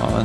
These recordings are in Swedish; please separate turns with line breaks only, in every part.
Ja,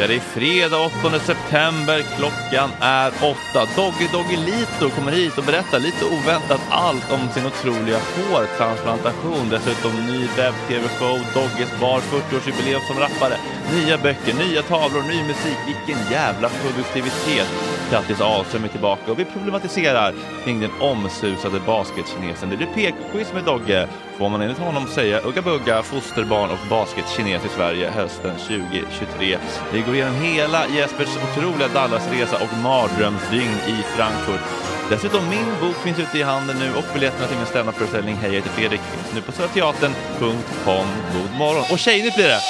Ja, det är fredag 8 september. Klockan är åtta. Doggy Doggy Lito kommer hit och berättar lite oväntat allt om sin otroliga hårtransplantation. Dessutom ny webb-tv-show, Dogges bar, 40-årsjubileum som rappare, nya böcker, nya tavlor, ny musik. Vilken jävla produktivitet! Kattis Ahlström är tillbaka och vi problematiserar kring den omsusade basketkinesen. Det blir pekquiz med Dogge. Får man enligt honom säga Ugga Bugga, fosterbarn och basketkines i Sverige hösten 2023. Vi går igenom hela Jespers otroliga Dallasresa och mardrömsdygn i Frankfurt. Dessutom, min bok finns ute i handeln nu och biljetterna till min standupföreställning Hej, jag heter Fredrik finns nu på söderteatern.com. God morgon! Och tjejnytt blir det!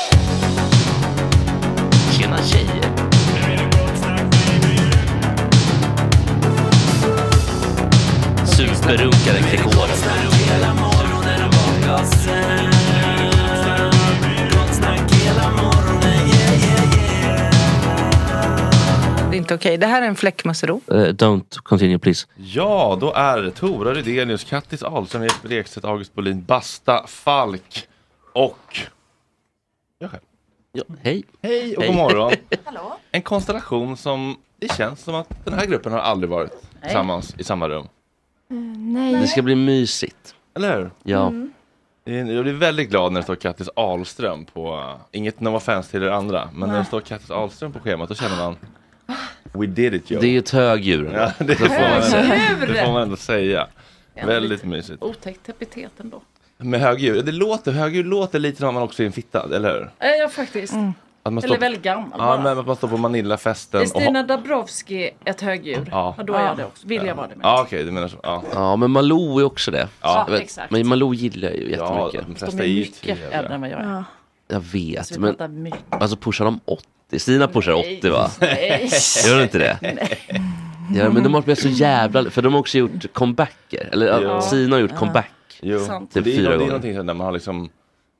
Tjena tjejer! Superrunkare Gregoren.
Det är inte okej. Det här är en fläckmussero.
Eh, don't continue please.
Ja, då är det Tora Rydenius, Kattis Ahlström, Jesper Ekstedt, August Bolin, Basta Falk och jag själv.
Ja, hej.
Hej och
Hej.
god morgon. En konstellation som det känns som att den här gruppen har aldrig varit tillsammans i samma rum.
Det ska bli mysigt.
Eller hur?
Ja.
Det är- Jag blir väldigt glad när det står Kattis Ahlström på, uh, inget no offense till er andra, men när det står Kattis Ahlström på schemat då känner man We did it yo.
Det är ju ett högdjur.
ja, det, får man, det får man ändå säga. Väldigt mysigt.
Otäckt epitet ändå.
Med högdjur, ja, det låter, högdjur låter lite som man också är en fitta, eller hur?
Eh, Ja, faktiskt.
Att man
Eller väldigt gammal
Ja,
bara.
men att man står på Manillafesten och
Stina
har-
Dabrowski ett högdjur?
Ja.
då är jag det också. Vill jag vara det med.
Ja, okej, du menar så. Ja,
Ja, men Malou är också det.
Ja.
Jag vet-
exakt.
Men Malou gillar jag ju
ja
jättemycket.
de flesta är ju trevliga.
än vad jag är.
Jag vet,
Vi
men
pratar mycket.
alltså pushar de 80? Stina pushar 80 va?
Nej.
Gör de inte det? Ja, men de har blivit så jävla... För de har också gjort comebacker. Eller
Ja.
ja. Sina har gjort comeback.
Jo,
Sant.
det är,
Typ
det
fyra
är
gånger.
någonting sånt när man har liksom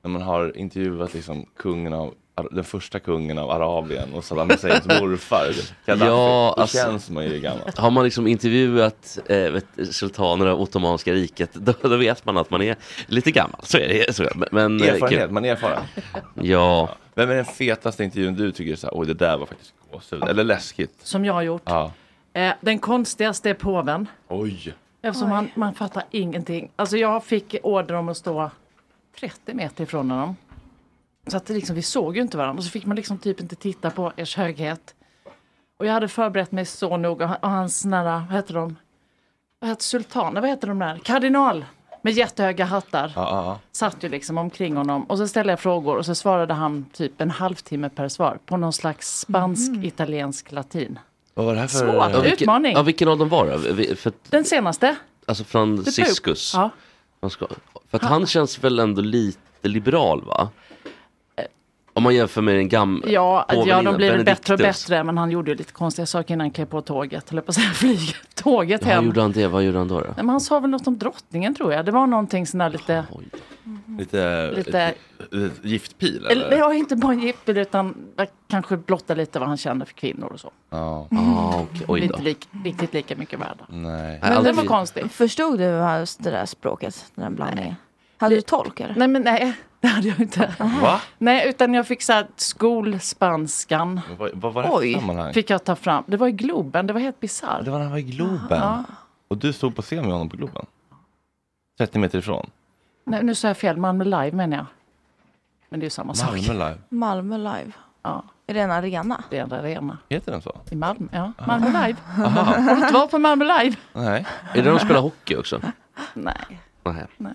när man har intervjuat liksom kungen av den första kungen av Arabien och Saddam Husseins morfar Gaddafi,
Ja,
då
alltså-
känns man ju gammal.
Har man liksom intervjuat eh, vet, sultaner av Ottomanska riket, då, då vet man att man är lite gammal. Så är det. Så är det. Men, eh,
Erfarenhet,
kul.
man är erfaren.
Ja.
Vem är den fetaste intervjun du tycker så här, oj det där var faktiskt gåshud, eller läskigt?
Som jag har gjort.
Ja.
Eh, den konstigaste är påven.
Oj!
Eftersom han, man fattar ingenting. Alltså jag fick order om att stå 30 meter ifrån honom. Så att det liksom, vi såg ju inte varandra. Och så fick man liksom typ inte titta på ers höghet. Och jag hade förberett mig så noga. Och han- Och hans nära, vad heter de? Vad heter sultaner? Vad heter de där? Kardinal! Med jättehöga hattar.
Ja, ja, ja.
Satt ju liksom omkring honom. Och så ställde jag frågor och så svarade han typ en halvtimme per svar. På någon slags spansk, italiensk, latin.
Vad var det här för...
Svårt.
Ja, vilken,
Utmaning.
ja, vilken av dem var det? Vi- För, att-
Den senaste.
alltså
The Pope.
Franciscus.
Ja.
Man ska, för att han känns väl ändå lite liberal va? Eh, Om man jämför med den gamla
Ja, ja de blir bättre och bättre. Men han gjorde ju lite konstiga saker innan han klev på tåget. Eller på att säga flyg. Tåget
Hur
hem.
gjorde han det? Vad gjorde han då? då?
Nej, men han sa väl något om drottningen tror jag. Det var någonting sån där lite...
Oj.
Lite,
Lite-
ett- ett Eh, giftpil eller?
Eller ja, inte bara en jippel utan kanske blotta lite vad han kände för kvinnor och så.
Ja,
Ah, okej.
Vi är
Oj då.
inte lik, riktigt lika mycket värda.
nej.
Nej,
Men det
aldrig-
var konstigt.
Förstod du hans- det där språket, den där blandningen? Hade du tolk eller?
Nej, men nej, det hade jag inte.
Va?
Nej, utan jag fick så här skolspanskan.
Vad, vad var det för
Oj.
sammanhang?
Fick jag ta fram. Det var i Globen, det var helt
Ja, Det
bisarrt.
var när han var i Globen. Och du stod på scen med honom på Globen. 30 meter ifrån.
Nej, nu sa jag fel, Malmö Live menar jag. Men det är ju samma sak.
Malmö live.
Malmö live.
Ja,
Är det en arena?
det är en arena.
Heter den så?
I Malmö, ja.
Ah.
Malmö Live. Har du inte varit på Malmö Live?
Nej.
Är det de spelar hockey också?
Nej.
Nej.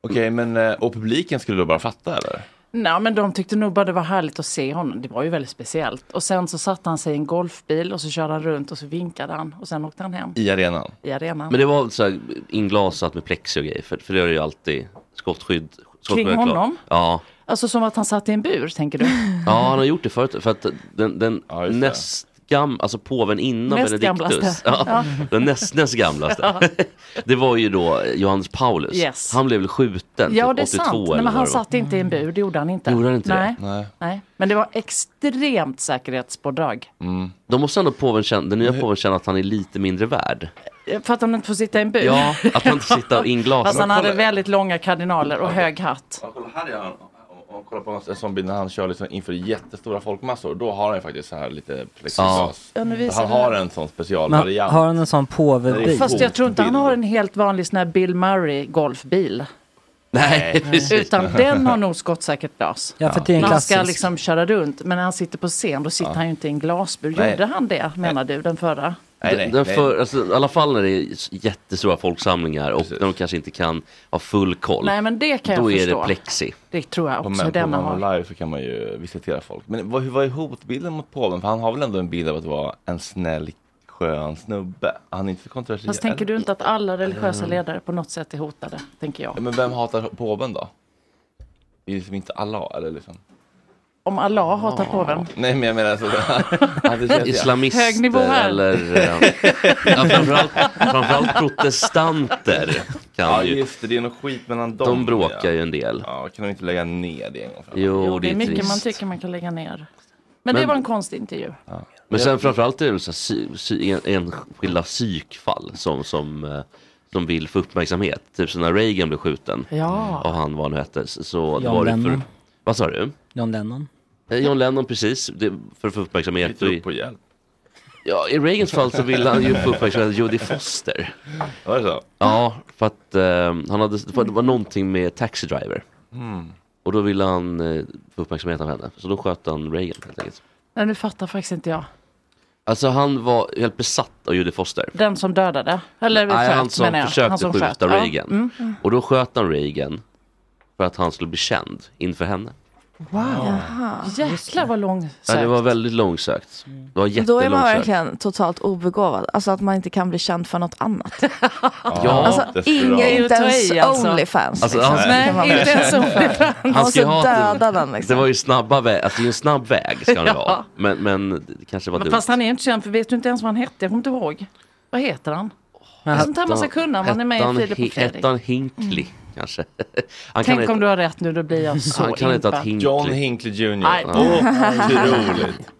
Okej, men eh, och publiken skulle då bara fatta eller?
Nej, men de tyckte nog bara det var härligt att se honom. Det var ju väldigt speciellt. Och sen så satte han sig i en golfbil och så körde han runt och så vinkade han. Och sen åkte han hem
I arenan.
i arenan.
Men det var så här inglasat med plexi och grejer, för, för det har ju alltid skottskydd. skottskydd är klart.
honom?
Ja.
Alltså som att han satt i en bur, tänker du?
ja, han har gjort det förut. För att den, den
Ja, just det.
näst gamla, alltså påven innan
Näst
Benediktus.
gamlaste.
Ja, den näst, näst gamlaste. det var ju då Johannes Paulus.
Yes.
Han blev väl skjuten
Ja,
typ
det är
82
sant.
eller
Nej, men
vad
han
det var.
satt inte i en bur, det gjorde han inte.
Gjorde han inte
Nej.
Nej.
Nej. Men det var extremt säkerhetspådrag.
Mm.
Då måste ändå påven känna, den nya påven känna att han är lite mindre värd.
För att han inte får sitta i en bur.
Ja, att han inte sitter och inglasar.
Fast han hade väldigt långa kardinaler och hög hatt.
Ja, kolla här är han. Om- Om man kollar på en sån bild när han kör liksom inför jättestora folkmassor, då har han ju faktiskt så här lite plexiglas.
Ja, nu visar
han
det här.
har en sån
Men
specialvariant.
har han en sån
Nej.
påvebil?
Fast jag tror inte han
Bild.
har en helt vanlig sån här Bill Murray golfbil.
Nej, precis.
Utan den har nog skottsäkert glas.
Ja, för det är en
När han ska
klassisk.
liksom köra runt, men när han sitter på scen, då sitter han ju inte i en glasbur.
Nej.
Gjorde han det, menar du, den förra?
Nej, nej,
Den
nej.
för, alltså, I alla fall när det är s- jättestora folksamlingar och
Precis.
när de kanske inte kan ha full koll.
Nej, men det kan jag
då är
förstå.
det plexi.
Det tror jag
På,
också
men, på
denna
Malmö
har.
live så kan man ju visitera folk. Men vad, hur var ju hotbilden mot påven? För han har väl ändå en bild av att vara en snäll skön snubbe. Han är inte så kontroversiell.
Fast tänker du inte att alla religiösa
Mm.
ledare på något sätt är hotade? Tänker jag.
Ja, Men vem hatar påven då? Det är liksom inte Allah eller liksom.
Om Allah hatar påven.
Nej men jag menar alltså. att det känns-
Islamister
Hög nivå här.
eller eh, ja, framförallt, framförallt protestanter kan
Ja
ju.
just det, det är nog skit mellan dem.
De bråkar ju en del.
Ja, kan de inte lägga ner det en gång för alla?
Jo, det
Det
är
är mycket man
trist.
tycker man kan lägga ner.
Men-
Men, det var en konstig intervju.
Men sen framförallt är det väl så här, sy, sy, en- enskilda psykfall som, som, eh, som vill få uppmärksamhet. Typ så när Reagan blev skjuten
Ja.
och han vad han hette. Så så
John
var det för,
Lennon.
Vad sa du?
John Lennon.
Eh, John Lennon precis, det, för att få uppmärksamhet.
Lite upp och hjälp.
Ja, i Reagans fall så ville han ju få uppmärksamhet av Jodie Foster.
Var det så?
Ja, för att eh, han hade, för det var någonting med Taxi Driver.
Mm.
Och då ville han eh, få uppmärksamhet av henne. Så då sköt han Reagan helt enkelt.
Nej, nu fattar faktiskt inte jag.
Alltså han var helt besatt av Jodie Foster.
Den som dödade. Eller
Nej,
sköt,
han som
menar jag.
försökte
Han som
skjuta
sköt. Ja.
Reagan.
Mm.
Och då sköt han Reagan för att han skulle bli känd inför henne.
Wow. Jäklar vad lång
Ja, det
sökt.
var väldigt långsökt. Det var
Då är man
jättelångsökt.
verkligen totalt obegåvad. Alltså att man inte kan bli känd för något annat.
Ja,
alltså inga, inte ens Onlyfans.
Alltså,
liksom.
han-
Kan man bli
inte ens
känd för.
Han
Och
ska ju ha typ-
så
ett-
döda den liksom.
Det var ju snabba väg, alltså det är en snabb väg ska det
Ja.
vara. Men, men det kanske var
Men
dumt.
fast han är inte känd för vet du inte ens vad han hette? Jag kommer inte ihåg. Vad heter alltså, han?
Men
Sånt här man ska
hette
kunna om man är med
hette
i
han
Filip
Hi-
och Fredrik. Mm.
Hette han Hinkley kanske? Han
Tänk
heta-
om du har rätt nu, då blir jag så
Han kan heta
impad.
Hinkley.
John Hinkley Jr.
Nej.
Otroligt.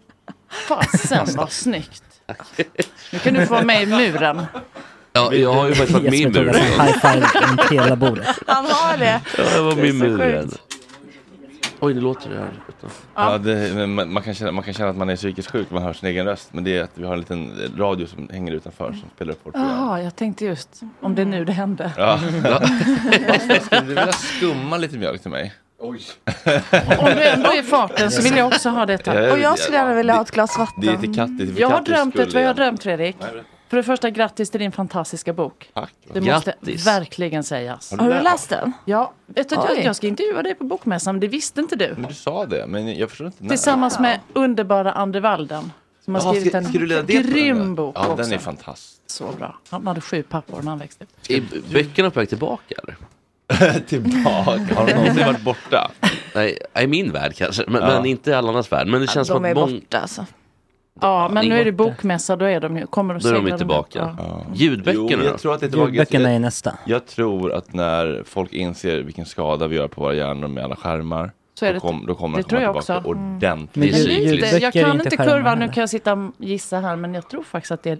Fasen vad snyggt. Nu kan du få vara med i muren.
Ja, jag har ju faktiskt varit med i
Jag skulle
muren.
tog en high five runt hela bordet.
Han har det.
Ja, jag var med i
Det är så
muren.
sjukt.
Oj, det låter det här.
Ja, det, men man, man, kan känna, man kan känna att man är psykiskt sjuk, man hör sin egen röst. Men det är att vi har en liten radio som hänger utanför som spelar upp vårt program.
Jaha, jag tänkte just om det är nu det hände.
Ja.
Mm.
Skulle du vilja skumma lite mjölk till mig? Oj.
Om du ändå är i farten så vill jag också ha det tack.
Ja,
Och jag skulle gärna vilja ha ett glas vatten.
Det är till Kattis för
Jag har
Kattis
drömt
skull
ett, vad jag har
igen.
drömt Fredrik. För det första, grattis till din fantastiska bok.
Tack.
Det måste
Grattis.
verkligen sägas.
Har du läst den?
Ja, vet du, att jag,
Oj.
jag ska intervjua dig på Bokmässan, men det visste inte du.
Men du sa det, men jag förstår inte när.
Tillsammans med underbara Ander Walden. Som har
Jaha,
skrivit
ska-
en
ska du leda det på den,
grym
eller?
bok
Ja,
också.
den är fantastisk.
Så bra. Han hade sju pappor när han växte upp.
Är böckerna på väg tillbaka eller?
tillbaka? Har de någonsin varit borta?
Nej, i min värld kanske. Men,
Ja.
men inte i alla andras värld. Men det
Ja,
känns
de
som att
är
mång-
borta alltså.
Ja, men
det
nu är det
är
bokmässa, då är de ju, kommer de
Då är de
segla
ju
runt.
tillbaka.
Ja.
Ljudböckerna
Jo,
då?
jag tror att det är tillbaka.
Ljudböckerna är nästa.
Jag tror att när folk inser vilken skada vi gör på våra hjärnor med alla skärmar,
Så är
då,
det-
kom, då kommer
det
det komma
tror jag
tillbaka
också. Mm.
ordentligt.
Men lite, jag
Ljudböcker är
kan
inte
inte
skärmar
kurvan, nu
heller.
kan jag sitta och gissa här, men jag tror faktiskt att det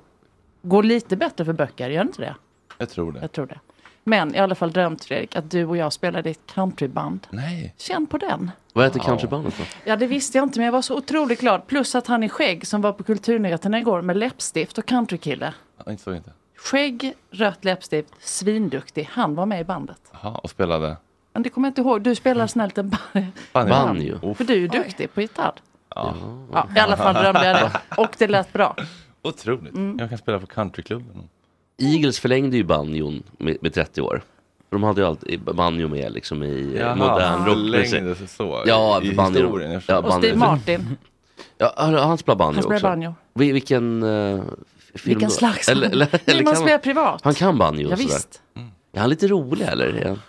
går lite bättre för böcker, gör det inte det?
Jag tror det.
Jag tror det. Men i alla fall drömt Fredrik, att du och jag spelade i ett countryband.
Nej.
Känn på den.
Vad heter countrybandet då?
Ja, det visste jag inte, men jag var så otroligt glad. Plus att han i skägg som var på Kulturnyheterna igår med läppstift och countrykille.
Jag insåg inte.
Skägg, rött läppstift, svinduktig. Han var med i bandet.
Jaha, och spelade?
Men det kommer jag inte ihåg. Du spelar snällt en band.
Mm. Banjo.
För du är ju duktig på gitarr. Ja, I alla fall drömde jag Mm. det. Och det lät bra.
Otroligt. Jag kan spela på countryklubben.
Eagles förlängde ju banjon med, med 30 år. För de hade ju alltid banjo med liksom i eh,
Jaha,
modern rockmusik.
förlängde sig så,
Ja,
i- i
banjo.
historien, jag förstår.
Ja,
Och Steve
banjo.
Martin.
Ja, han han spelar banjo
Han spelar
också.
banjo.
Vi, vilken eh, film
Vilken
då?
slags
Eller,
banjo.
eller,
Nej,
eller
man
kan
spelar privat.
Han kan banjo
Ja,
och sådär.
visst.
Är han lite rolig eller? Är han-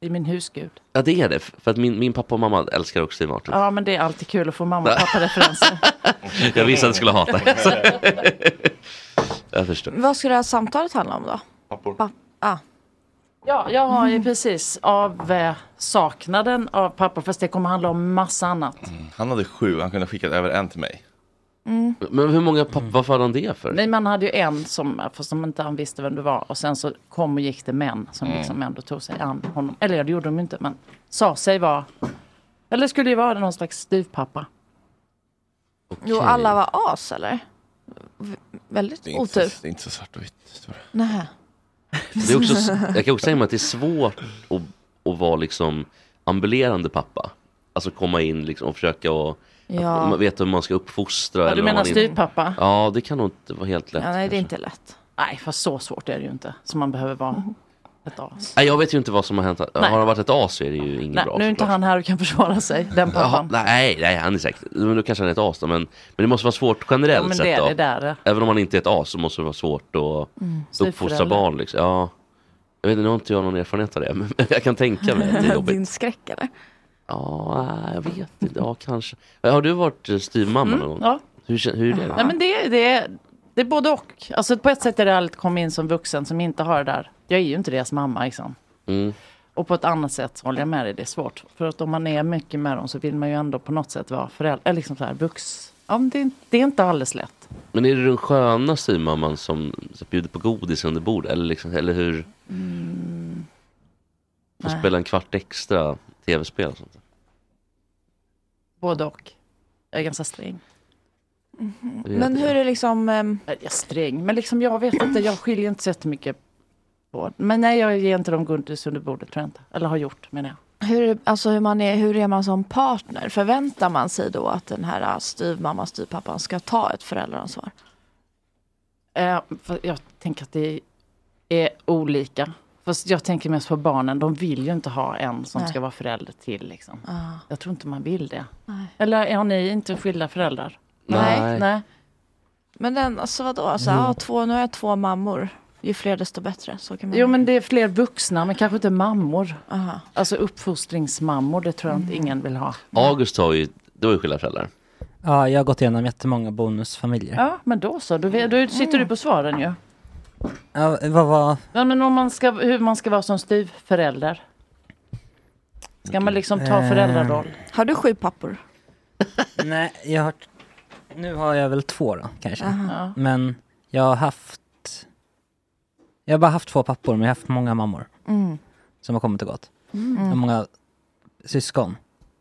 Det är min husgud.
Ja det är det. För att min, min pappa och mamma älskar också Steve Martin.
Ja, men det är alltid kul att få mamma och pappa-referenser.
Jag visste att du skulle hata Jag förstår.
Vad skulle det här samtalet handla om då? Papp- ah.
Ja, jag har ju precis av eh, saknaden av papper, fast det kommer handla om massa annat.
Mm.
Han hade sju, han kunde ha skickat över en till mig.
Mm.
Men hur många pappa, varför hade han det för?
Men man hade ju en som, för som inte han visste vem det var och sen så kom och gick det män som
Mm.
liksom ändå tog sig an honom. Eller ja, det gjorde de ju inte, men sa sig vara, eller skulle ju vara någon slags styvpappa.
Jo, alla var as eller? V- väldigt
Det är inte
otur.
så-
Det är inte så svart och vitt.
Nej.
Det är också, jag kan också säga mig att det är svårt att, att vara liksom ambulerande pappa. Alltså komma in liksom och försöka och,
Ja.
att, man vet hur man ska uppfostra.
Ja, du
eller om
menar
man inte-
styvpappa?
Ja, det kan nog inte vara helt lätt. Mm.
Ja, nej, det är inte lätt. Nej, för så svårt är det ju inte. Så man behöver vara ett as.
Nej, jag vet ju inte vad som har hänt.
Nej.
Har han varit ett as så är det ju inget
Nej,
bra.
nu är inte han här och kan försvara sig, den
Jaha,
pappan.
nej, nej, han är säkert, men då kanske han är ett as då, men, men det måste vara svårt
Ja,
generellt
men
sett
det
då.
är det där.
Även om han inte är ett as så måste det vara svårt att
Mm,
uppfostra
styvförälder.
barn. Liksom. Ja, jag vet inte, nu har inte jag någon erfarenhet av det, men jag kan tänka mig att det är jobbigt.
Din skräck eller?
Ja, jag vet inte, ja kanske. Har du varit eh, styvmamma någon gång?
Mm, ja.
Hur, kän- hur är det?
Nej, men det, det, det är både och. Alltså, på ett sätt är det härligt att komma in som vuxen som inte har det där. Jag är ju inte deras mamma. Liksom.
Mm.
Och på ett annat sätt så håller jag med dig, det är svårt. För att om man är mycket med dem så vill man ju ändå på något sätt vara förälder. Eller liksom så här, vux. Ja, men det, det är inte alldeles lätt.
Men är det den sköna styvmamman som som bjuder på godis under bordet? Eller, liksom, eller hur?
Mm.
Får
Nej.
spela en kvart extra tv-spel och sånt.
Både och. Jag är ganska sträng.
Mhm.
Äh,
Men hur är liksom... ehm,
Jag är sträng, men liksom jag vet inte, jag skiljer inte så jättemycket på. Men nej, jag ger inte dem godis under bordet tror jag inte. Eller har gjort menar jag.
Hur, alltså hur, man är, hur är man som partner? Förväntar man sig då att den här styvmamman, styvpappan ska ta ett föräldraansvar?
Eh, för jag tänker att det är olika. Fast jag tänker mest på barnen. De vill ju inte ha en som
Nej.
ska vara förälder till. Liksom.
Ah.
Jag tror inte man vill det.
Nej.
Eller har ni inte skilda föräldrar?
Nej.
Nej.
Men den, alltså vadå? Alltså,
Jo.
ja, två, nu har jag två mammor. Ju fler desto bättre. Så kan man
Jo men det är fler vuxna men kanske inte mammor.
Aha.
Alltså uppfostringsmammor, det tror jag inte
Mm.
ingen vill ha.
August har ju, du har ju skilda föräldrar.
Ja, jag har gått igenom jättemånga bonusfamiljer.
Ja men då så, då, vet- då sitter du på svaren ju.
Ja, vad var...
Ja, men om man ska, hur man ska vara som styvförälder. Ska man liksom ta
Eh.
föräldraroll?
Har du sju pappor?
Nej, jag har... Nu har jag väl två då, kanske.
Aha.
Men jag har haft... Jag har bara haft två pappor, men jag har haft många mammor.
Mm.
Som har kommit och gått.
Mm.
Och många syskon.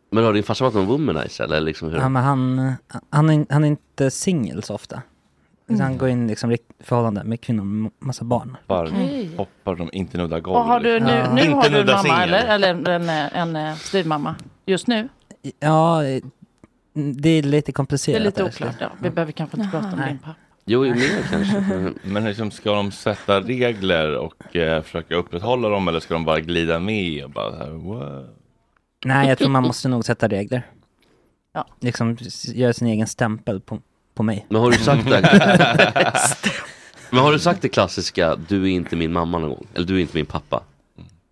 Men har din farsa varit någon womanizer eller liksom hur?
Ja, men han, han, är, han är inte singel så ofta. Så Han
Mm.
går in liksom i förhållande med kvinnor med massa barn.
Hoppar,
Okej.
hoppar de inte nudda golv.
Och har du
liksom.
nu,
Ja.
nu
Inte
har du en
nudda
mamma
singel.
eller, eller en, en, en eh, styvmamma just nu?
Ja, eh, det är lite komplicerat.
Det är lite
där,
oklart.
så-
Ja. Vi behöver kanske inte
Jaha.
prata om
Nej.
din pappa.
Jo, ju mer kanske.
Men liksom, ska de sätta regler och eh, försöka upprätthålla dem eller ska de bara glida med och bara så här, wow.
Nej, jag tror man måste nog sätta regler.
Ja.
Liksom s- göra sin egen stämpel på, på mig.
Men har du sagt det? men har du sagt det klassiska, du är inte min mamma någon gång? Eller du är inte min pappa?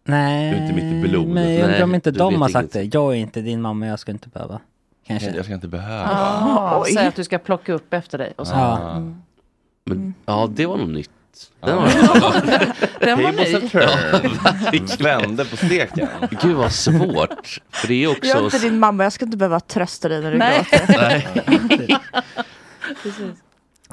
Nej,
Du är inte mitt i blod.
men jag undrar om
Nej,
inte
du
de
vet
har sagt det. Jag är inte din mamma, jag ska inte behöva. Kanske.
Jag ska inte behöva.
Ah,
oj.
Säg att du ska plocka upp efter dig. Och så.
Ja.
Mm.
Men, ja, det var nog nytt. Den
Ja.
har jag
Den var
Tables
ny.
are turned. Vände på steken.
Gud vad svårt. För det är också...
Jag är inte din mamma, jag ska inte behöva trösta dig när du
Nej.
gråter.
Nej.
Precis.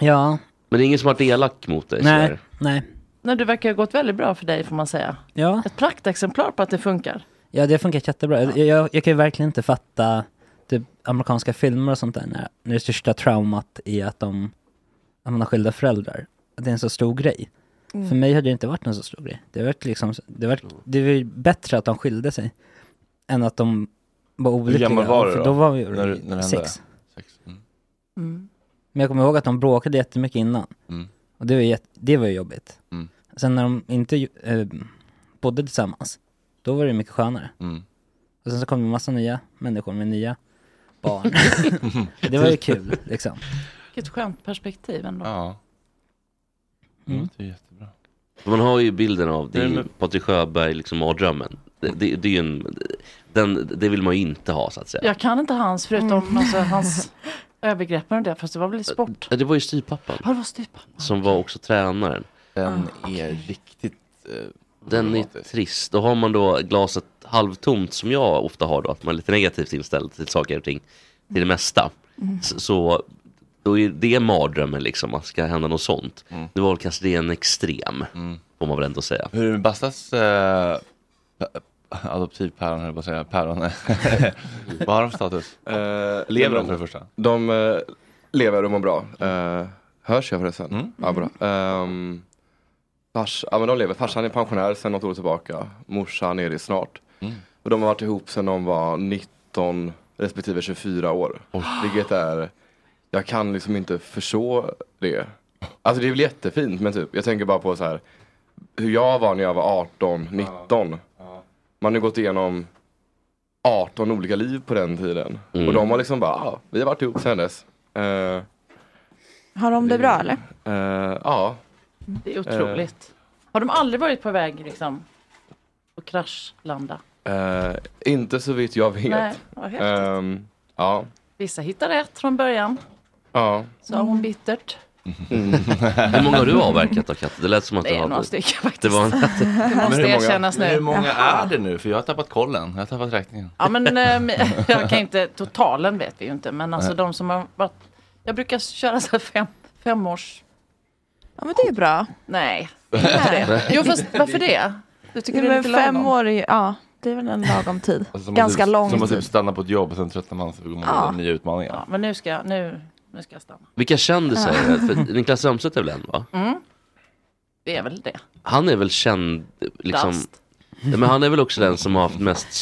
Ja.
Men det är ingen som har varit elak mot dig?
Nej,
sådär.
nej.
Nej, du verkar ha gått väldigt bra för dig får man säga.
Ja.
Ett praktexemplar på att det funkar.
Ja, det har funkat jättebra. Jag, jag, jag kan ju verkligen inte fatta typ, amerikanska filmer och sånt där när, när det största traumat är att de att man har skilda föräldrar. Att det är en så stor grej.
Mm.
För mig hade det inte varit någon så stor grej. Det var liksom, det var,
Mm.
det var ju bättre att de skilde sig än att de var
Hur
olyckliga.
gammal var du
För
då?
då var vi
När du- när det hände?
sex.
Sex. Mm.
Men jag kommer ihåg att de bråkade jättemycket innan.
Mm.
Och det var, jätt, det var ju jobbigt.
Mm.
Sen när de inte eh, bodde tillsammans, då var det mycket skönare.
Mm.
Och sen så kom det en massa nya människor med nya barn. det var ju kul liksom.
Vilket skönt perspektiv ändå.
Ja.
Mm.
Det är jättebra.
Man har ju bilden av det är
Nej,
ju
men-
Patrik Sjöberg, liksom mardrömmen. Det, det, det, är ju en, den, det vill man ju inte ha så att säga.
Jag kan inte hans förutom
Mm.
alltså, hans övergrepp och det. Fast det var väl i sport.
Ja, Det var ju styvpappan.
Ja, det var styvpappan. Ah,
Som var också tränaren.
Den är riktigt... eh,
Den är trist. Då har man då glaset halvtomt som jag ofta har då, att man är lite negativt inställd till saker och ting. Till det mesta.
Mm.
S- Så då är det mardrömmen liksom, att ska hända något sånt.
Mm.
Nu var väl kanske det en extrem, får man väl ändå säga.
Hur är det med Bastas eh, pa- adoptivpäron, höll jag på att säga. Päron. Vad har de för status? lever de för det första?
Eh, De eh, lever och mår bra. Eh, hörs jag förresten?
Mm.
Ja, bra. Ehm, fars, ja, men de lever. Farsan är pensionär sedan något år tillbaka. Morsan är det snart.
Mm.
Och de har varit ihop sedan de var 19 respektive 24 år. Vilket är, jag kan liksom inte förstå det. Alltså det är väl jättefint men typ, jag tänker bara på så här hur jag var när jag var 18, 19. Man har gått igenom 18 olika liv på den tiden.
Mm.
Och de har liksom bara, ah, vi har varit ihop sen dess. Eh, eh,
Har de det bra eller?
ja.
Det är
Eh.
otroligt. Har de aldrig varit på väg liksom och kraschlanda?
Eh, inte så vitt jag vet.
Nej, vad häftigt.
Ehm, ja.
Vissa hittar rätt från början,
ja. Mm.
sa
Mm.
hon bittert.
Hur många har du avverkat då Katte? Det lät som att
Det
du
är
hade...
några stycken faktiskt.
Det var
Det måste
hur många-
erkännas nu.
men Hur många
Jaha.
är det nu? För jag har tappat kollen. Jag har tappat räkningen.
Ja, men eh, jag kan inte, totalen vet vi ju inte, men alltså
Nej.
de som har varit, jag brukar köra så här fem, fem års.
Ja men det är bra.
Nej, inte det. Jo, fast varför det? Du tycker
Ja,
det är
men
lite
fem
lagom?
år, är ju- ja det är väl en lagom tid.
Alltså, som att
Ganska
typ-
lång
Som att
tid.
typ stanna på ett jobb och sen tröttnar man så går man
Ja.
vidare nya utmaningar.
Ja, men nu ska jag, nu, nu ska jag stanna.
Vilka kändisar
Ja.
är det? För Niklas Strömstedt är väl en va?
Mm. Det är väl det.
Han är väl känd, liksom...
Dast.
Nej, men han är väl också den som har haft mest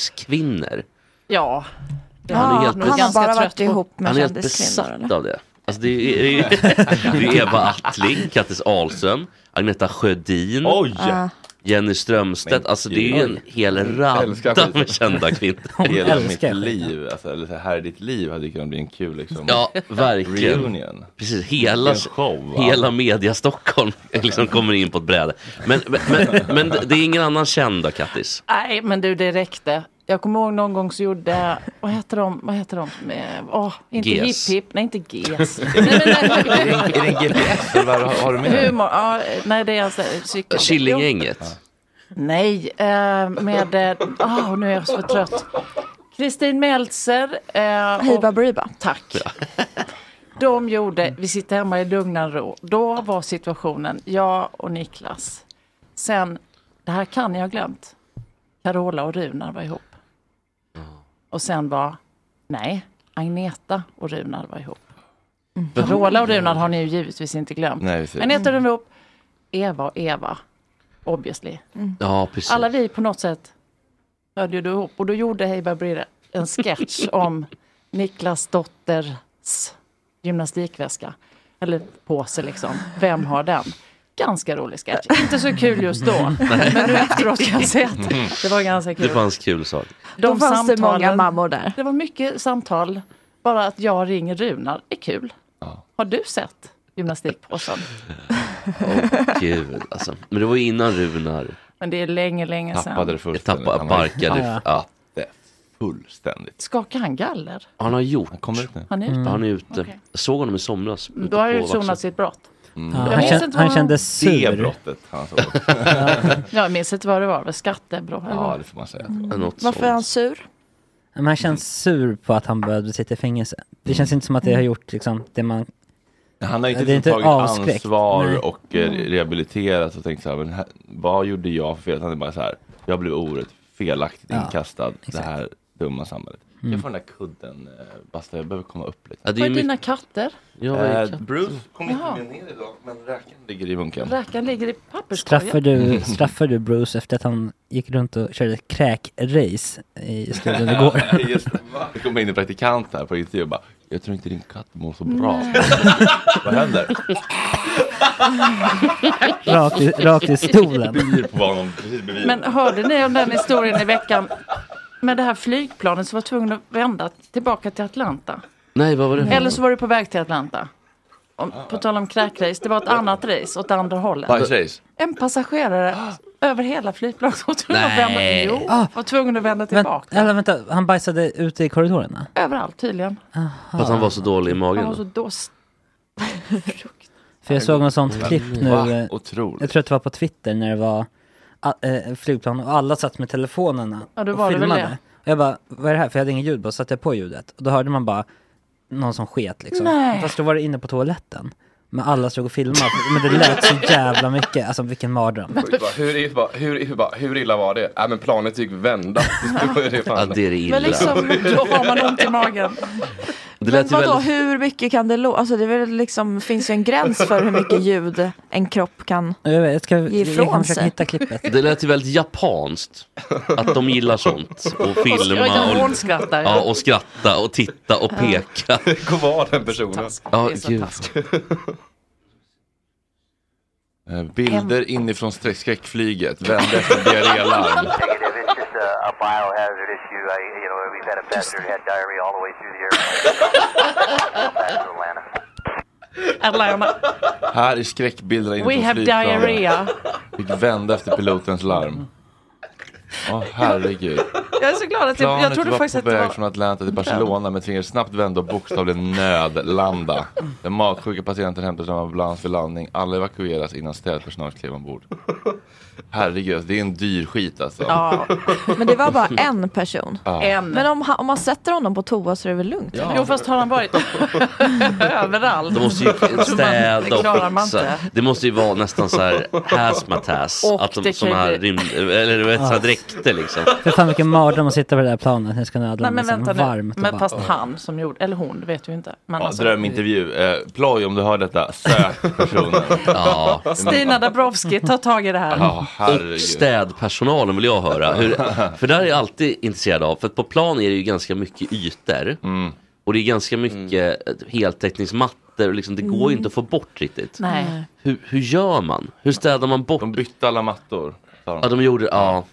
kändiskvinnor.
Ja. det
Han är
jag
helt
nog
bes-
ganska
Han har bara
trött
varit ihop med
han är helt
kändiskvinnor,
besatt
eller?
av det. Alltså det är, det är, det är Eva Attling, Kattis Ahlström, Agneta Sjödin,
Oj!
Ah.
Jenny Strömstedt. Alltså det är ju en hel
Älskar
radda
skiten.
med kända kvinnor.
Hela mitt liv, alltså, eller så här i ditt liv hade ju kunnat bli en kul liksom,
Ja, verkligen.
reunion.
Precis, hela,
Vilken show, va?
hela media Stockholm liksom kommer in på ett bräde. Men, men, men, men det är ingen annan känd då, Kattis?
Nej, men du, det räckte. Jag kommer ihåg någon gång så gjorde, vad heter de, vad heter de, som är- åh, inte
GES.
hip hip, nej inte GES.
är, det, en- är det en GPS eller vad har- har du med dig?
Humor, ja, nej det är alltså cykel.
Killinggänget.
Nej, eh, med, eh, åh, nu är jag så trött. Kristin Meltzer. Eh, Hiba
Briba.
Tack. De gjorde, vi sitter hemma i lugn och ro. Då var situationen, jag och Niklas. Sen, det här kan jag ha glömt. Carola och Runar var ihop. Och sen var, nej, Agneta och Runar var ihop. Carola och Runar har ni ju givetvis inte glömt.
Nej, precis.
Agneta och Runar var ihop. Eva och Eva, obviously.
Ja, precis.
Alla vi på något sätt hörde ju då ihop. Och då gjorde Heiba Breda en sketch om Niklas dotters gymnastikväska. Eller påse liksom. Vem har den? Ganska rolig sketch. Inte så kul just då.
Nej.
Men nu efteråt kan jag säga
Mm.
att det var ganska
Det
kul.
fanns kul saker.
Då fanns det många mammor där.
Det var mycket samtal. Bara att jag ringer Runar är kul. Har du sett gymnastikpåsen?
Gud, alltså. Men det var ju innan Runar
Men det är länge, länge sedan.
Tappade det fullständigt.
Tappa-
Han har ju
barkade.
tappat
Ja.
det fullständigt.
Skakar han galler?
Han har gjort. Han
kommer ut nu.
Han är ute.
Han är ute.
Okej. Mm,
Jag såg honom i somras. ute
Då har
på
jag ju
Vaxholm.
sonat sitt brott.
Mm.
Ja, han, kän, han kändes sur.
Det brottet han såg.
Jag minns inte vad det var, var skattebrott? eller Mm. vad?
får man säga.
Varför är han sur?
Men han känns sur på att han behövde sitta i fängelse. Det känns inte som att det har gjort liksom, det man...
Mm. Han har ju inte,
Det är
tagit
avskräckt.
ansvar
Nej.
och eh, rehabiliterat och tänkt så här, men här, vad gjorde jag för fel? Han är bara så här, jag blev orätt felaktigt
Ja,
inkastad, det här dumma samhället.
Mm.
Jag får den där kudden, eh, Basta, jag behöver komma upp lite.
Ja, det
Var är dina katter?
Eh, Bruce kom inte
Jaha.
med ner idag, men räkan ligger i bunken.
Räkan ligger i papperskorgen.
Straffar
Mm.
du, straffar du Bruce efter att han gick runt och körde kräkrace i studion igår?
Just det. Det kom in en praktikant här på intervju och bara, jag tror inte din katt mår så bra.
Nej.
Vad händer?
Rakt i- rakt i stolen.
Byr på honom, precis bredvid.
Men hörde ni om den historien i veckan? Med det här flygplanet som var tvungen att vända tillbaka till Atlanta.
Nej, vad var det?
Eller så var du på väg till Atlanta. Om, på tal om kräkrace, det var ett annat race åt andra hållet.
Bajsrace?
En passagerare över hela flygplanet var tvungen att vända,
Nej.
jo,
Ah.
var tvungen att vända
Vänt,
tillbaka.
eller vänta, han bajsade ute i korridorerna?
Överallt tydligen.
För att han var så dålig i
Han
magen.
var
då.
så dåst.
För jag såg något sånt
Men, Mm.
klipp nu,
va?
eh,
Otroligt.
jag tror att det var på Twitter när det var a- eh, flygplan och alla satt med telefonerna
Ja, då var
och
det väl
filmade.
det.
Och jag bara, vad är det här? För jag hade ingen ljud på, så satte jag på ljudet. Och då hörde man bara någon som sket liksom.
Nej.
Fast då var det inne på toaletten. Men alla stod och filmade, men det lät så jävla mycket. Alltså vilken mardröm.
Sjukt bara, Hur, i- bara, hur, hur, bara, hur illa var det? Nej men planet gick vända. Det är fan-
Ja, det är det illa.
Men liksom,
då har man ont i magen.
Det
Men
lät ju
vadå,
väldigt...
hur mycket kan det låta? Alltså det är väl liksom, finns ju en gräns för hur mycket ljud en kropp kan...
Jag, vet, jag, ska,
Ge
jag
ifrån
kan försöka
sig.
hitta klippet.
Det lät ju väldigt japanskt. Att de gillar sånt. Och filma och,
skrattar.
ja, och skratta och titta och peka.
Gå var den personen.
Ja, gud.
Eh, Bilder inifrån strä- skräckflyget, vände efter diarrélarm.
Negative. It's just a, a biohazard issue. I, you know, we've had a passenger had diarrhea all the way through the airplane. Back to Atlanta.
Atlanta.
Här är skräckbilderna
We
inifrån
have
flygplanet.
diarrhea.
Fick vända efter pilotens larm. Åh herregud.
Jag är så glad att Alltså, typ, jag, jag
Planet
trodde
var
faktiskt
på
att det
väg
var...
från Atlanta till Barcelona men tvingades snabbt vända och bokstavligen nödlanda. Den magsjuka patienten hämtades av ambulans för landning. Alla evakueras innan städpersonal klev ombord. Herregud, det är en dyr skit alltså.
Ja. Men det var bara en person.
Ja.
Men om, han- om man sätter honom på toa så är det väl lugnt?
Ja.
Jo, fast har han varit överallt?
De måste ju
Tror man- det
städa
klarar
och
man
fixa.
inte.
Det måste ju vara nästan så här hazmat task.
Och
Att de,
det
såna
kan
här
ju-
rymd... Eller du vet, så här
Ah.
Ja.
dräkter liksom.
För fan vilken mardröm att sitta på det där planet. Nu ska ni
Nej,
ödla
men vänta nu.
varmt och
Men
bara-
fast han som gjorde, eller hon, det vet vi inte. Men
Ja,
alltså-
drömintervju. Eh, ploj om du hör detta, sök personen.
Ja.
Stina Dabrowski, ta tag i det här.
och städpersonalen vill jag höra. Hur, för där är jag alltid intresserad av. För att på plan är det ju ganska mycket ytor.
Mm.
Och det är ganska mycket eh, heltäckningsmattor. Och liksom, det går ju
Mm.
inte att få bort riktigt.
Nej.
Hur, hur gör man? Hur städar man bort?
De bytte alla mattor.
Ja, de gjorde ja.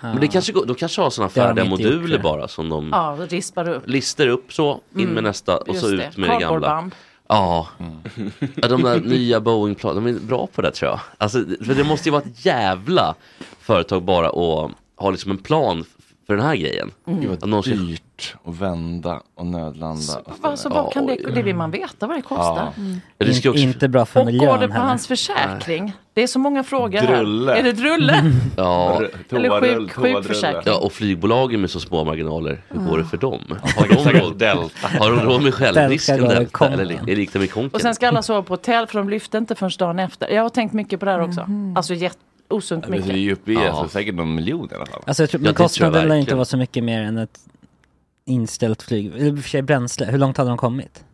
Men det kanske, går- de kanske har sådana
Det har de
färdiga
inte gjort,
moduler
tror jag.
bara som de
Ja, rispar upp.
lister upp så, in
Mm,
med nästa och så
just det.
ut med det gamla.
Cardboardband.
Ja.
Mm.
ja, de där nya Boeing-planen, de är bra på det tror jag. Alltså, för det måste ju vara ett jävla företag bara att ha liksom en plan f- för den här grejen.
Mm. Gud, vad
Att någon ska-
Dyrt att vända och nödlanda. och
Va, Alltså,
ställa.
vad kan det, det vill man veta vad det kostar. Mm.
In, Inte bra för miljön
Går det på
heller.
hans försäkring? Det är så många frågor
Drulle.
här. Är det drulle?
Ja.
Eller sjuk, sjukförsäkring?
Ja, och flygbolagen med så små marginaler, hur går det för dem?
de
Har de
säkert
råd,
Delta.
har de råd med självrisken
Delta går i
Delta? Eller li- är likt dem i
Och
konken?
sen ska alla sova på hotell för de lyfte inte förrän dagen efter. Jag har tänkt mycket på det här också. Alltså jätte, osunt
Det är
mycket.
ju uppe i alltså, säkert någon miljon i alla fall.
Alltså jag tror, men kostnaden lär inte vara så mycket mer än ett inställt flyg. I och för sig bränsle, hur långt hade de kommit?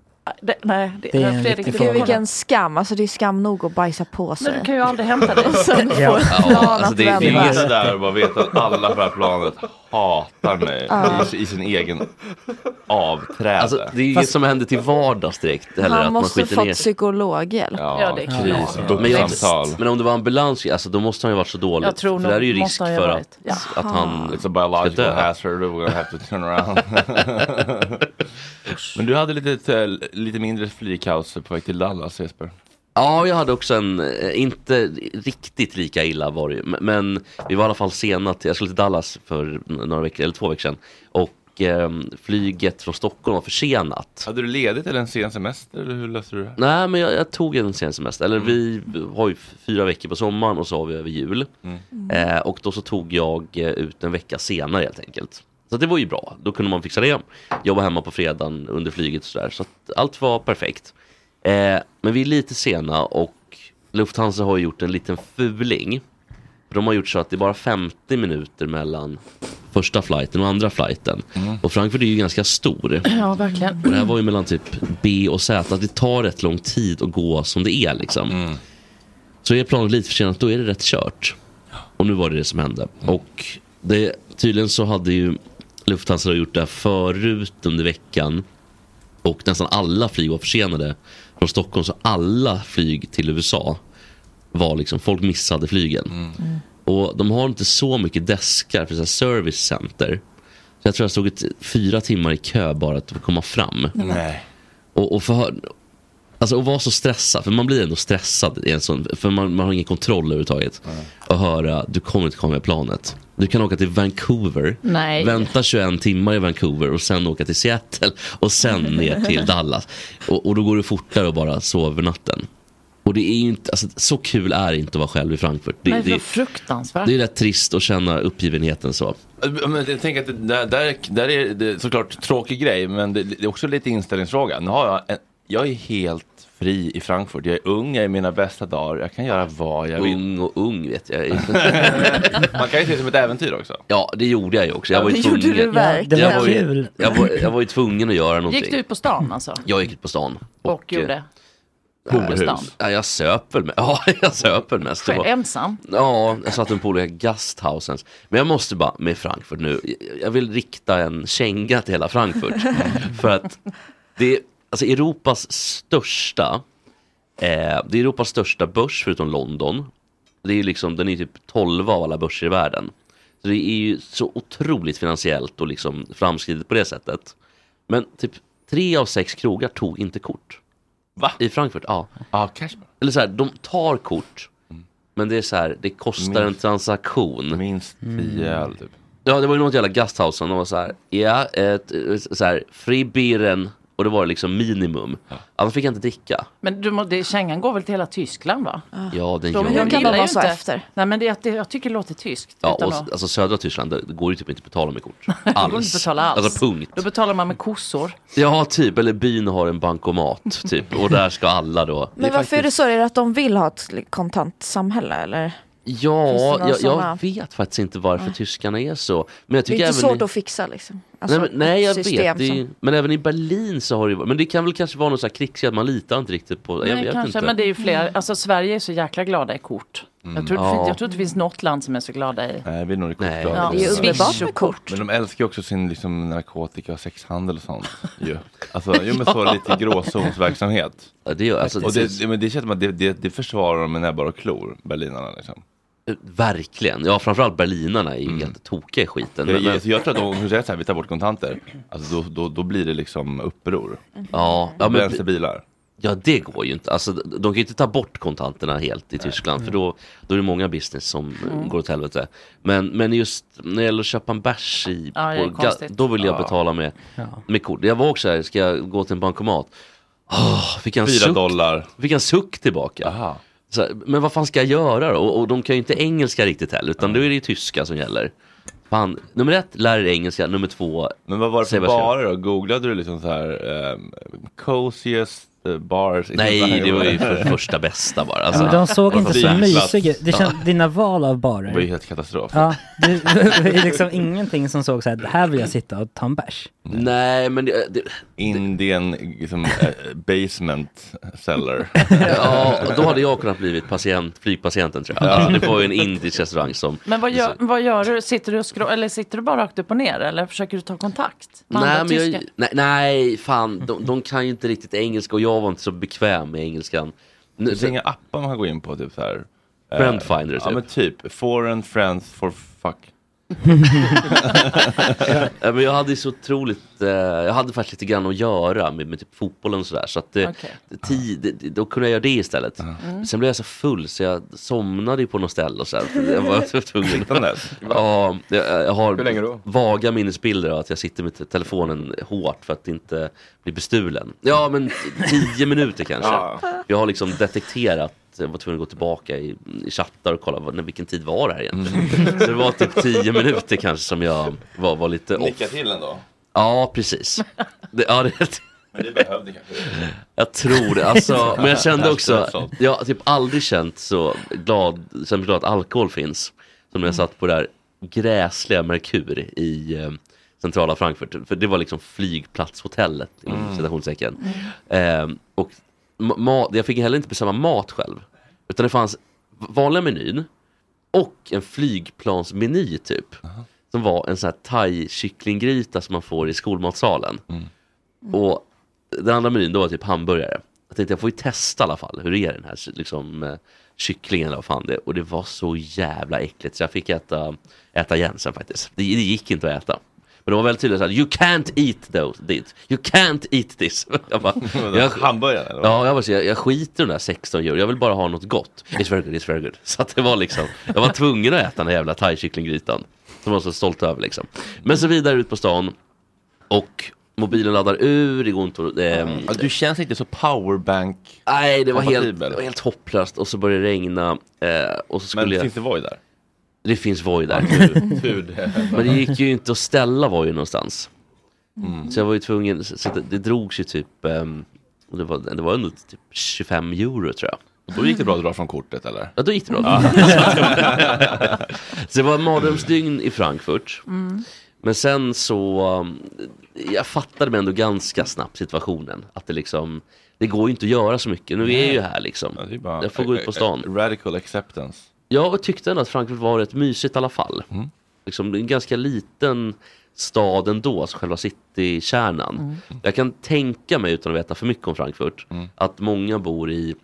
Det, nej, det,
Det är en
Fredrik,
riktig
du
fråga.
får kolla.
Vilken skam, alltså det är skam nog att bajsa på sig.
Men du kan ju aldrig hämta dig.
Sen får
Ja,
planet
alltså det är
vända.
finns där och bara vet att alla på det här planet hatar mig
Ja.
i, i sin egen avträde.
Alltså, det är ju inget som händer till vardags direkt. Heller, att man
Han måste
skiter
fått
ner sig.
psykologhjälp.
Ja, kris,
bucksamtal.
Men, men om det var ambulans, alltså då måste han ju varit så dålig.
Jag tror
för där är ju
nog-
risk
måste han ju
för
ha
att,
varit. Ah.
att han liksom-
Jaha.
It's a
ska
liksom biological
dö.
hazard, we're gonna have to turn around. Men du hade lite, eh, lite mindre flygkaos på väg till Dallas Jesper.
Ja, jag hade också en, eh, inte riktigt lika illa var det ju, men- men vi var i alla fall sena till, jag skulle till Dallas för några veckor, eller två veckor sedan. Och ehm, flyget från Stockholm var försenat.
Hade du ledigt eller en sen semester eller hur löste du det?
Nej, men jag, jag tog en sen semester. Eller vi har ju f- fyra veckor på sommaren och så har vi över jul.
Mm.
Eh, och då så tog jag eh, ut en vecka senare helt enkelt. Så det var ju bra. Då kunde man fixa det. Jobba hemma på fredagen under flyget och sådär. Så att allt var perfekt. Eh, men vi är lite sena och Lufthansa har ju gjort en liten fuling. De har gjort så att det är bara 50 minuter mellan första flighten och andra flighten. Och Frankfurt är ju ganska stor.
Ja, verkligen.
Och det här var ju mellan typ B och Z. Att det tar rätt lång tid att gå som det är liksom. Så är planet lite försenat, då är det rätt kört. Och nu var det det som hände. Och det, tydligen så hade ju Lufthansa då gjort det här förut under veckan. Och nästan alla flyg var försenade från Stockholm. Så alla flyg till USA var liksom, folk missade flygen. Och de har inte så mycket deskar för så här service center. Så jag tror jag stod ett, fyra timmar i kö bara att få komma fram.
Nej.
Och, och förhör, alltså att vara så stressad, för man blir ändå stressad i en sån, för man, man har ingen kontroll överhuvudtaget. Och höra, du kommer inte komma med planet. Du kan åka till Vancouver,
Nej.
vänta 21 timmar i Vancouver och sen åka till Seattle och sen ner till Dallas. Och, och då går det fortare att bara sova över natten. Och det är ju inte, alltså, så kul är det inte att vara själv i Frankfurt. Det,
Nej,
det,
vad fruktansvärt.
det är rätt trist att känna uppgivenheten så.
Ja, Men jag tänker att det där, där, där är det såklart tråkig grej, men det, det är också lite inställningsfråga. Nu har jag, en, jag är helt fri i Frankfurt. Jag är ung, jag är i mina bästa dagar. Jag kan göra vad jag vill.
Ung och ung vet jag.
Man kan ju se det som ett äventyr också.
Ja, det gjorde jag ju också. Jag
Ja,
var ju
det gjorde
tvungen.
du verkligen.
Jag
Det
var
var
ju,
kul.
jag var, jag var ju tvungen att göra någonting.
Gick du ut på stan alltså?
Jag gick ut på stan.
Och,
eh,
gjorde?
Horhus.
Stan.
Ja, jag söp väl mest. Ja, jag söp väl mest. Det var-
Ensam?
Ja, jag satt i en polare i Gasthausens. Men jag måste bara, med Frankfurt nu, jag vill rikta en känga till hela Frankfurt. För att det är alltså Europas största Eh, det är Europas största börs förutom London. Det är ju liksom, den är typ 12 av alla börser i världen. Så det är ju så otroligt finansiellt och liksom framskridet på det sättet. Men typ tre av sex krogar tog inte kort.
Va? Ah,
I Frankfurt, ja. Eller så här, de tar kort. Men det är så här, det kostar en
Mm. Minst-
transaktion. Mm.
Minst 10 öl, typ.
Ja, det var ju något jävla gasthausen. De var så här, ja, ett, så här, fri birren och det var liksom minimum. Annars fick jag inte dricka.
Men du, må- det, kängan går väl till hela Tyskland va?
Ja, den
De,
gör
de
det.
gillar ju
så
inte.
efter.
Nej men det, är att det, jag tycker det låter tyskt.
Ja,
utan
och,
att-
alltså södra Tyskland, där går det ju typ inte att betala med kort.
Det går inte att betala alls.
Alltså punkt.
Då betalar man med kossor.
Ja, typ. Eller byn har en bankomat, typ. Och där ska alla då.
Men varför är det så? Är det att de vill ha ett kontantsamhälle eller?
Ja,
Finns det några
jag,
såna-
jag vet faktiskt inte varför
Nej.
tyskarna är så. Men jag
Det är
tycker
inte
även...
svårt
i-
att fixa liksom.
nej, men, nej, jag
ett system
vet. Det är, ju-
som-
Men även i Berlin så har det ju varit... Men det kan väl kanske vara någon sån här krigsjäv, man litar inte riktigt på... jag
Nej,
vet
kanske,
inte.
men det är ju fler. Alltså Sverige är så jäkla glada i kort.
Mm.
Jag, tror,
Ja.
jag tror inte det finns något land som är så glada i.
Nej, vi är nog det
Nej,
kortglada.
Ja, det är ju underbart med kort.
Men de älskar ju också sin liksom, narkotika och sexhandel och sånt. ju. Alltså, jo, men så
Ja.
lite gråzonsverksamhet.
Ja, det gör- alltså,
och det,
precis.
det, men det känns som att det, det, det försvarar de med näbbar och klor, berlinarna. Liksom.
Eh, Verkligen. Ja, framförallt berlinarna är ju helt tokiga i
Mm.
skiten.
Jag,
Men- men-
jag, jag tror att om de säger så här, vi tar bort kontanter, alltså, då, då, då blir det liksom uppror.
Mhm. Ja, ja
bilar.
Ja, det går ju inte. Alltså, de kan ju inte ta bort kontanterna helt i Tyskland, för då, då är det många business som eh,
Mm.
går åt helvete. Men, men just när det gäller att köpa en bärs i,
Ja, det är
på ga-
konstigt.
då vill jag
Ja.
betala med, med kort. Jag var också här, ska jag gå till en bankomat? Åh, fick jag en
Fyra
suck,
dollar.
Fick jag en suck tillbaka. Så här, men vad fan ska jag göra då? Och, och de kan ju inte engelska riktigt heller,
Mm.
utan då är det ju tyska som gäller. Fan, nummer ett, lär er engelska. Nummer två,
Men vad var det
säg
för
vad jag ska göra.
barer då? Googlade du liksom så här, um, coziest eh, bars? i
Nej,
Sverige?
det var ju för första bästa bara.
Ja,
Alltså.
men de såg inte så
Flygplats.
mysiga det känns,
Ja.
Dina val av barer.
Det var ju helt katastrof.
Ja, det, det är liksom ingenting som såg så här, här vill jag sitta och ta en bärs.
Nej, men det, det,
Indian liksom, eh, basement cellar.
Ja, och då hade jag kunnat blivit patient, flygpatienten tror jag.
Ja.
Alltså, det var ju en indisk restaurang som...
Men vad gör, vad gör du? Sitter du, och scro- eller sitter du bara rakt upp och ner eller försöker du ta kontakt? med
Nej,
andra
men jag,
tyskar?
nej, nej, fan, de, de kan ju inte riktigt engelska och jag var inte så bekväm med engelskan. Nu-
Finns det inga appar man kan gå in på? Typ så här, eh,
Friend finder,
Ja
typ.
men typ, foreign friends for fuck.
Ja, men jag hade ju så otroligt, eh, jag hade faktiskt lite grann att göra med, med typ fotbollen och sådär. Så att det,
Okej.
det- ti- det, det, då kunde jag göra det istället. Men Sen blev jag så full så jag somnade ju på något ställe och så här. Jag var så tvungen.
Sittandes?
ja, jag, jag har
Hur länge då?
vaga minnesbilder av att jag sitter med te- telefonen hårt för att inte bli bestulen. Ja, men t- tio minuter kanske.
Ja.
Jag har liksom detekterat jag var tvungen att gå tillbaka i, i chattar och kolla vad, när, vilken tid var det här egentligen. Så det var typ tio minuter kanske som jag var, var lite off.
Nicka till ändå.
Ja, precis. Det, ja, det,
Men det behövde kanske.
jag tror det. Alltså, men jag kände
Hashtag
också,
sånt.
jag har typ aldrig känt så glad, så glad att alkohol finns. Som när jag satt på det där gräsliga Merkur i eh, centrala Frankfurt. För det var liksom flygplatshotellet, inom
Mm.
citationstecken. Eh, och ma- ma- jag fick heller inte bestämma mat själv. Utan det fanns vanliga menyn och en flygplansmeny typ. Som var en sån här thai-kycklinggryta som man får i skolmatsalen.
Mm.
Och den andra menyn då var typ hamburgare. Jag tänkte jag får ju testa i alla fall. Hur är den här liksom, eh, kycklingen eller vad fan det är. Och det var så jävla äckligt så jag fick äta, äta igen sen faktiskt. Det, det gick inte att äta. Men de var väldigt tydliga såhär, you can't eat those, this. you can't eat this. Jag bara, jag,
Hamburgare? eller vad?
ja, jag, bara, så, jag, jag skiter i de där 16 euro, jag vill bara ha något gott. It's very good, it's very good. Så att det var liksom, jag var tvungen att äta den här jävla thaikycklinggrytan. Som jag var så stolt över liksom. Men så vidare ut på stan och mobilen laddar ur, det går inte att... ehm,
Ja, du känns inte så powerbank
Nej, det var, helt,
kompatibel.
det var helt hopplöst och så började det regna. Eh, och så skulle
Men
jag...
finns det Voi där?
Det finns Voi där.
tur det.
Men det gick ju inte att ställa Voi någonstans.
Mm.
Så jag var ju tvungen, så så det, det drogs ju typ, ehm, och det, var, det var ändå typ 25 euro tror jag.
Då gick det bra att dra från kortet eller?
Ja, då gick det bra.
Ja.
så det var en mardrömsdygn i Frankfurt.
Mm.
Men sen så, um, jag fattade mig ändå ganska snabbt situationen. Att det liksom, det går ju inte att göra så mycket. Nu är jag ju här liksom. jag får gå ut på stan.
eh, Radical acceptance. Mm.
Jag tyckte ändå att Frankfurt var rätt mysigt i alla fall. Liksom, det är en ganska liten stad ändå, alltså själva citykärnan.
Mm. Mm.
Jag kan tänka mig, utan att veta för mycket om Frankfurt, att många bor i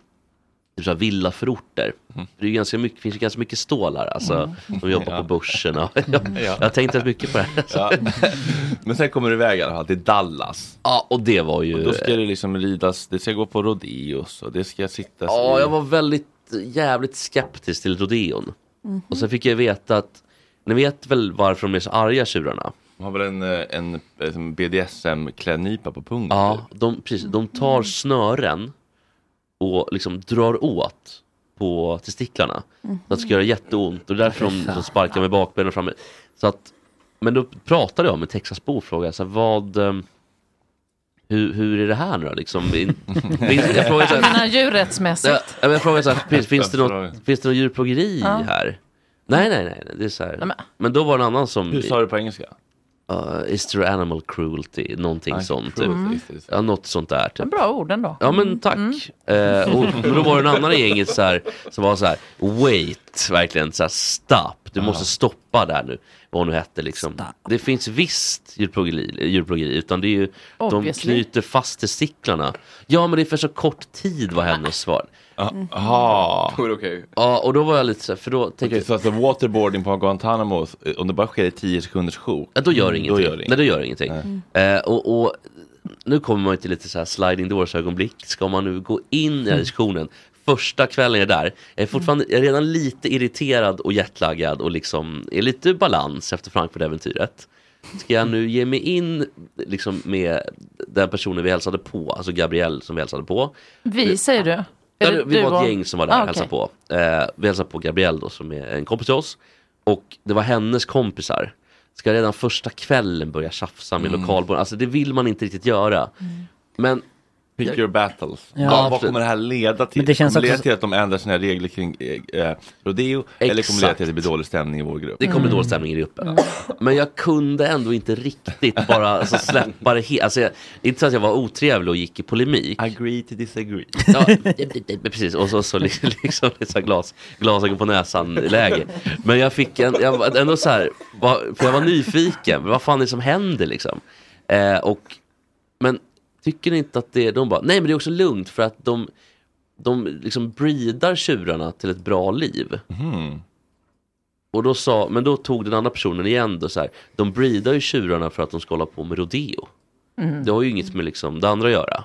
typ så här villaförorter. Det är ju ganska mycket, finns ju ganska mycket stålar. Alltså,
Mm.
De jobbar
Ja.
på börsen. Och, jag,
Ja.
jag har tänkt rätt mycket på det här.
Ja. Men sen kommer du iväg i alla fall till Dallas.
Ja, och det var ju...
Och då ska det liksom ridas, det ska gå på rodeos och det ska sitta
Ja, jag var väldigt eh, jävligt skeptisk till rodeon.
Mhm.
Och sen fick jag veta att, ni vet väl varför de är så arga tjurarna?
Har väl en, eh, en, eh, som BDSM-klädnypa på pungen? typ?
Ja, de, precis, de tar snören och liksom drar åt på testiklarna.
Mhm.
Så att det ska göra jätteont och därför de, de sparkar med bakbenen och framme. Så att, men då pratade jag med Texasbo och frågade så här, vad, ehm, hur, hur är det här nu då? Liksom, in, finns- jag frågade så
Jag
här,
menar djurrättsmässigt.
Ja, men jag frågar så här, finns, finns, det något, finns det något djurplågeri
Ja.
här? Nej, nej, nej, nej, det är så här.
Nej, men-
Men då var det en annan som...
Hur sa du på engelska?
Uh, is there animal cruelty? Någonting
Ah,
sånt. Typ.
cruelty, just det.
Ja, något sånt där. Typ.
Bra ord ändå.
Ja, men tack. Eh, och, men då var det en annan i gänget så här, som var så här, wait, verkligen så här, stop, du
Ja.
måste stoppa där nu. Vad hon nu hette liksom. Det finns visst djurplågeri, djurplågeri utan det är ju, de
Obviously.
knyter fast testiklarna. Ja, men det är för så kort tid var hennes svar.
Mm.
Jaha.
Då är det okej.
Ja, och då var jag lite så här, för då tänkte
Okej, så alltså waterboarding på Guantanamo, eh, om det bara sker i 10 sekunders sjok.
Ja, då gör det
Mm,
ingenting.
Då gör det
Nej, då gör det ingenting.
Nej.
Eh, och, och nu kommer man ju till lite så här sliding doors ögonblick. Ska man nu gå in i den här diskussionen? Första kvällen jag är där. Jag är fortfarande jag är redan lite irriterad och jetlaggad och liksom är lite balans efter Frankfurt-äventyret. Ska jag nu ge mig in liksom med den personen vi hälsade på, alltså Gabrielle som vi hälsade på.
Vi säger du. Är
Ja,
det
vi
du
var
och-
ett gäng som var där
Ah,
och hälsade
okej.
på. Eh, vi hälsade på Gabrielle då som är en kompis till oss. Och det var hennes kompisar. Ska redan första kvällen börja tjafsa med
Mm.
lokalborna. Alltså det vill man inte riktigt göra. Men...
Pick your battles.
Mm. Ja,
Ja, vad
absolut.
kommer det här leda till?
Men det känns
kommer det leda
också-
till att de ändrar sina regler kring eh, eh, rodeo? Eller kommer det leda
Exakt.
till att det blir dålig stämning i vår grupp?
Det kommer dålig stämning i gruppen. Men jag kunde ändå inte riktigt bara alltså, släppa det helt. Alltså, jag, inte så att jag var otrevlig och gick i polemik.
Agree to disagree.
Ja, precis. Och så, så liksom, liksom det är så här glas, glasögon på näsan-läge. Men jag fick en, jag var ändå så här, vad- för jag var nyfiken. Vad fan är det som händer liksom? Eh, och, men tycker ni inte att det är, de bara, nej men det är också lugnt för att de, de liksom breedar tjurarna till ett bra liv.
Mm.
Och då sa, men då tog den andra personen igen då så här, de breedar ju tjurarna för att de ska hålla på med rodeo.
Mm.
Det har ju inget med liksom det andra att göra.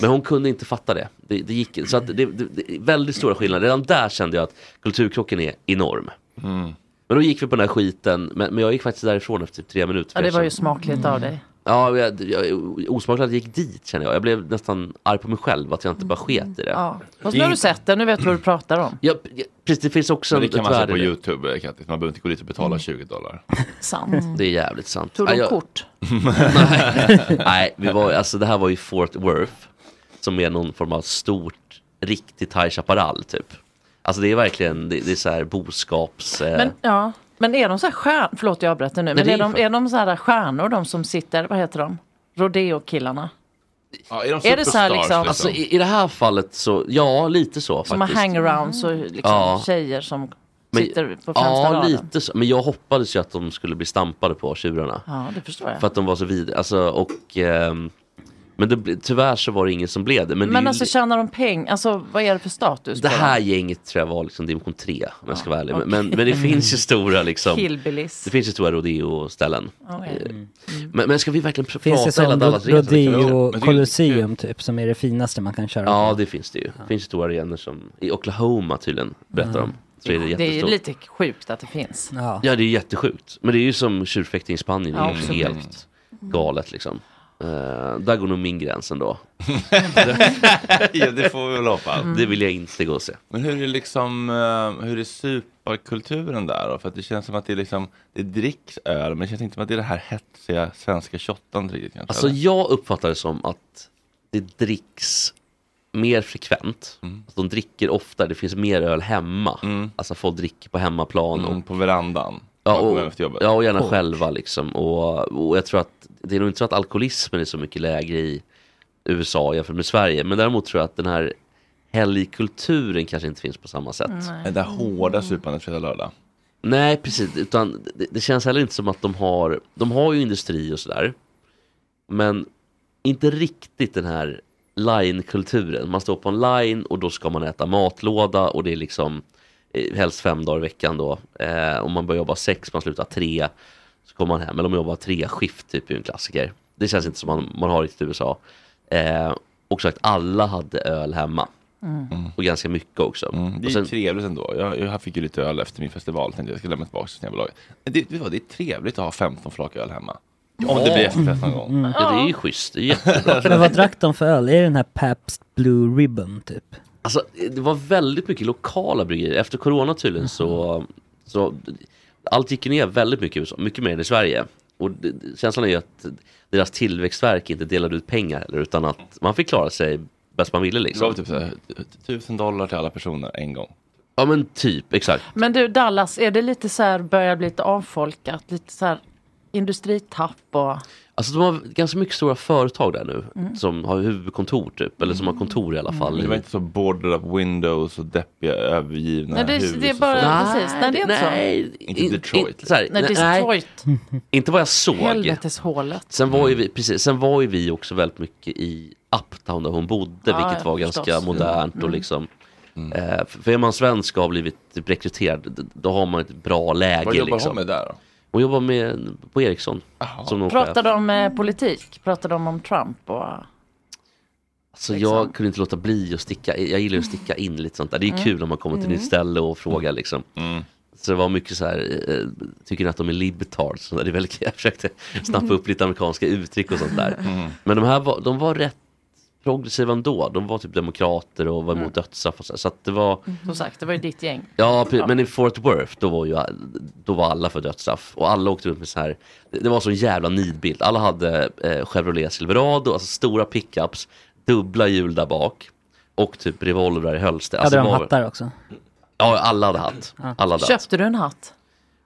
Men hon kunde inte fatta det. Det, det gick inte. Så att det, det, det är väldigt stora skillnader. Redan där kände jag att kulturkrocken är enorm.
Mm.
Men då gick vi på den här skiten, men, men jag gick faktiskt därifrån efter typ tre minuter.
Ja, det
Jag
var ju
kände- Mm.
smakligt av dig.
Ja, jag, jag, osmakligt att jag gick dit känner jag. Jag blev nästan arg på mig själv att jag inte bara sket i det.
Ja. Fast nu har du sett den, nu vet du vad du pratar om.
Ja, precis, det finns också
Men det
ett
kan man se
värde
på
i det.
YouTube, eh, Kattis. Man behöver inte gå dit och betala 20 dollar.
Sant.
Mm. Det är jävligt sant.
Mm. Tog de
Ja, jag-
kort?
Nej. Nej, vi var, alltså, det här var ju Fort Worth. Som är någon form av stort, riktigt High Chaparral typ. Alltså det är verkligen, det, det är så här boskaps... Eh,
Men, ja. men är de så här stjärnor, förlåt jag avbröt dig nu, men
det
är,
är
de,
för-
är de så här stjärnor de som sitter, vad heter de? Rodeo-killarna.
Ja, är,
Är det så här liksom-
Alltså i, i det här fallet så, ja lite så
Som har
faktiskt.
hangarounds och liksom
Ja.
tjejer som
Men-
sitter på främsta
Ja,
raden.
lite så. Men jag hoppades ju att de skulle bli stampade på tjurarna.
Ja, det förstår jag.
För att de var så vidriga. Alltså, och... ehm, men det, ble- tyvärr så var det ingen som blev det. Men,
Men,
det, är ju
alltså
li-
tjänar de peng? Alltså vad är det för status?
det
på
här
dem?
gänget tror jag var liksom dimension 3 om jag ska vara ärlig. Men,
okej. Mm.
men, men det finns ju stora liksom...
Hillbillies.
Det
Mm.
finns ju stora rodeo-ställen.
Okej.
Eh, Men, men ska vi verkligen pr-
Finns det
prata hela
som
Dallas
ro- rodeo colosseum typ, som är det finaste man kan köra?
Ja, det finns det ju. Det finns ju stora arenor som... I Oklahoma tydligen, berättar de. Så är det,
Det är ju
jättestort.
lite sjukt att det finns.
Ja, det är jättesjukt. Men det är ju som tjurfäktning i Spanien.
Ja,
det är ju
absolut. Mm.
helt galet liksom. Eh, där går nog min gräns ändå.
ja, det får vi väl hoppas.
Mm. Det vill jag inte gå och se.
Men hur är liksom, eh, hur är superkulturen där då? För att det känns som att det är liksom, det dricks öl, men det känns inte som att det är det här hetsiga svenska shottan riktigt kanske.
Alltså
eller?
jag uppfattar det som att det dricks mer frekvent.
Mm.
Alltså, de dricker ofta, det finns mer öl hemma. Alltså folk dricker på hemmaplan.
Mm,
och,
på verandan.
Ja
Bakom
och,
hem efter jobbet.
ja, och gärna
Folk.
själva liksom. Och, och jag tror att det är nog inte så att alkoholismen är så mycket lägre i USA jämfört med Sverige. Men däremot tror jag att den här helgkulturen kanske inte finns på samma sätt.
Nej. Det där hårda supandet fredag, lördag.
Nej, precis. Utan det, det känns heller inte som att de har... De har ju industri och sådär. Men inte riktigt den här line-kulturen. Man står på en line och då ska man äta matlåda och det är liksom eh, helst fem dagar i veckan då. Eh, om man börjar jobba sex, man slutar tre, så kommer man hem. Eller om man jobbar tre skift, typ är ju en klassiker. Det känns inte som man, man har riktigt i USA. Eh, och så att alla hade öl hemma.
Mm. Mm.
Och ganska mycket också.
Det är
och sen,
trevligt ändå. Jag, jag fick ju lite öl efter min festival. Tänkte jag ska lämna tillbaka till Systembolaget. Det, vet du vad, det är trevligt att ha 15 flak öl hemma. Om det blir efterfest någon gång.
Mm. Ja, det är ju
schysst.
Men vad drack de för öl? Är det den här Pabst Blue Ribbon typ?
Alltså, det var väldigt mycket lokala bryggerier. Efter corona tydligen så, så allt gick ju ner väldigt mycket i USA, mycket mer än i Sverige. Och det- det- känslan är ju att deras tillväxtverk inte delade ut pengar heller, utan att man fick klara sig bäst man ville liksom.
Det var typ såhär, tusen dollar till alla personer en gång.
Ja men typ, exakt.
Men du Dallas, är det lite så här, börjar bli lite avfolkat, lite så här industritapp och...
Alltså de har ganska mycket stora företag där nu
Mm.
som har huvudkontor typ, eller som har kontor i alla fall.
Men det var inte så boarded up windows och deppiga övergivna
Nej, det,
hus.
det är
och
bara,
så.
precis, nej det är inte
Nej,
så.
Inte Detroit.
in- så här,
Nej,
nej.
Detroit,
Inte vad jag såg.
helveteshålet.
Sen var, ju
Mm.
vi, precis, sen var ju vi också väldigt mycket i Uptown där hon bodde,
Ja,
vilket
ja,
var ganska
förstås.
modernt.
Mm.
Och liksom,
Mm.
eh, för för är man svensk och har blivit typ rekryterad, d- då har man ett bra läge.
Vad jobbar
liksom.
hon
med där då?
Hon jobbar med, på Ericsson. Som någon chef.
Pratar de om eh, politik? Pratar de om Trump? Och...
Så
Liksom.
jag kunde inte låta bli att sticka, jag gillar ju att sticka in lite sånt där. Det är
Mm.
kul när man kommer till ett
Mm.
nytt ställe och frågar liksom. Så det var mycket så här, eh, tycker ni att de är libtards? Så där, Det är väldigt, jag försökte snappa upp lite amerikanska uttryck och sånt där. Men de här var, de var rätt progressiva ändå. De var typ demokrater och var emot
Mm.
dödsstraff och så, här. så att det var,
Mhm.
Som sagt, det var ju ditt gäng.
Ja, pre-
Ja.
men i Fort Worth då var ju då var alla för dödsstraff och alla åkte runt med så här. Det det var sån jävla nidbild. Alla hade eh, Chevrolet Silverado, alltså stora pickups, dubbla hjul där bak och typ revolvrar i hölster. Alltså,
Hade de
det var-
hattar också?
Ja, alla hade hatt.
Ja.
Alla hade hatt.
Köpte du en hatt?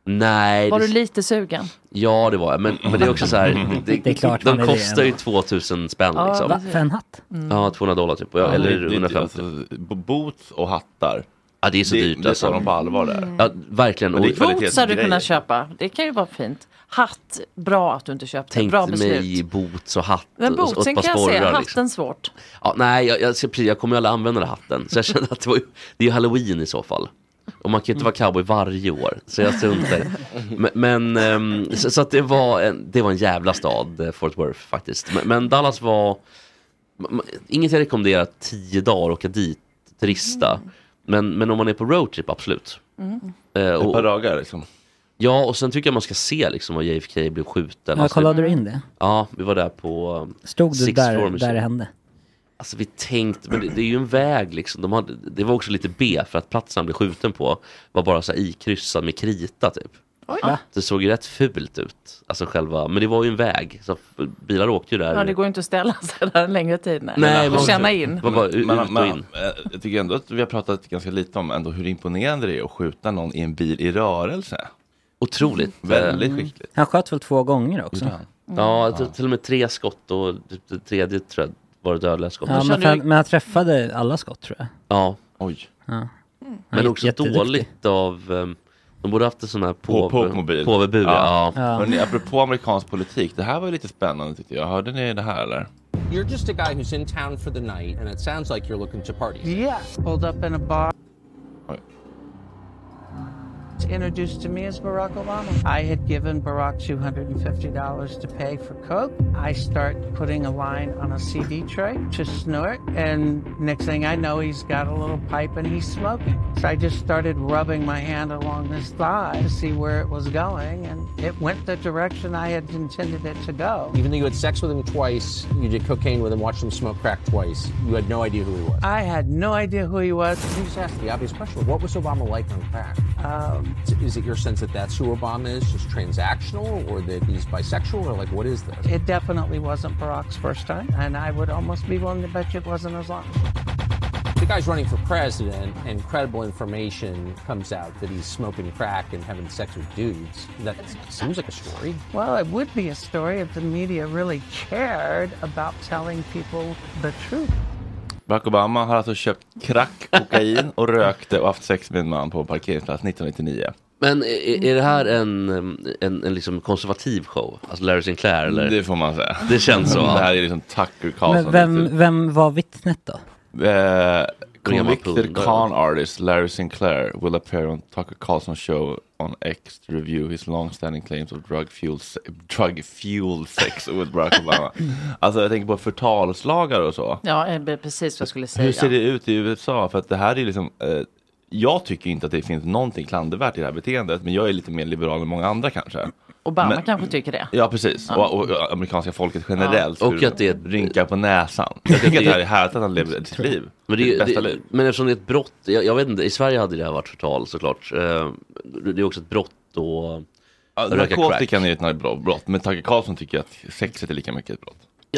Nej,
Var
det-
du lite sugen?
ja det var jag. Men, men det är också så här, det,
Det är klart man
de
är det
kostar ju
ändå.
2000 spänn
Ja,
liksom.
Va, för en hatt?
Ja, 200 dollar typ. Och jag-
Mm. Ja, det-
eller
det- det-
150.
b- boots och hattar.
Ja, det är så
Det-
dyrt. alltså. Mm.
det tar de på allvar där.
Ja, verkligen.
Men det är
Och-
Boots hade du kunnat köpa. Det kan ju vara fint. Hatt, bra att du inte köpte.
Tänk
bra beslut.
mig boots och hatt.
Men
och- och ett
bootsen
par
kan jag se,
sporrar,
hatten
liksom.
svårt.
Ja, nej, jag, jag, precis, jag kommer ju aldrig använda den här hatten. Så jag kände att det, var ju, det är ju halloween i så fall. Och man kan ju inte vara cowboy varje år. Så jag struntar Men, men ehm, så, så att det var, en, det var en jävla stad, eh, Fort Worth faktiskt. Men, men Dallas var, ma- ma- inget jag rekommenderar tio dagar åka dit, turista. Men, men om man är på roadtrip, absolut. Eh, och,
Ett par dagar liksom.
Ja, och sen tycker jag man ska se liksom vad JFK blev skjuten.
Ja,
Alltså,
kollade
det-
du in det?
Ja, vi var där på... um,
Stod du
Sixth
där,
Floor Museum.
där det hände?
Alltså vi tänkte, men det, det är ju en väg liksom. De hade, det var också lite B för att platsen han blev skjuten på var bara så här ikryssad med krita typ.
Va?
Det såg ju rätt fult ut. Alltså själva, men det var ju en väg. Så bilar åkte ju där.
Ja, det går ju inte att ställa sig där en längre tid. Nej,
Nej,
och
men-
känna in.
Vad bara, ut och in.
eh, Jag tycker ändå att vi har pratat ganska lite om ändå hur imponerande det är att skjuta någon i en bil i rörelse.
Otroligt.
Väldigt
Mm.
skickligt.
Han sköt väl två gånger också?
Gjorde han?
Ja, t- till och med tre skott och det- det tredje tror jag var det dödliga skottet.
Ja, men, fan, men han träffade alla skott tror jag.
Ja. Oj.
Mm.
Ja. Han
Men
är
också
jätteduktig.
dåligt av... ehm, De borde haft en sån här
På
påve-
Påvemobil.
påvebur. Ja.
Hörrni, apropå amerikansk politik, det här var ju lite spännande tyckte jag. Hörde ni det här eller?
You're just a guy who's in town for the night, and it sounds like you're looking to party.
Yeah. Pulled up in a bar.
Right.
Introduced to me as Barack Obama. I had given Barack $250 to pay for Coke. I start putting a line on a CD tray to snort, and next thing I know, he's got a little pipe and he's smoking. So I just started rubbing my hand along his thigh to see where it was going, and it went the direction I had intended it to go.
Even though you had sex with him twice, you did cocaine with him, watched him smoke crack twice, you had no idea who he was.
I had no idea who he was.
You just asked the obvious question what was Obama like on crack?
Um,
Is- Is it your sense that that's who Obama is, just transactional, or that he's bisexual, or like what is this?
It definitely wasn't Barack's first time, and I would almost be willing to bet you it wasn't his last.
The guy's running for president, and credible information comes out that he's smoking crack and having sex with dudes. That seems like a story.
Well, it would be a story if the media really cared about telling people the truth.
Barack Obama har alltså köpt crack, kokain och rökte och haft sex med en man på en parkeringsplats 1999.
Men är, är det här en, en, en liksom konservativ show? Alltså Larry Sinclair? Eller?
Det får man säga.
Det känns så.
Det
ja.
här är liksom Tucker
Men
Carlson.
vem, vem var vittnet då?
Eh,
gammal
convicted
pundare.
con artist Larry Sinclair will appear on Tucker Carlson show on X to review his long-standing claims of drug-fueled se- drug-fueled sex with Barack Obama. alltså jag tänker på förtalslagar och så.
Ja, det är precis vad jag skulle säga.
Hur ser det ut i USA? För att det här är liksom, eh, jag tycker inte att det finns någonting klandervärt i det här beteendet, men jag är lite mer liberal än många andra kanske.
Obama
Men-
kanske tycker det.
Ja precis,
Ja.
Och, och amerikanska folket generellt.
Ja. Och
skulle
att det
rynkar på näsan. Jag tycker att det här är härligt att han lever sitt liv.
Men, det,
Sitt
är-
bästa
det,
liv.
men eftersom det är ett brott, jag, jag vet inte, i Sverige hade det här varit förtal såklart. Eh, Det det är också ett brott då.
Ja, narkotikan är ju ett brott, brott, men Tage Karlsson tycker att sexet är lika mycket ett brott.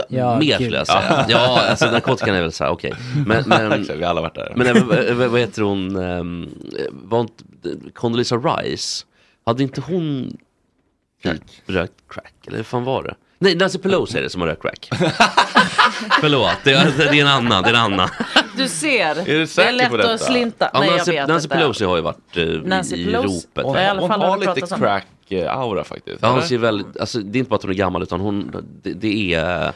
Ja, mer skulle jag säga. Ja, alltså narkotikan är väl så här, okej. Men, men,
Exakt, vi har alla varit där.
Men även, eh, vad- vad heter hon, ehm, var inte, Condoleezza Rice, hade inte hon rökt crack? Eller hur fan var det? Nej, Nancy Pelosi är det som har rökt crack. Förlåt, det är, det är en annan, det är en annan.
Du ser, det är lätt att slinta.
Ja,
Nej,
Nancy,
jag vet
Nancy
inte.
Pelosi har ju varit eh,
Nancy
i
Pelosi-
ropet.
Hon- Ja, i alla hon fall har har det lite pratats om.
crack-aura faktiskt.
Ja, hon
eller?
ser väldigt, alltså, det är inte bara att hon är gammal utan hon, det, det är,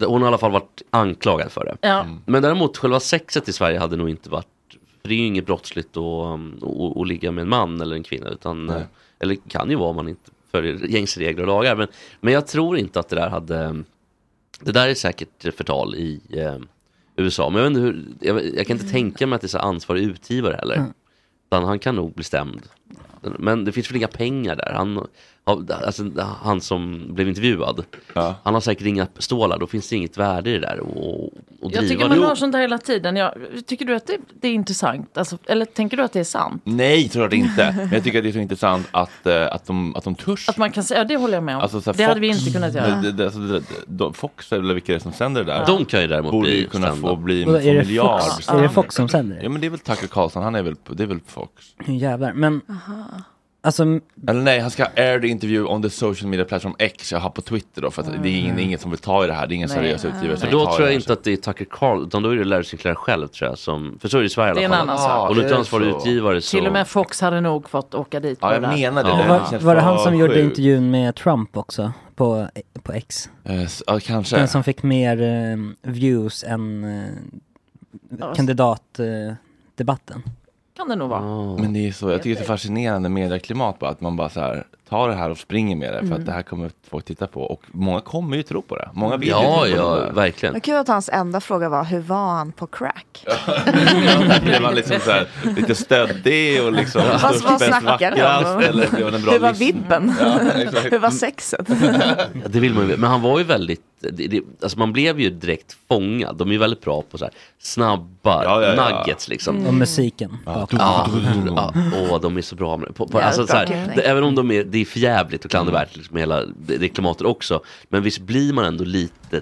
eh, hon har i alla fall varit anklagad för det.
Ja.
Men däremot själva sexet i Sverige hade nog inte varit, för det är ju inget brottsligt att, um, att, att ligga med en man eller en kvinna, utan,
Nej.
eh, eller kan ju vara om man inte följer gängse regler och lagar. Men, men jag tror inte att det där hade, um, det där är säkert förtal i eh, USA, men jag, vet inte hur, jag, jag kan inte tänka mig att det är så ansvarig utgivare heller.
Mm.
Utan han kan nog bli stämd. Men det finns väl inga pengar där. Han, har- alltså, han som blev intervjuad, han har säkert inga stålar, då finns det inget värde i det där. Och, och
Jag
driva
tycker man
det.
har sånt där hela tiden. Jag, tycker du att det, det är intressant? Alltså, eller tänker du att det är sant?
Nej, tror jag inte. Men jag tycker att det är så intressant att, eh, att, de, att de törs.
Att man kan säga, ja, det håller jag med om.
Alltså, så här,
det hade vi
Fox-
inte kunnat göra.
Det, det, det, alltså, det, de, Fox eller vilka det är som sänder det där.
Ja. De
kan ju däremot
Borde
bli
ju kunna
stämda.
få bli
Vadå, är det Fox-
miljardstämda.
är det Fox som sänder
Ja men det är väl Tucker Carlson, han är väl, det är väl Fox.
Nu jävlar, men alltså
Eller nej, han ska air the interview on the social media platform X, jag har på Twitter då, för att det är ingen, ingen som vill ta i det här, det är ingen
Nej.
seriös utgivare som
För
vill
då
ta i
tror
det
jag
här.
inte att det är Tucker Carl, utan då är det Larry Sinclair själv tror jag. Som, för så är det i Sverige
Det
i
är
alla fall.
en annan sak.
Och du
Det
är
är
ansvarig
så.
utgivare så...
Till och med Fox hade nog fått åka dit. på där.
var, var det han som gjorde intervjun med Trump också? På, på X?
Eh, s- Ja, kanske.
Den som fick mer eh, views än uh,
Ja,
kandidatdebatten.
Kan det nog vara.
Men det är så, jag tycker det är så fascinerande medieklimat bara, att man bara så här tar det här och springer med det för
Mm.
att det här kommer folk titta på och många kommer ju tro på det. Många vill
Ja,
ju tro på
ja,
det.
verkligen.
Vad kul att hans enda fråga var hur var han på crack?
Blev man liksom så här, lite stöddig och liksom
Vad-
störst,
vad
bäst,
snackade de om?
vackrast eller blev man en bra
hur var
lyssnare?
vippen?
Ja, exakt.
hur var sexet?
Ja, det vill man ju, men han var ju väldigt, det, det, alltså man blev ju direkt fångad. De är ju väldigt bra på så här snabba
Ja, ja, ja.
nuggets liksom.
Och musiken.
Ja,
bakom.
ja, åh, de är så bra med på, på,
Jävligt
alltså, så
bra
här,
klippning.
det, Även om de är, det är förjävligt och klandervärt liksom, hela det, det klimatet också. Men visst blir man ändå lite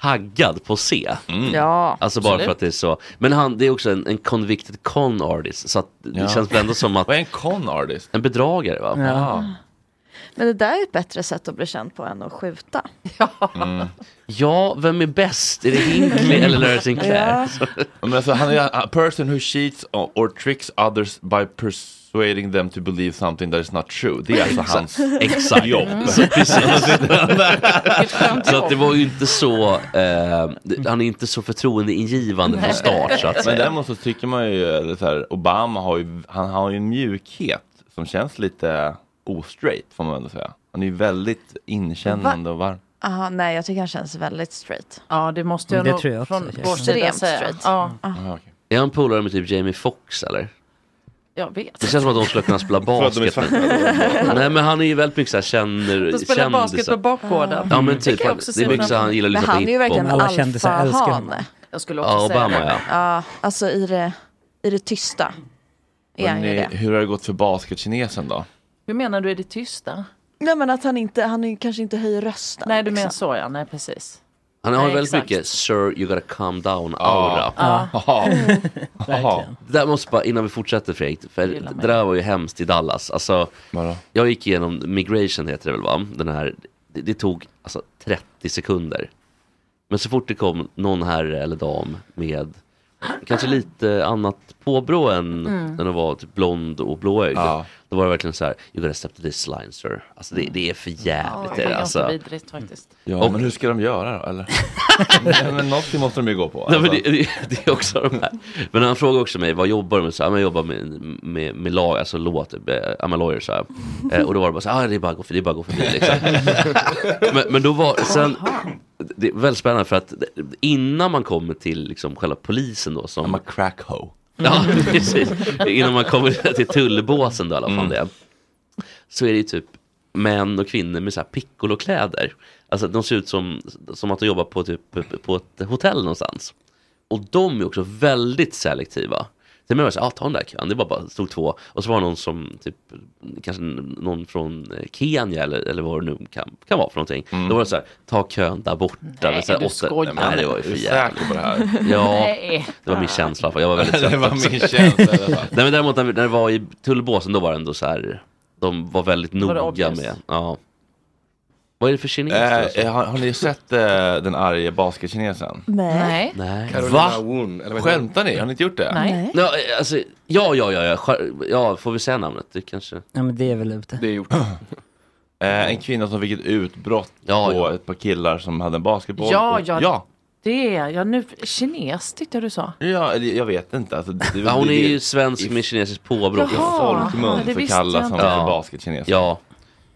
taggad på att se.
Mm.
Ja,
alltså bara för
absolut.
att det är så. Men han, det är också en, en convicted con artist. Så att det
Ja.
känns väl ändå som att...
Vad är en con artist?
En bedragare va?
Ja. Men det där är ett bättre sätt att bli känd på än att skjuta.
Ja, vem är bäst? Är det Hinckley eller Larry Sinclair?
Men alltså, han är a person who cheats or, or tricks others by persuading them to believe something that is not true. Det är alltså
Exakt.
hans
Exakt. Mm.
jobb.
Så, precis. så att det var ju inte så, eh, det- han är inte så förtroendeingivande från start så att
Men
säga.
däremot så tycker man ju, eller så här, Obama har ju, han har ju en mjukhet som känns lite ostraight får man ändå säga. Han är ju väldigt inkännande och varm.
Aha, nej, jag tycker han känns väldigt straight.
Ja, det måste
jag
Mm, Det Mm. nog tror jag också, från vår sida säga. Ja.
Är han polare med typ Jamie Foxx eller?
Jag vet.
Det känns som att de skulle kunna spela
För att de är
basket. Men... Nej men han är ju väldigt mycket såhär känner,
De spelar basket
kändisar.
på bakgården.
Ja men typ,
kan jag
han,
också
det är
se
mycket
framför
så
mig.
han gillar att lyssna på hiphop.
Jag skulle också
Ja,
säga
Obama ja.
Ja, alltså i det, i det tysta. Är
Men
han ju
ni,
det.
hur har det gått för basketkinesen då?
Hur menar du, är det tysta?
Nej men att han inte, han är- kanske inte höjer rösten. liksom.
Nej, du menar så ja, nej precis.
Han har ju
Nej,
väldigt
exakt.
mycket Sir you gotta calm down aura.
Ja. Ja. Verkligen.
Det där måste bara, innan vi fortsätter Fredrik, för
Gillar mig.
det där var ju hemskt i Dallas. Alltså, jag gick igenom migration heter det väl va? Den här, det, det tog alltså 30 sekunder. Men så fort det kom någon herre eller dam med kanske lite annat påbrå än,
Mm.
än att vara typ blond och blåögd. Då var det verkligen så här, you gotta step to this line sir. Alltså det, det är för jävligt.
det är
alltså.
ganska vidrigt faktiskt.
Ja,
Och-
men hur ska de göra då? Eller? Nej, men någonting måste de ju gå på.
Nej, men
alltså.
det, det, det är också de här. Men han frågade också mig, vad jobbar du med? Så här, "Ja, men jag jobbar med, med, med lag, alltså låt, eh, I'm a lawyer. Så här. Eh, och då var det bara så här, ah, det är bara att gå förbi, det är bara att gå förbi. Liksom. men, men då var, sen, det är väldigt spännande för att innan man kommer till liksom, själva polisen då. Som, I'm a crack hoe. Ja, precis. Innan man kommer till tullbåsen då i alla fall det. Så är det ju typ män och kvinnor med så här piccolokläder. Alltså de ser ut som, som att de jobbar på, typ, på ett hotell någonstans. Och de är också väldigt selektiva. Det var så här, ah, ta den där kön, det var bara, stod två. Och så var det någon som, typ, kanske någon från eh, Kenya eller, eller vad det nu kan, kan vara för någonting.
Mm.
Då var det så här, ta kön där borta.
Nej,
Det så här,
du
åtta-
skojar.
Nej, det var ju
Är
för
du
jävligt.
säker på det här?
Ja,
Nej.
det var min känsla. Jag var väldigt
Ah, Det
trött.
var
också.
min känsla i alla fall.
Nej, men däremot när, vi- när det var i tullbåsen, då var det ändå så här, de var väldigt
Var det
noga
obvious?
med. Ja. Vad är det för kineser? alltså?
Eh, eh, har, har ni sett eh, den arga basketkinesen?
Nej.
Nej.
Carolina eller
Woon,
vad heter hon? Skämtar ni? Har ni inte gjort det?
Nej.
Ja, eh, alltså, ja, ja, ja, ja, Skär- ja, får vi säga namnet? Det kanske...
Ja men det är väl ute.
Det är gjort.
Eh, en kvinna som fick ett utbrott på ett par killar som hade en basketboll.
Ja,
och,
ja,
ja.
Det är jag nu. Kines tyckte jag du sa.
Ja, eller jag vet inte. Alltså, det,
Ja, hon är ju svensk med kinesiskt påbrå.
Jaha, I folkmun det så
visste jag kallas inte. hon för basketkines.
Ja.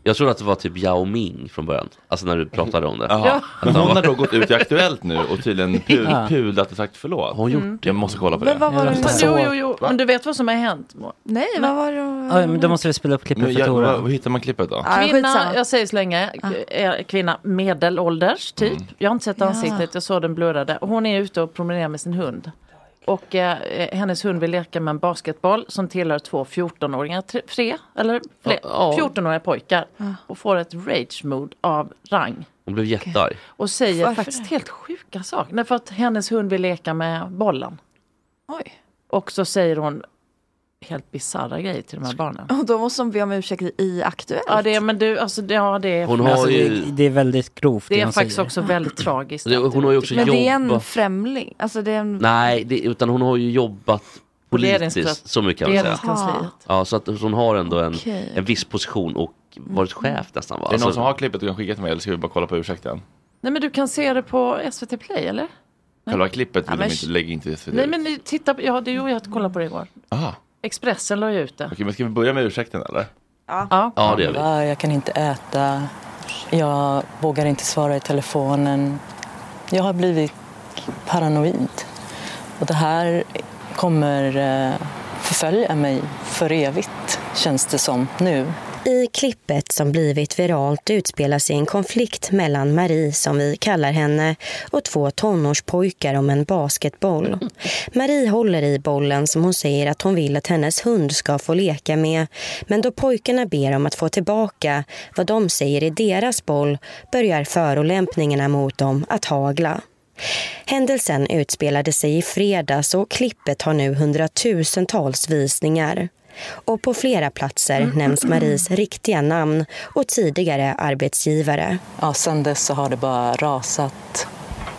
Jag trodde att det var typ Yao Ming från början. Alltså när du pratade om det.
Jaha.
Att
Men
han
hon har
var-
då gått ut i Aktuellt nu och tydligen pul,
Ja.
pulat och sagt förlåt.
Har hon gjort
Mm.
Jag måste kolla på det.
Men vad var det
Jag
Jo, jo, jo. Men du vet vad som har hänt?
Nej, vad var det?
Ja, men då måste vi spela upp klippet
Men
för
jag,
Tora.
vad, vad hittar man klippet då?
Ah,
Kvinna, jag säger så länge, eh, kvinna medelålders typ. Jag har inte sett
Ja.
ansiktet, jag såg den blurrade. Hon är ute och promenerar med sin hund. Och eh, eh, hennes hund vill leka med en basketboll som tillhör två 14-åringar, tre, tre eller fler,
Ja.
14-åriga pojkar.
Ah.
Och får ett rage-mood av rang.
Hon blev jättearg.
Och säger
Varför
faktiskt helt sjuka saker. Nej, för att hennes hund vill leka med bollen.
Oj.
Och så säger hon helt bisarra grejer till de här barnen.
Och då måste de be om ursäkt i Aktuellt.
Ja, det, men du, alltså, det, ja, det är...
Hon har ju...
det, det är väldigt grovt
Det är
hon
faktiskt
säger.
också väldigt tragiskt.
Det- Hon har ju också
men det är en
jobbat...
främling. Alltså det är en...
Nej, det, utan hon har ju jobbat politiskt.
Regeringskans-
Så mycket kan man säga.
regeringskansliet.
Ja, så att hon har ändå en,
Okej.
en viss position och varit chef nästan. Va? Alltså-
Är det någon som har klippet du kan skicka till mig eller ska vi bara kolla på
Mm.
ursäkten?
Nej, men du kan se det på SVT Play, eller?
Själva klippet
Ja,
vill
men
de inte,
sh-
lägg inte i SVT.
Nej, men ni- titta på... Ja, det gjorde jag att kolla på det igår.
Aha.
Expressen la ju ut det.
Okej, men ska vi börja med ursäkten eller?
Ja.
Ja, det gör vi.
Ja, Jag kan inte äta. Jag vågar inte svara i telefonen. Jag har blivit paranoid. Och det här kommer eh, förfölja mig för evigt, känns det som nu.
I klippet som blivit viralt utspelar sig en konflikt mellan Marie, som vi kallar henne, och två tonårspojkar om en basketboll. Marie håller i bollen som hon säger att hon vill att hennes hund ska få leka med. Men då pojkarna ber om att få tillbaka vad de säger är deras boll börjar förolämpningarna mot dem att hagla. Händelsen utspelade sig i fredags och klippet har nu hundratusentals visningar. Och på flera platser
Mm.
nämns Maries riktiga namn och tidigare arbetsgivare.
Ja, sen dess så har det bara rasat.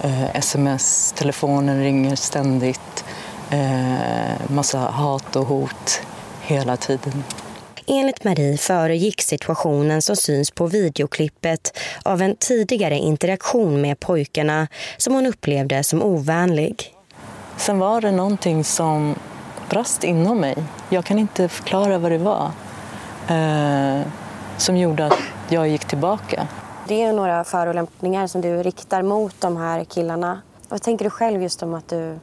Eh, Sms, telefonen ringer ständigt. Eh, massa hat och hot hela tiden.
Enligt Marie föregick situationen som syns på videoklippet av en tidigare interaktion med pojkarna som hon upplevde som ovänlig.
Sen var det någonting som brast inom mig. Jag kan inte förklara vad det var. Eh, som gjorde att jag gick tillbaka.
Det är några förolämpningar som du riktar mot de här killarna. Vad tänker du själv just om att du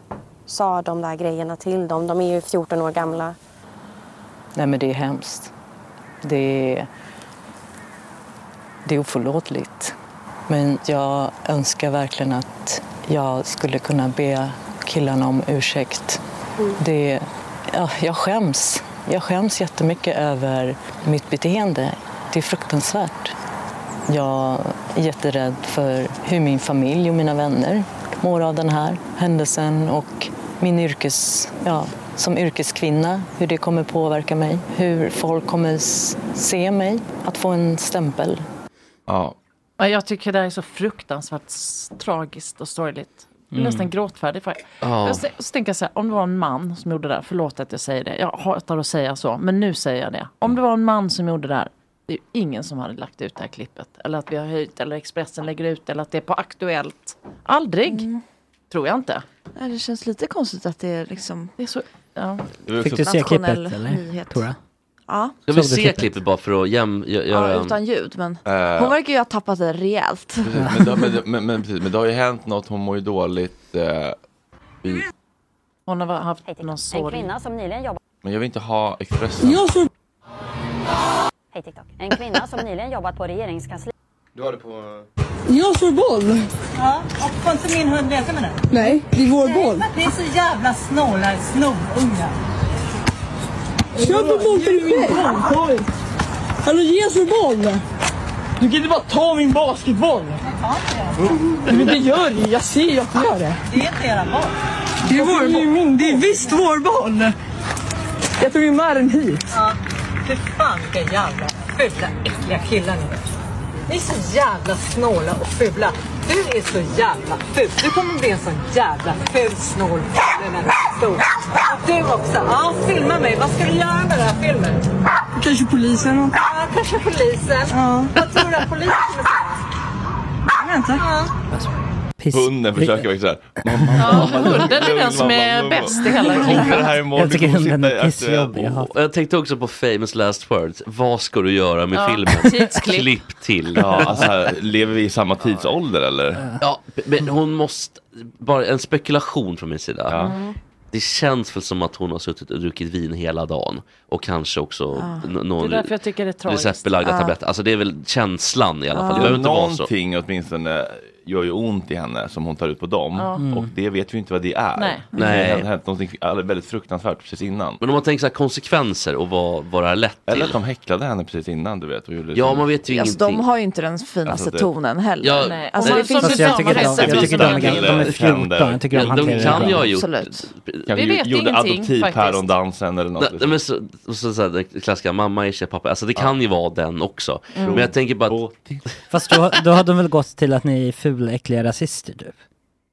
sa de där grejerna till dem? De är ju 14 år gamla.
Nej men det är hemskt. Det är, det är oförlåtligt. Men jag önskar verkligen att jag skulle kunna be killarna om ursäkt. Det, ja, jag skäms. Jag skäms jättemycket över mitt beteende. Det är fruktansvärt. Jag är jätterädd för hur min familj och mina vänner mår av den här händelsen och min yrkes, ja, som yrkeskvinna, hur det kommer påverka mig. Hur folk kommer s- se mig, att få en stämpel.
Ja.
Ja, jag tycker det här är så fruktansvärt s- tragiskt och sorgligt. blir
Mm.
nästan gråtfärdig. För.
Ja.
Jag, se- så tänker jag så här, om det var en man som gjorde det där, förlåt att jag säger det, jag hatar att säga så, men nu säger jag det. Om det var en man som gjorde det där, det är ju ingen som hade lagt ut det här klippet. Eller att vi har höjt, eller Expressen lägger ut, eller att det är på Aktuellt. Aldrig, tror jag inte.
Nej, det känns lite konstigt att det är liksom...
Det är så, ja.
Det var Fick också- du se
nationell
klippet, eller,
nyhet.
Tora?
Ja.
Jag vill se klippet bara för att jäm, gö-
Ja,
göra...
utan ljud, men
Eh.
hon verkar ju ha tappat det rejält.
Precis, men, det, men, det- men, men, precis, men det har ju hänt något, hon mår ju dåligt. Eh, i,
Hon har haft någon sorg.
kvinna som nyligen jobbat...
men jag vill inte ha Expressen.
Hej TikTok. En kvinna som nyligen jobbat på regeringskansliet...
Du har det på...
Jag slår boll! Ja, och får inte min hund leka med den?
Nej, det är vår boll.
Det är så jävla snålar snorungar.
Köp en boll till dig själv. Hallå, ge oss en boll. Du kan inte bara ta min basketboll. Nej, Men det gör du Jag ser ju att du gör det.
Det är inte era barn.
Det är vår boll. Det är visst vår boll. Jag tog ju med den hit.
Ja. Fy fan vilka jävla fula, äckliga killar ni är. Ni är så jävla snåla och fula. Du är så jävla ful. Du kommer bli en sån jävla ful, snål ful när du är stor. Och Du också. Ja, filma mig. Vad ska du göra med den här filmen?
Kanske polisen.
Ja, kanske polisen. Vad tror du att polisen kommer säga? Vänta. Ja.
Hunden försöker verkligen såhär. Mamma,
Ja,
mamma,
hunden är den som är bäst i hela klippet.
Det här imorgon,
Jag tycker
du kommer
hunden
sitta i
är pissjobbig,
Aktuellt.
jag hatar- Jag tänkte också på famous last words. Vad ska du göra med
Ja,
filmen?
tidsklipp.
Klipp till.
Ja, alltså, här, lever vi i samma tidsålder eller?
Ja, men hon måste, bara en spekulation från min sida.
Mm.
Det känns väl som att hon har suttit och druckit vin hela dagen och kanske också
Ja.
n-
Det
någon
är därför jag tycker det är tragiskt.
receptbelagda
Ja.
tabletter. Alltså det är väl känslan i alla fall. Det
Ja.
behöver inte vara så.
Någonting åtminstone gör ju ont i henne som hon tar ut på dem.
Ja. Mm.
Och det vet vi inte vad det är.
Nej.
Det kan ju
Nej.
ha hänt någonting alldeles- väldigt fruktansvärt precis innan.
Men om man tänker så här konsekvenser och vad, vad det har lett till.
Eller att de häcklade henne precis innan du vet. Och gjorde liksom-
Ja, man vet ju
Alltså,
ingenting.
de har ju inte den finaste
Alltså, det-
tonen heller.
Ja,
Nej.
Nej.
Alltså, det
Fast
finns
jag
ju
tycker de-
samma
jag tycker de är-
recept.
de är 14, jag tycker de hanterar det
kan
bra.
ju ha gjort.
Absolut.
Kanske
Vi
ju-
vet
gjorde
ingenting,
adoptivpärondansen eller något.
Nej, nej, men så, och så, så här, det klassiska, mamma är tjej, pappa. Alltså det kan ju vara den också.
Mm.
Men jag tänker bara att...
Fast då, då har de väl gått till att ni är fula, äckliga rasister typ?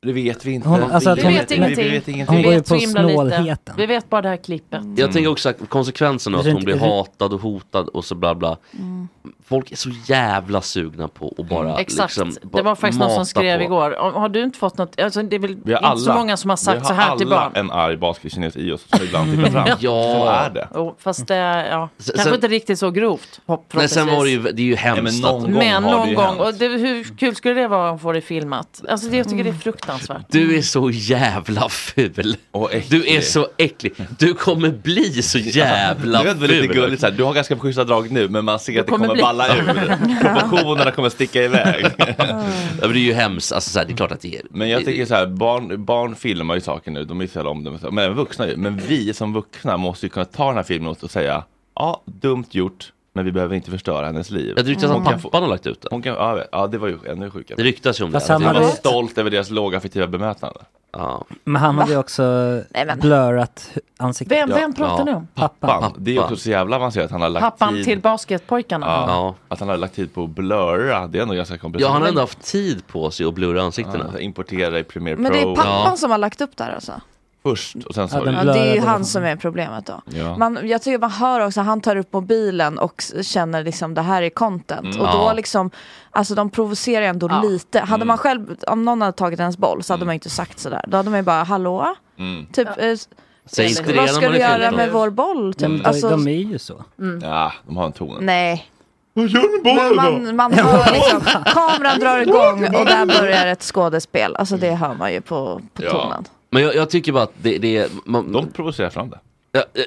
Det vet vi inte.
Hon, alltså, att
vi,
hon,
vet ingenting.
Vi vet ingenting. Hon går ju
så
på
himla lite.
snålheten.
Vi vet bara det här klippet.
Jag tänker också att konsekvenserna av
Runt-
att hon blir
runt-
hatad och hotad och så bla bla.
Mm.
Folk är så jävla sugna på att bara
Exakt,
liksom,
det var faktiskt någon
mata
som skrev
på.
igår. Har har du inte fått något? Alltså, det är väl inte så många som har sagt
vi
så här till barn.
alla en arg basketkinesisk i oss som ibland tittar fram.
Ja.
Så är det.
Jo, fast det, ja,
Sen-
kanske
sen-
inte riktigt så grovt. hopp-
Nej sen var det ju, det är ju hemskt.
Nej, men någon gång
att-
Men någon gång, och det, hur kul skulle det vara om få det filmat? Alltså det, jag tycker det
Mm.
är fruktansvärt.
Mm.
Du är så jävla ful. du är så äcklig. Du kommer bli så jävla
Alltså, Du vet väl
ful.
lite gulligt så här, du har ganska schyssta drag nu men man ser att det
kommer
kommer
bli-
balla ur. Proportionerna kommer sticka iväg.
Ja, men det är ju hemskt, alltså, så här, det är klart att det är.
Men jag tänker så här, barn, barn filmar ju saker nu, de är så jävla omdömen, men även vuxna ju. Men vi som vuxna måste ju kunna ta den här filmen och säga, ja, dumt gjort, men vi behöver inte förstöra hennes liv.
Jag ryktas att
Hon kan få-
pappan har lagt ut det.
Hon kan, ja, jag vet. ja, det var ju ännu sjukare.
Det ryktas ju om det.
Fast han
Han var
hade-
stolt över deras låga affektiva bemötande.
Ja.
Men han hade ju också
Nej, men-
blurrat hu- ansiktet.
Vem- vem pratar ni om?
Pappan.
Fan, det är också så jävla avancerat. Han har lagt
Pappan
tid.
till basketpojkarna.
ja, Att han har lagt tid på att blurra, det är ändå ganska komplicerat.
Ja, han har ändå haft tid på sig att blurra ansiktena.
importera i Premiere
Men det är
Pro.
pappan som har lagt upp det här alltså?
Först och sen så.
Ja, det är ju
liksom.
han som är problemet då.
Ja.
Man, jag tycker man hör också, han tar upp mobilen och s- känner liksom det här är content.
Mm.
Och då
Ja. Mm.
liksom, alltså de provocerar ändå lite. Hade man själv, om någon hade tagit ens boll så hade man ju inte sagt sådär. Då hade man ju bara, hallå?
Mm.
Typ, eh,
Säg inte det när
vad ska
man
du
är
göra
fjorton.
med vår boll? Typ?
Mm, De, de,
alltså,
de är ju så.
Mm.
Ja, de har en ton.
Nej.
Vad gör du
Men man, man hör liksom, kameran drar igång och där börjar ett skådespel. Alltså det
Mm.
hör man ju på, på tonen.
Men jag, jag tycker bara att det, det är... Man...
De provocerar fram det.
Ja, ja,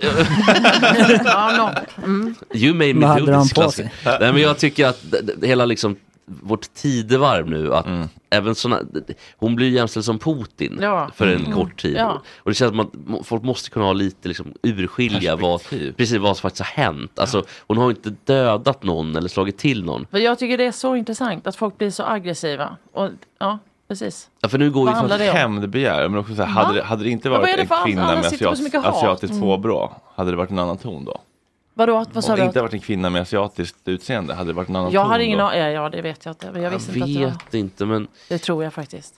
ja.
ja, no. mm.
You made
Vad
me
hade
do
han
this
på
klassiker. Nej men jag tycker att d- d- hela liksom vårt tidevarv nu att även såna, d- d- hon blir ju jämställd som Putin
Ja.
för en
Mm.
kort tid.
Ja.
Och det känns som att må- folk måste kunna ha lite liksom urskilja vad, precis vad som faktiskt har hänt. Alltså hon har ju inte dödat någon eller slagit till någon.
Men jag tycker det är så intressant att folk blir så aggressiva. Och, ja, precis.
Ja, för nu går
Vad
ju
handlar det om?
Hämndbegär, men också så här, hade, det, hade det inte
Men vad
varit
är det
en
för allt?
kvinna
Alla
med
sitter på så
asiat,
mycket hat.
asiatiskt
Mm.
påbrå, hade det varit en annan ton då?
Vadå, vad sa
Om det
du?
inte varit en kvinna med asiatiskt utseende, hade det varit en annan
Jag
ton
har ingen
då?
aning. Ja, ja, det vet jag inte. Men jag visste inte att det var.
Vet inte men
Det tror jag faktiskt.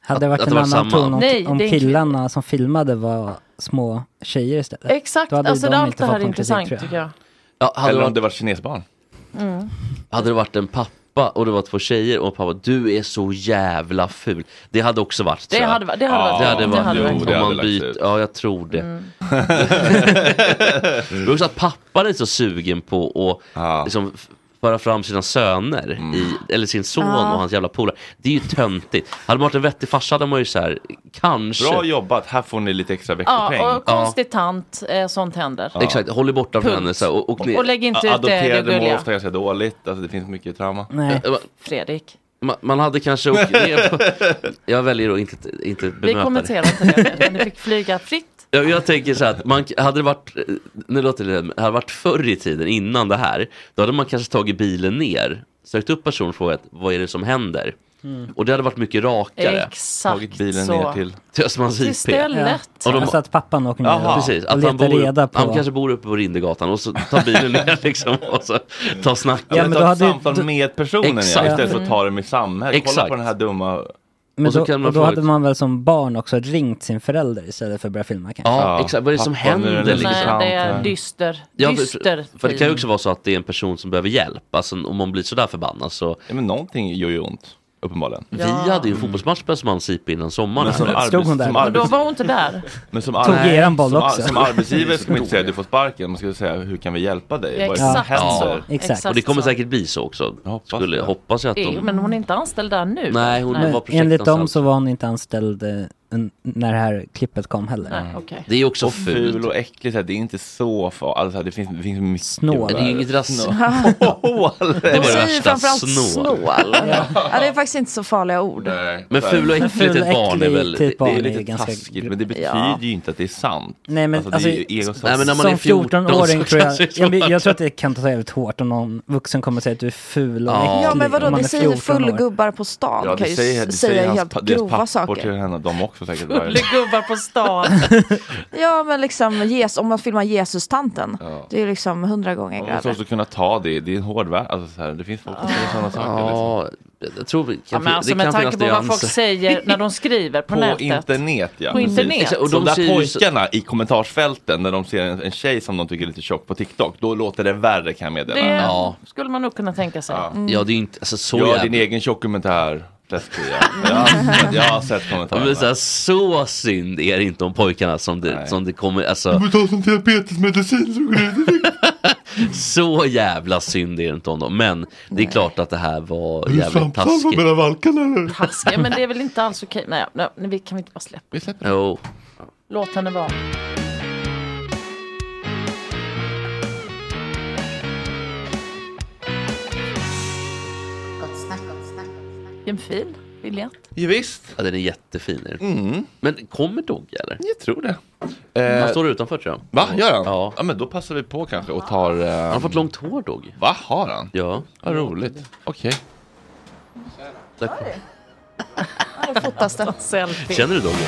Hade det varit
att
en
det var
annan
samma?
ton om,
Nej,
om
det är en
killarna som filmade var små tjejer istället?
Exakt,
Då hade ju
alltså
de
det, allt
inte
det här
fått
är
någon kritik,
intressant
tror jag.
tycker jag.
Ja, hade,
Eller
det
om det
varit,
var kinesbarn.
Mm.
hade det varit en pappa och det var två tjejer och pappa, du är så jävla ful. Det hade också varit
Det
tror jag.
hade va- det hade varit-
det hade
det
varit.
hade varit-
om
det hade
man
lagt
byter, ja jag tror det.
Mm.
Men också att pappan är så sugen på att liksom, f- föra fram sina söner,
Mm.
i, eller sin son
Ja.
och hans jävla polare. Det är ju töntigt. Hade man varit en vettig farsa hade man ju så här, kanske.
Bra jobbat, här får ni lite extra
Ja, och konstig tant, eh, sånt händer.
Ja. Exakt, håll er borta från
Punkt.
henne. Så här, och, och,
Och lägg inte ut det, det
Adopterade mår
gulliga.
ofta ganska dåligt, alltså det finns mycket trauma.
Eh, man-
Fredrik,
Man, man hade kanske åkt ner på... Jag väljer att inte, inte
vi
bemöta det.
kommenterar inte det, mer, men du fick flyga fritt.
Jag, jag tänker så här att man, hade det varit, nu låter det, hade det varit förr i tiden innan det här, då hade man kanske tagit bilen ner, sökt upp personen och frågat vad är det som händer?
Mm.
Och det hade varit mycket rakare.
Exakt Tagit bilen så. ner till-
till Östermalms
Till
IP.
stället.
Och de-
Alltså att pappan åker ner
Jaha,
och,
precis.
och
Att han,
letar
bor,
reda på...
han kanske bor uppe på Rindergatan och så tar bilen ner liksom och så tar snacket.
Ja, men då hade samtal med personen ja,
Exakt.
istället för att ta det med samhället. Kolla
Exakt.
på den här dumma...
Men
Och
då,
så
och
kan man
då
få
hade
ett-
man väl som barn också ringt sin förälder istället för att börja filma kanske?
Ja, exakt. Vad är det som
Pappan, nu är
händer?
det
liksom?
Nej, det är dyster,
Ja,
dyster
för, för det kan ju
tid.
också vara så att det är en person som behöver hjälp. Alltså om man blir sådär förbannad så... Ja, men någonting gör ju ont, uppenbarligen. Vi
Ja.
hade ju en fotbollsmatch på Östermalms IP innan sommaren.
Men som
här.
arbets- Stod hon där? som
Men då var hon inte där.
Men som,
Tog
ar-
er en boll
som, ar-
också.
som arbetsgivare ska man inte säga du får sparken, man ska säga hur kan vi hjälpa dig?
Ja,
Vad är det som
exakt så.
händer?"
Exakt. Exakt
Och det kommer
så.
säkert bli så också. Skulle, hoppas jag att
Eh,
de...
Men hon är inte anställd där nu.
Nej, hon
Men
var
enligt dem
projektanställd.
så var hon inte anställd eh, n- när det här klippet kom heller.
Nej, okej.
Mm. Det är också
och
fult.
och äckligt, så här, det är inte så farligt. Alltså, det finns, det finns mycket
Snål.
värre.
Det är ju inget ras-
Snål.
Det
De
var det
säger ju
värsta,
framförallt
snål.
snål. ja. det är faktiskt inte så farliga ord.
Men ful och äcklig till ett barn är väl...
Det
det-
är lite taskigt, men det betyder ju inte att det är sant.
Nej men
Alltså,
alltså,
det är ju ego-
Nej, men när man är
som
14
14-åring
så
tror jag,
kanske det är
jag, men jag
svårt.
tror att det kan ta jävligt hårt om någon vuxen kommer säga att du är ful och äcklig.
Ja men vadå,
om man
det
är
säger
14 år.
fullgubbar på stan
Ja,
kan
det
ju
säger, det
s- säga
säger hans,
helt
pa- deras
grova
pappor
saker.
till henne, de också säkert.
Gubbar på stan.
Ja men liksom, jes, om man filmar Jesus-tanten, det är ju liksom hundra gånger
Man måste
grövre.
också kunna ta det, det är en hård värld. Alltså, så här, det finns folk som säger sådana saker. liksom.
Ja, jag tror vi kan,
Ja, men alltså, med tanke på vad folk säger när de skriver på,
På
nätet.
internet ja.
På
precis.
internet. Exakt, och
de
de
där
ser ju-
pojkarna i kommentarsfälten när de ser en, en tjej som de tycker är lite tjock på TikTok. Då låter det värre kan jag meddela.
Det skulle man nog kunna tänka sig. Mm.
Ja, det är ju inte... Alltså, så
Gör
jävla-
din egen tjockkommentär. fläskfria. Jag har sett- Jag har sett kommentarerna.
Men så, här, så synd är det inte om pojkarna som det, som det kommer, alltså
ta som diabetesmedicin så går det
så jävla synd är det inte om dem. Men det är klart att det här var jävligt taskigt.
valkarna eller?
Taskiga, men det är väl inte alls okej. Nej, nej, nej, vi kan vi inte bara släppa.
Jo.
Låt henne vara.
Gott snack, gott snack.
Vilken fin biljett.
Ja, visst.
Ja, den är jättefin. Är den.
Mm.
Men kommer Dogge eller?
Jag tror det.
Han
Eh,
står utanför tror jag.
Va, gör han?
Ja.
men då passar vi på kanske och tar... Han
har fått långt hår Dogge.
Va, har han?
Ja.
Vad roligt. Okej.
Där kom-
Ja, det fotas det.
Selfie.
Känner du Dogge?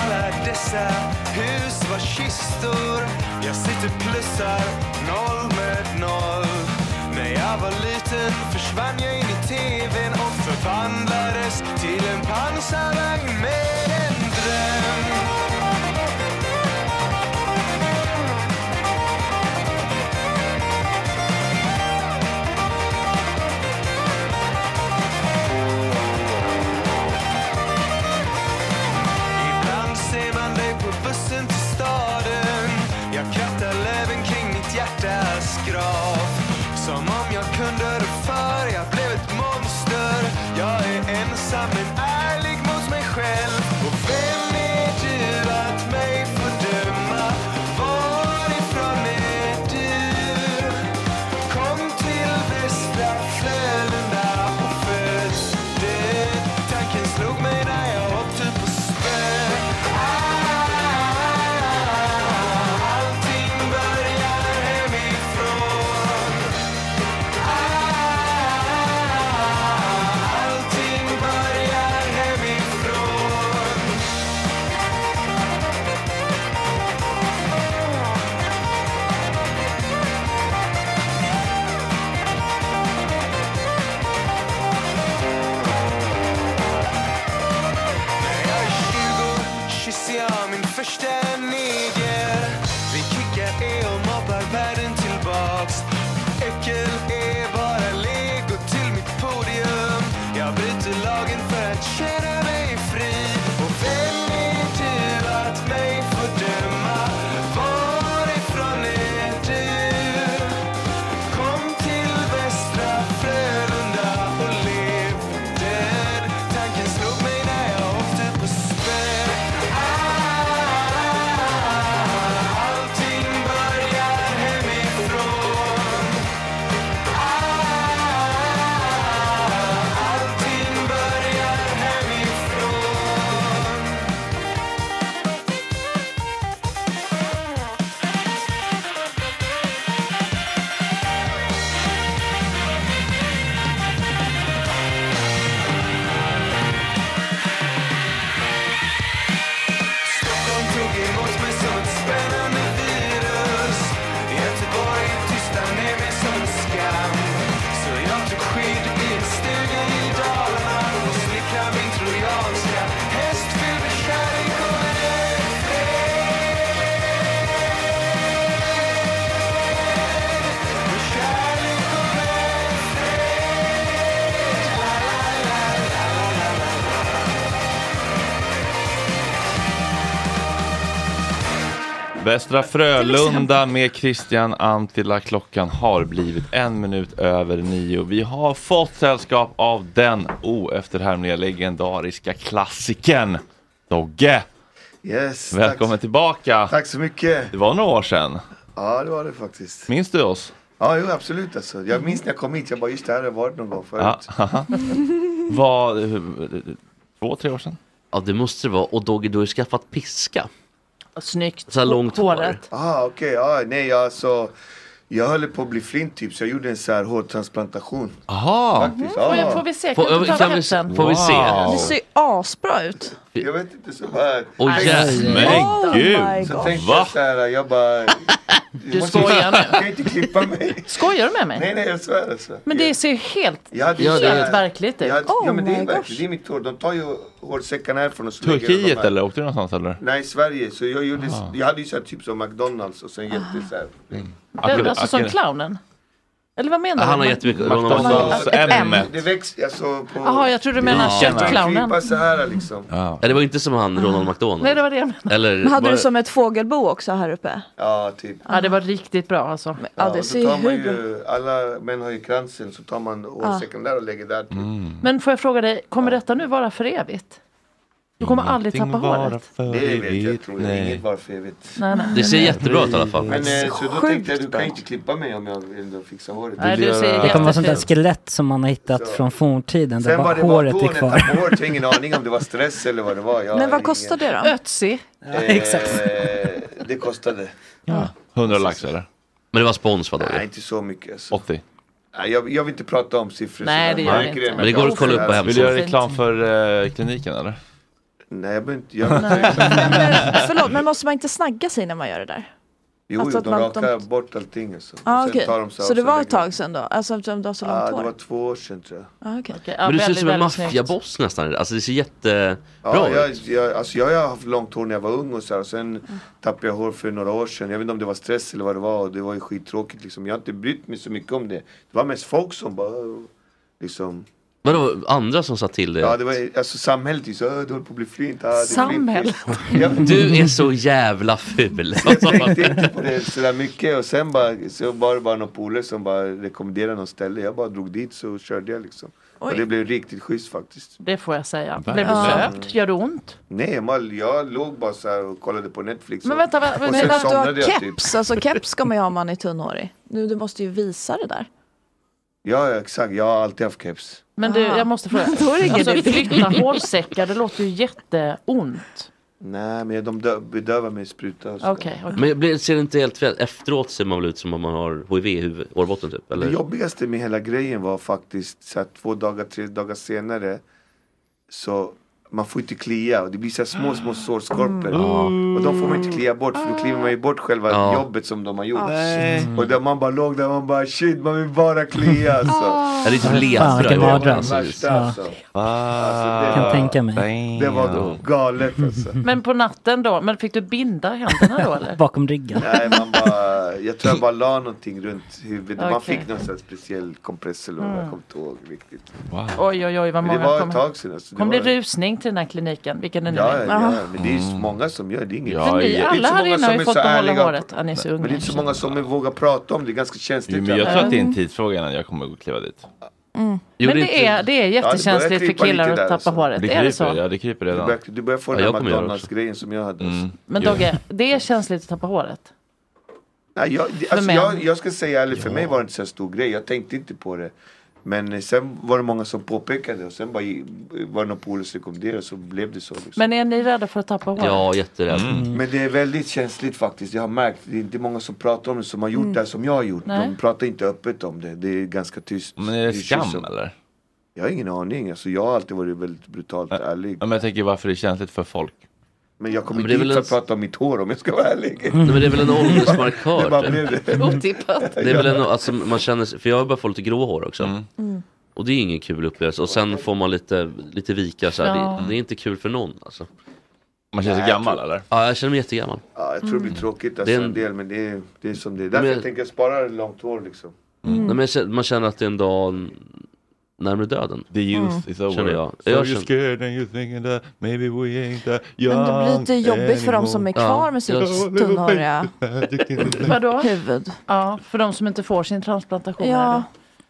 Alla dessa hus var kistor Jag sitter plussar noll med noll När jag var liten försvann jag in i tvn och förvandlades till en pansarvagn med en dröm Ibland ser man dig på bussen till staden Jag krattar löven kring mitt hjärtas grav Som om jag kunde rå för jag blev ett monster Jag är ensam men ärlig mot mig själv Och typ
Västra Frölunda med Christian Antila. Klockan har blivit en minut över nio. Vi har fått sällskap av den oefterhärmliga legendariska klassikern Dogge.
Yes,
Välkommen tillbaka.
Tack så mycket.
Det var några år sedan.
Ja, det var det faktiskt.
Minns du oss?
Ja, jo, absolut. Alltså. Jag minns när jag kom hit, jag bara just det här har jag varit någon gång
Ja.
förut.
Vad, eh, två, tre år sedan?
Ja, det måste det vara. Och Doggy, du har ju skaffat piska.
Snyggt.
Så här långt hår.
Ah, okej. Ah, nej, jag, alltså, jag höll på att bli flint typ, så jag gjorde en så här hårtransplantation.
Aha.
Faktiskt.
Får jag-
ah.
får vi se? Kan Får- du ta kan vi- hälften? får vi se?
Du ser ju asbra ut.
Jag vet inte så här.
Åh,
Nej.
jävlar. Men Oh gud. my
Så
God.
tänkte
Va?
jag så här, jag bara... Du
skojar nu.
Kan inte klippa mig.
Skojar du med mig?
Nej, nej, jag svär alltså.
Men det ser ju helt,
Jag hade ju
helt
så här-
verkligt ut. Oh
Jag hade, ja, men det är verkligen, det är mitt hår. De tar ju hårsäckarna härifrån och så lägger de
Turkiet
de här.
eller? Åkte du någonstans eller?
Nej, Sverige. Så jag, gjorde,
Ah.
jag hade ju så här, typ som McDonalds och sen jätte så här.
Mm.
Den, alltså som clownen? Eller vad menar du?
Han har
jättemycket-
McDonalds
Ett M.
M. Det växer, alltså på...
Jaha, jag tror du menar
Ja.
köttclownen.
Klippa så här liksom.
Ja. Det var inte som han Ronald McDonald.
Mm. Nej, det var det jag menade.
Eller,
Men hade
var-
du som ett fågelbo också här uppe?
Ja, typ.
Ja, det var riktigt bra alltså.
Ja,
och
det
så
ser
tar man
ju hur...
ju, alla män har ju kransen så tar man hårsäcken där och lägger där. Typ.
Mm.
Men får jag fråga dig, kommer detta nu vara för evigt? Du kommer aldrig tappa håret?
Det vet jag, tror jag. Inget var för evigt. eh,
Nej, nej.
Det ser jättebra ut i alla fall.
Men
Det ser
eh, så då tänkte jag, du kan ju inte klippa mig om jag vill fixa håret.
Det kommer vara sånt där skelett som man har hittat från forntiden, där
Sen
bara
vad det var
håret
då
är
när jag
kvar.
tappade håret, jag har ingen aning om det var stress eller vad det var. Jag
Men
har
vad kostar det då?
Ötzi.
ingen- eh, Det kostade.
100 lax eller?
Men det var spons va
Nej, inte så mycket. Alltså.
80.
Nej, jag, jag vill inte prata om siffror.
Nej,
sådär.
det
Jag
gör vi
tycker
inte.
är
Men det går att kolla upp på
ofint.
hemsidan.
Vill du göra reklam för eh, kliniken eller?
Nej, jag behöver inte göra
Förlåt, men måste man inte snagga sig när man gör det där?
Jo,
Alltså
jo
att
de
man-
rakar bort allting. Alltså.
Ja,
Sen
okej.
tar de
Så,
av
det var
lägger-
ett tag sedan då? Alltså eftersom du har så långt
Ja, det
hår?
var två år sedan tror jag.
Ah, okej.
Men du ser ut som en maffiaboss nästan. Alltså det ser jättebra
Ja, jag,
ut.
jag, alltså jag har haft långt hår när jag var ung och så här, och sen tappade jag hår för några år sedan. Jag vet inte om det var stress eller vad det var och det var ju skittråkigt liksom. Jag har inte brytt mig så mycket om det. Det var mest folk som bara liksom.
Vadå, andra som sa till dig?
Ja, det var alltså samhället är ju så, "Åh, du håller på att bli flint. Ah, det är flint." liksom.
Samhället?
Ja, men
Du är så jävla ful.
på det sådär mycket och sen bara, så var det bara någon polare som bara rekommenderade någon ställe. Jag bara drog dit så körde jag liksom. Och
Oj.
det blev riktigt schysst faktiskt.
Det får jag säga. Blev
Verkligen.
du sövd? Gör det ont?
Nej, man, jag låg bara så här och kollade på Netflix.
Men
och-
vänta, va-
och
men
sen
vänta, du
Du
har
somnade jag
har
typ.
keps, alltså keps ska man ju ha om man är tunnhårig. Nu, du måste ju visa det där.
Ja, ja, exakt. Jag har alltid haft keps.
Men du,
Ah.
jag måste fråga.
Då är det ingen
Alltså
idé.
flytta hårsäckar, det låter ju jätteont.
Nej, men de dö- bedövar med spruta. och så.
Okej, okej.
Men blir- ser det inte helt fel? Efteråt ser man väl ut som om man har HIV i huvud, hårbotten typ? Eller?
Det jobbigaste med hela grejen var faktiskt så att två dagar, tre dagar senare så man får inte klia och det blir så här små, små sårskorpor.
Mm. Ah.
Och de får man inte klia bort för då kliver man ju bort själva
Ja.
jobbet som de har
Ah,
gjort.
Ah. Nej.
Och där man bara låg där man bara shit, man vill bara klia alltså.
Ah.
Ja, det är typ Fan, lepra vilken i håret, mardröm. alltså.
Värsta,
Ja.
alltså. Alltså, det
Kan
var-
tänka mig.
Det var galet alltså.
Men på natten då? Men fick du binda händerna då eller?
Bakom ryggen.
Nej, man bara, jag tror jag bara la någonting runt huvudet. Man
Okej.
fick någon sån här speciell kompress eller vad
Mm.
jag kommer inte ihåg riktigt.
Oj, oj, oj, vad
Men
många
det var
kom-
ett tag sedan. Alltså.
Kom det
var-
rusning till den här kliniken? Vilken den nu
Ja, ja,
är?
ja, men det är ju
Mm.
så många som gör det. det är inget.
Ja, För ni
Det är
alla
inte så
här
många
inne har
som
ju
är
fått
så
behålla
ärliga.
håret. Ja, ni är så unga
Men det är inte
i
så många som vågar prata om det. Det är ganska känsligt.
Jo, men jag tror att det är en
Mm.
tidsfråga innan jag kommer att kliva dit.
Mm. Men det är, det är jättekänsligt för killar att tappa håret.
typ- Det
är det
kryper,
så?
ja det kryper
alltså. Du
redan.
börjar, du börjar få
Ja,
den
jag
här
kommer göra det Mm.
McDonalds-grejen som jag hade.
Men Dogge, det är känsligt att tappa håret.
Nej, jag, det- alltså,
män.
jag, jag ska säga ärligt, för mig var det inte så här stor grej. Jag tänkte inte på det. Men eh, sen var det många som påpekade och sen bara, i- var det någon polare som rekommenderade så blev det så. Liksom.
Men är ni rädda för att tappa håret?
jätterädd.
Mm.
Men det är väldigt känsligt faktiskt. Jag har märkt, det är inte många som pratar om det som har gjort
Mm.
det här som jag har gjort.
Nej.
De pratar inte öppet om det. Det är ganska tyst.
Men är det
kyss och-
skam eller?
Jag har ingen aning. Alltså, jag har alltid varit väldigt brutalt ärlig.
Ja, men jag tänker varför det är känsligt för folk.
Men jag kommer
Ja, men det är
dit
väl
för
en-
att prata om mitt hår om jag ska vara ärlig.
Nej, men det är väl en åldersmarkör,
det bara
typ.
blev det.
Otippat.
Det är väl en, alltså, man känner, sig- för jag börjar få lite grå hår också.
Mm.
Och det är ingen kul upplevelse. Och sen får man lite, lite vika så här.
Ja.
Det, det är inte kul för någon alltså.
Man känner sig
Nej, jag
gammal,
tror-
eller?
Ja, jag känner mig jättegammal.
Ja, jag tror det blir tråkigt alltså,
Det är en-
en del men det är, det är som det är. Därför
Men-
Mm.
jag tänker jag spara långt hår liksom.
Nej, men jag känner, man känner att det är en dag närmare döden.
The youth
Mm.
is over.
Känner jag.
So
jag
you're scared and you're thinking that maybe we ain't that young
Men det blir lite jobbigt för de som är
anymore.
kvar med sitt tunnhåriga
Vadå?
huvud.
Ja, för de som inte får sin transplantation.
Ja.
är det.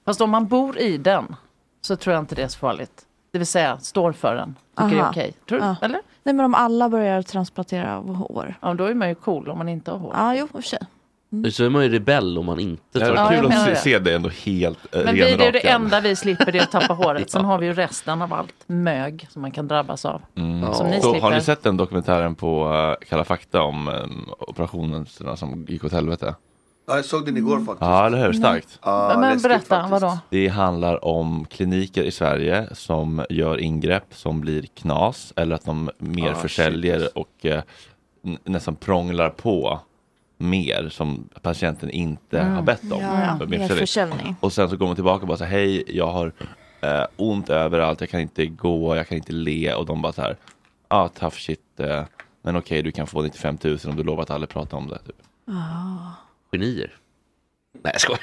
Fast om man bor i den så tror jag inte det är så farligt. Det vill säga, står för den. Tycker det är
Aha.
okej. Tror du?
Ja.
Eller?
Nej men om alla börjar transplantera av hår.
Ja, då är man ju cool om man inte har hår.
Ja, jo, i och för sig.
Så är man ju rebell om man inte
Det
tar
hade
Mm. Ja,
varit
jag
kul
menar
att
det.
se, se dig ändå helt eh,
Men vi, det är det
renrakad.
enda vi slipper, det är att tappa håret. Sen har vi ju resten av allt mög som man kan drabbas av.
Mm.
Som ni
Så, har
slipper.
ni sett den dokumentären på eh, Kalla fakta om um, operationerna som gick åt helvete?
Ja, jag såg den igår faktiskt.
Ja, eller hur? Starkt.
Men, men berätta, vadå?
Det handlar om kliniker i Sverige som gör ingrepp som blir knas eller att de mer
Ah,
försäljer och eh, n- nästan prånglar på mer som patienten inte
Mm.
har bett om.
Ja, ja.
För
Mer försäljning.
Och sen så går man tillbaka och bara så här, hej, jag har eh, ont överallt, jag kan inte gå, jag kan inte le och de bara så här, ah, tough shit, eh, men okej, du kan få 95 000 om du lovar att aldrig prata om det. Typ.
Genier. Nej, jag skojar.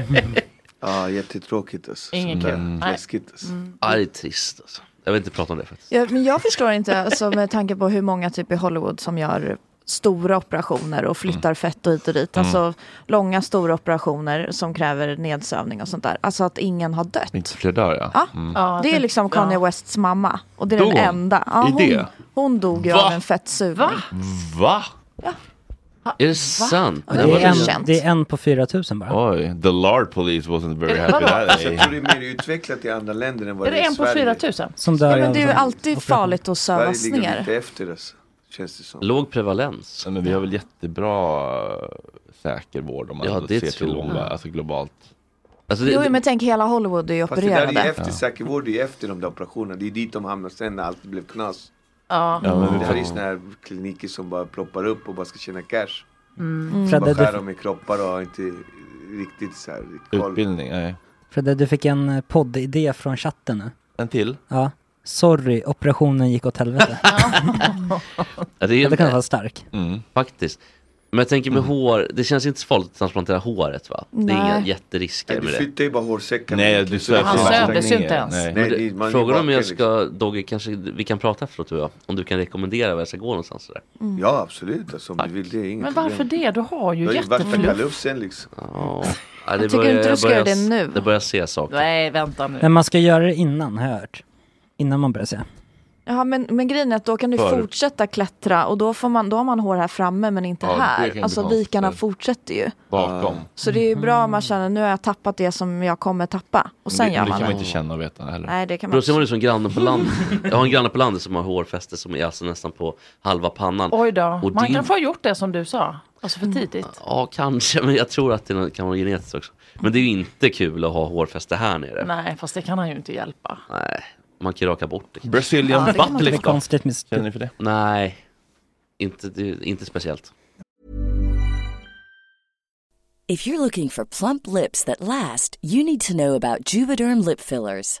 Ja, jättetråkigt alltså.
Ingen kul. Nej.
Läskigt alltså.
Mm.
Ja, det är trist alltså. Jag vill inte prata om det faktiskt.
Ja, men jag förstår inte, alltså, med tanke på hur många typ i Hollywood som gör stora operationer och flyttar fett och hit och dit.
Mm.
Alltså långa stora operationer som kräver nedsövning och sånt där. Alltså att ingen har dött.
Inte fler dör ja.
Ja,
Mm.
det är liksom Kanye Wests mamma. Och det är
Dog
den
hon?
enda. Ja,
I
hon,
det?
hon dog ju
Va?
av en fettsugning.
Va?
Är det sant?
Ja, det är en-
Det är en på 4000 bara.
Oj, the lard police wasn't very happy
Vadå?
that
Alltså, Jag tror det
day.
är mer utvecklat i andra länder än vad
Är
det är
det
i
en på
Sverige.
4000?
Som
Ja, men det är ju alltid farligt att
Sverige
sövas
ligger
ner.
lite efter alltså. Känns det som.
Låg prevalens.
Men vi har väl jättebra eh, säker vård om man
Ja,
ändå
det
ser till
tror jag.
omvärlden, alltså globalt.
Jo, men tänk hela Hollywood är ju
Fast det där är ju
opererade.
efter säkervård, det är ju efter de där operationerna. Det är ju dit de hamnar sen när allt blev knas.
Ja.
Ja, men det
vi
här
får-
är ju såna här kliniker som bara ploppar upp och bara ska tjäna cash.
Mm.
Bara
Fredde, du-
skär dem i kroppar och har inte riktigt så här koll.
Utbildning, nej.
Fredde, du fick en eh, poddidé från chatten nu.
En till?
Ja. Sorry, operationen gick åt helvete.
Ja, det, är, Mm,
det kan vara stark.
Faktiskt. Men jag tänker med
Mm.
hår, det känns inte så farligt att transplantera håret va? Det är inga
Nej.
jätterisker
Nej, du
med det.
flyttar ju bara hårsäcken.
Nej, du
Så det
sövs
bara-
inte. Han sövdes ju inte ens.
Nej.
Nej,
Men
det- man
det,
är
frågan om
vaken,
jag
liksom.
ska, Dogge, kanske vi kan prata efteråt tror jag. Om du kan rekommendera var jag ska gå någonstans sådär.
Mm.
Ja, absolut. Alltså, om du vill det är inget
Men varför
problem.
det? Du har ju
Du har ju värsta
jättefluff.
kalufsen liksom.
Ja. Ja,
Jag tycker inte du ska
börjar-
göra det nu.
Det börjar se saker.
Nej, vänta nu.
Men man ska göra det innan, har jag hört. Innan man börjar se.
Ja, men, men grejen är att då kan du
Förut.
fortsätta klättra och då, får man, då har man hår här framme men inte
Ja, det kan ju
här.
bli
Alltså
konstigt.
vikarna fortsätter ju.
Bakom.
Så det är ju bra om man känner nu har jag tappat det som jag kommer tappa. Och sen
det,
gör
det
man
kan
det.
man inte känna och veta heller.
Nej, det kan man
Då ser man
inte.
ut som grannen på landet. Jag har en granne på landet som har hårfäste som är alltså nästan på halva pannan.
Oj då.
Mm. Och
Man
det-
kanske har gjort det som du sa. Alltså
Mm.
för tidigt.
Ja, kanske, men jag tror att det är något- kan vara genetiskt också. Men det är ju inte kul att ha hårfäste här nere.
Nej, fast det kan han ju inte hjälpa.
Nej, man kan ju raka bort det.
Brazilian
Ja, det kan man butt inte. lift då? Konstigt med-
Känner ni för det?
Nej, inte, det är inte speciellt.
If you're looking for plump lips that last, you need to know about Juvederm lip fillers.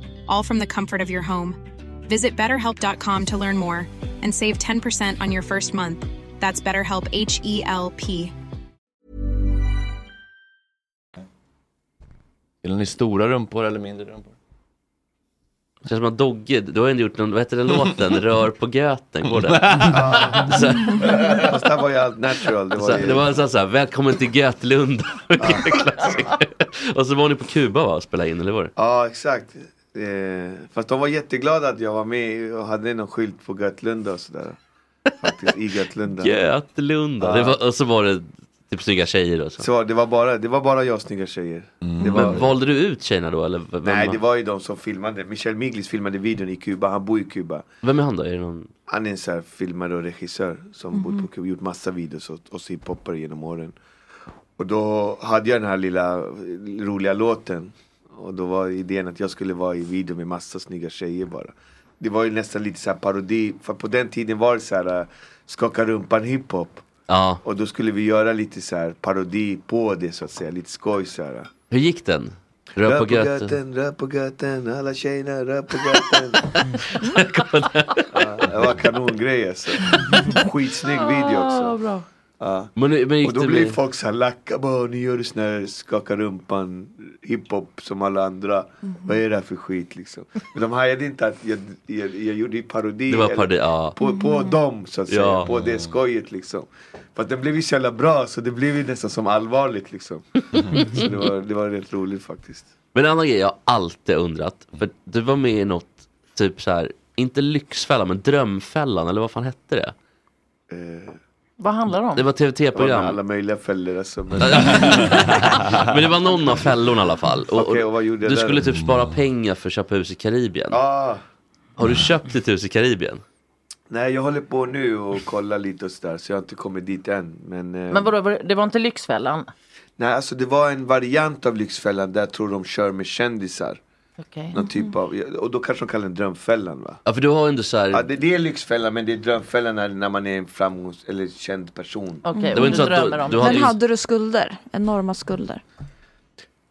all from the comfort of your home. Visit betterhelp.com to learn more and save 10% on your first month. That's BetterHelp H E L P.
Gillar ni stora rumpor eller mindre rumpor?
Det känns som att Dogge, du har ju ändå gjort någon, vad heter den låten, Rör på göten, går det?
Ja.
Så-
Fast där var ju allt natural. Det
så,
var
Alltså, det
ju...
var en sån här, välkommen till Götlunda. Vilken klassiker. och så var ni på Kuba va, och spelade in, eller var det?
Ja, exakt. Eh, fast de var jätteglada att jag var med och hade någon skylt på Götlunda och sådär. Faktiskt, i Götlunda.
Götlunda.
Ja.
Det var, och så var det typ snygga tjejer och så.
Så det var bara, det var bara jag och snygga tjejer. Det var,
Men valde du ut tjejerna då eller? v- Vem,
nej, det var ju de som filmade. Michel Miglis filmade videon i Kuba. Han bor i Kuba.
vem är han då? Är det någon...
Han är en så här filmare och regissör som
Mhm.
bott på Kuba, gjort massa videos åt oss hiphoppare genom åren. Och då hade jag den här lilla eh, roliga låten. Och då var idén att jag skulle vara i video med massa snygga tjejer bara. Det var ju nästan lite så här parodi, för på den tiden var det så här eh, skaka rumpan hiphop.
Ja.
Och då skulle vi göra lite så här parodi på det så att säga, lite skoj så här.
Hur gick den? Rör på göten.
rör på göten, alla tjejerna rör på göten. ja, det var kanongrej alltså. Skitsnygg video också.
bra.
Ja.
Men, men gick
och då
det
blir
med-
folk så här lacka, bara, nu gör du sån här skaka rumpan hiphop som alla andra.
Mhm.
Vad är det här för skit liksom? Men de hajade inte att jag, jag, jag gjorde ju parodi.
Det var
eller-
parodi, ja. Mm.
på, på dem så att säga,
Ja.
på det skojet liksom. För att den blev ju så jävla bra så det blev ju nästan som allvarligt liksom. så det var, det var rätt roligt faktiskt.
Men en annan grej jag alltid undrat. För du var med i något, typ så här, inte Lyxfällan men Drömfällan eller vad fan hette det?
Eh,
Vad handlar det om?
Det var
Det var med
TVT-program.
alla möjliga fällor alltså. Men...
Men det var någon av fällorna i alla fall. Och,
Okej, och vad gjorde jag
du
där?
skulle typ spara pengar för att köpa hus i Karibien.
Ah.
Har du köpt ditt hus i Karibien?
Nej, jag håller på nu och kollar lite och sådär så jag har inte kommit dit än. Men, eh,
Men vadå, var det- det var inte Lyxfällan?
Nej, alltså det var en variant av Lyxfällan där jag tror de kör med kändisar.
Okej.
Någon typ av, och då kanske de kallar den Drömfällan va?
Ja, för du har ju ändå så här...
Ja, det, det är Lyxfällan men det är Drömfällan när, när man är en framgångs eller känd person.
Okej, Mm. Det var och inte du så att du- drömmer om du det. hade hade ju- ju... Men hade hade du skulder? Enorma skulder?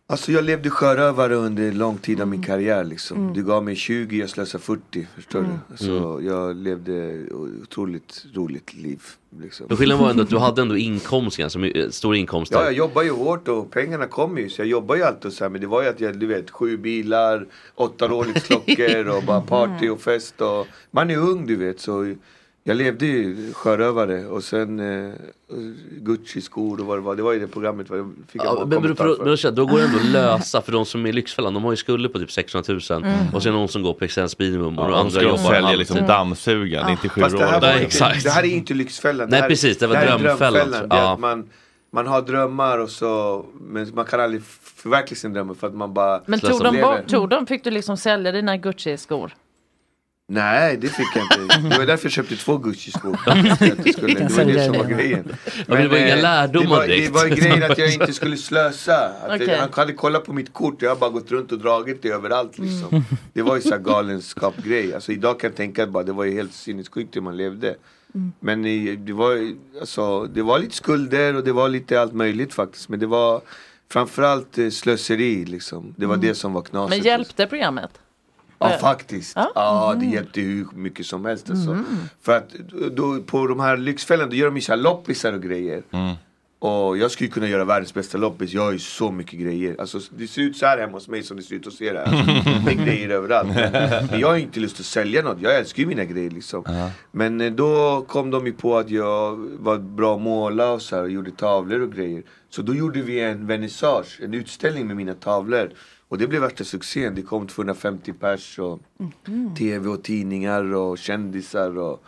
Alltså jag levde sjörövare under en lång tid av
Mm.
min karriär liksom. Du gav mig 20, jag slösade 40. Förstår
Mm.
du? Så jag levde otroligt roligt liv. Liksom.
Men skillnaden var ändå att du hade ändå inkomst, ganska my- eh, stor inkomst.
Ja, jag jobbar ju hårt och pengarna kommer ju. Så jag jobbar ju alltid och så här. Men det var ju att jag, du vet, sju bilar, åtta Rolex-klockor och bara party och fest. Och, man är ung du vet. Så jag levde ju sjörövare och sen eh, Gucci-skor och vad det var. Det var ju det programmet. Vad jag fick jag
Ja,
bara
men, men,
kommentar
då,
för.
då, då, då går det ändå att lösa för de som är i Lyxfällan, de har ju skulder på typ 600 000
Mm.
och sen någon som går på existens minimum och
Ja,
de
och
andra
ska de
jobbar
sälja
halvtid.
liksom dammsugaren, Ja. inte
Ah. Fast det här, var
Nej,
inte,
exakt.
det här är inte Lyxfällan.
Nej,
här,
precis, det var
här är
Drömfällan,
Det är
ja.
att man, man har drömmar och så, men man kan aldrig förverkliga sin dröm för att man bara
Men tog de,
lever.
bort, tog de, fick du liksom sälja dina Gucci-skor?
Nej, det fick jag inte. Det var därför jag köpte två Gucci-skor. För att jag skulle- Det var det som var grejen.
Ja, men det var inga
eh,
lärdomar
det var, det
direkt.
var ju grejen att jag inte skulle slösa. Att
Okej.
det, han hade kollat på mitt kort och jag har bara gått runt och dragit det överallt liksom.
Mm.
Det var ju så här galenskap-grej. Alltså idag kan jag tänka att bara, det var ju helt sinnessjukt hur man levde.
Mm.
Men i- det var, ju- alltså, det var lite skulder och det var lite allt möjligt faktiskt. Men det var framförallt eh, slöseri liksom. Det var
Mm.
det som var knaset.
Men hjälpte programmet?
Ja,
Eh,
faktiskt. Ja, Mm. det hjälpte hur mycket som helst. Alltså. För att då, på de här Lyxfällan, då gör de ju så här loppisar och grejer. Och jag skulle ju kunna göra världens bästa loppis, jag har ju så mycket grejer. Alltså, det ser ut så här hemma hos mig som det ser ut hos er här. Det är grejer överallt. Men, men jag har ju inte lust att sälja något, jag älskar ju mina grejer liksom. Men eh, då kom de ju på att jag var bra att måla och så här, och gjorde tavlor och grejer. Så då gjorde vi en vernissage, en utställning med mina tavlor. Och det blev värsta succén, det kom 250 pers och tv och tidningar och kändisar och,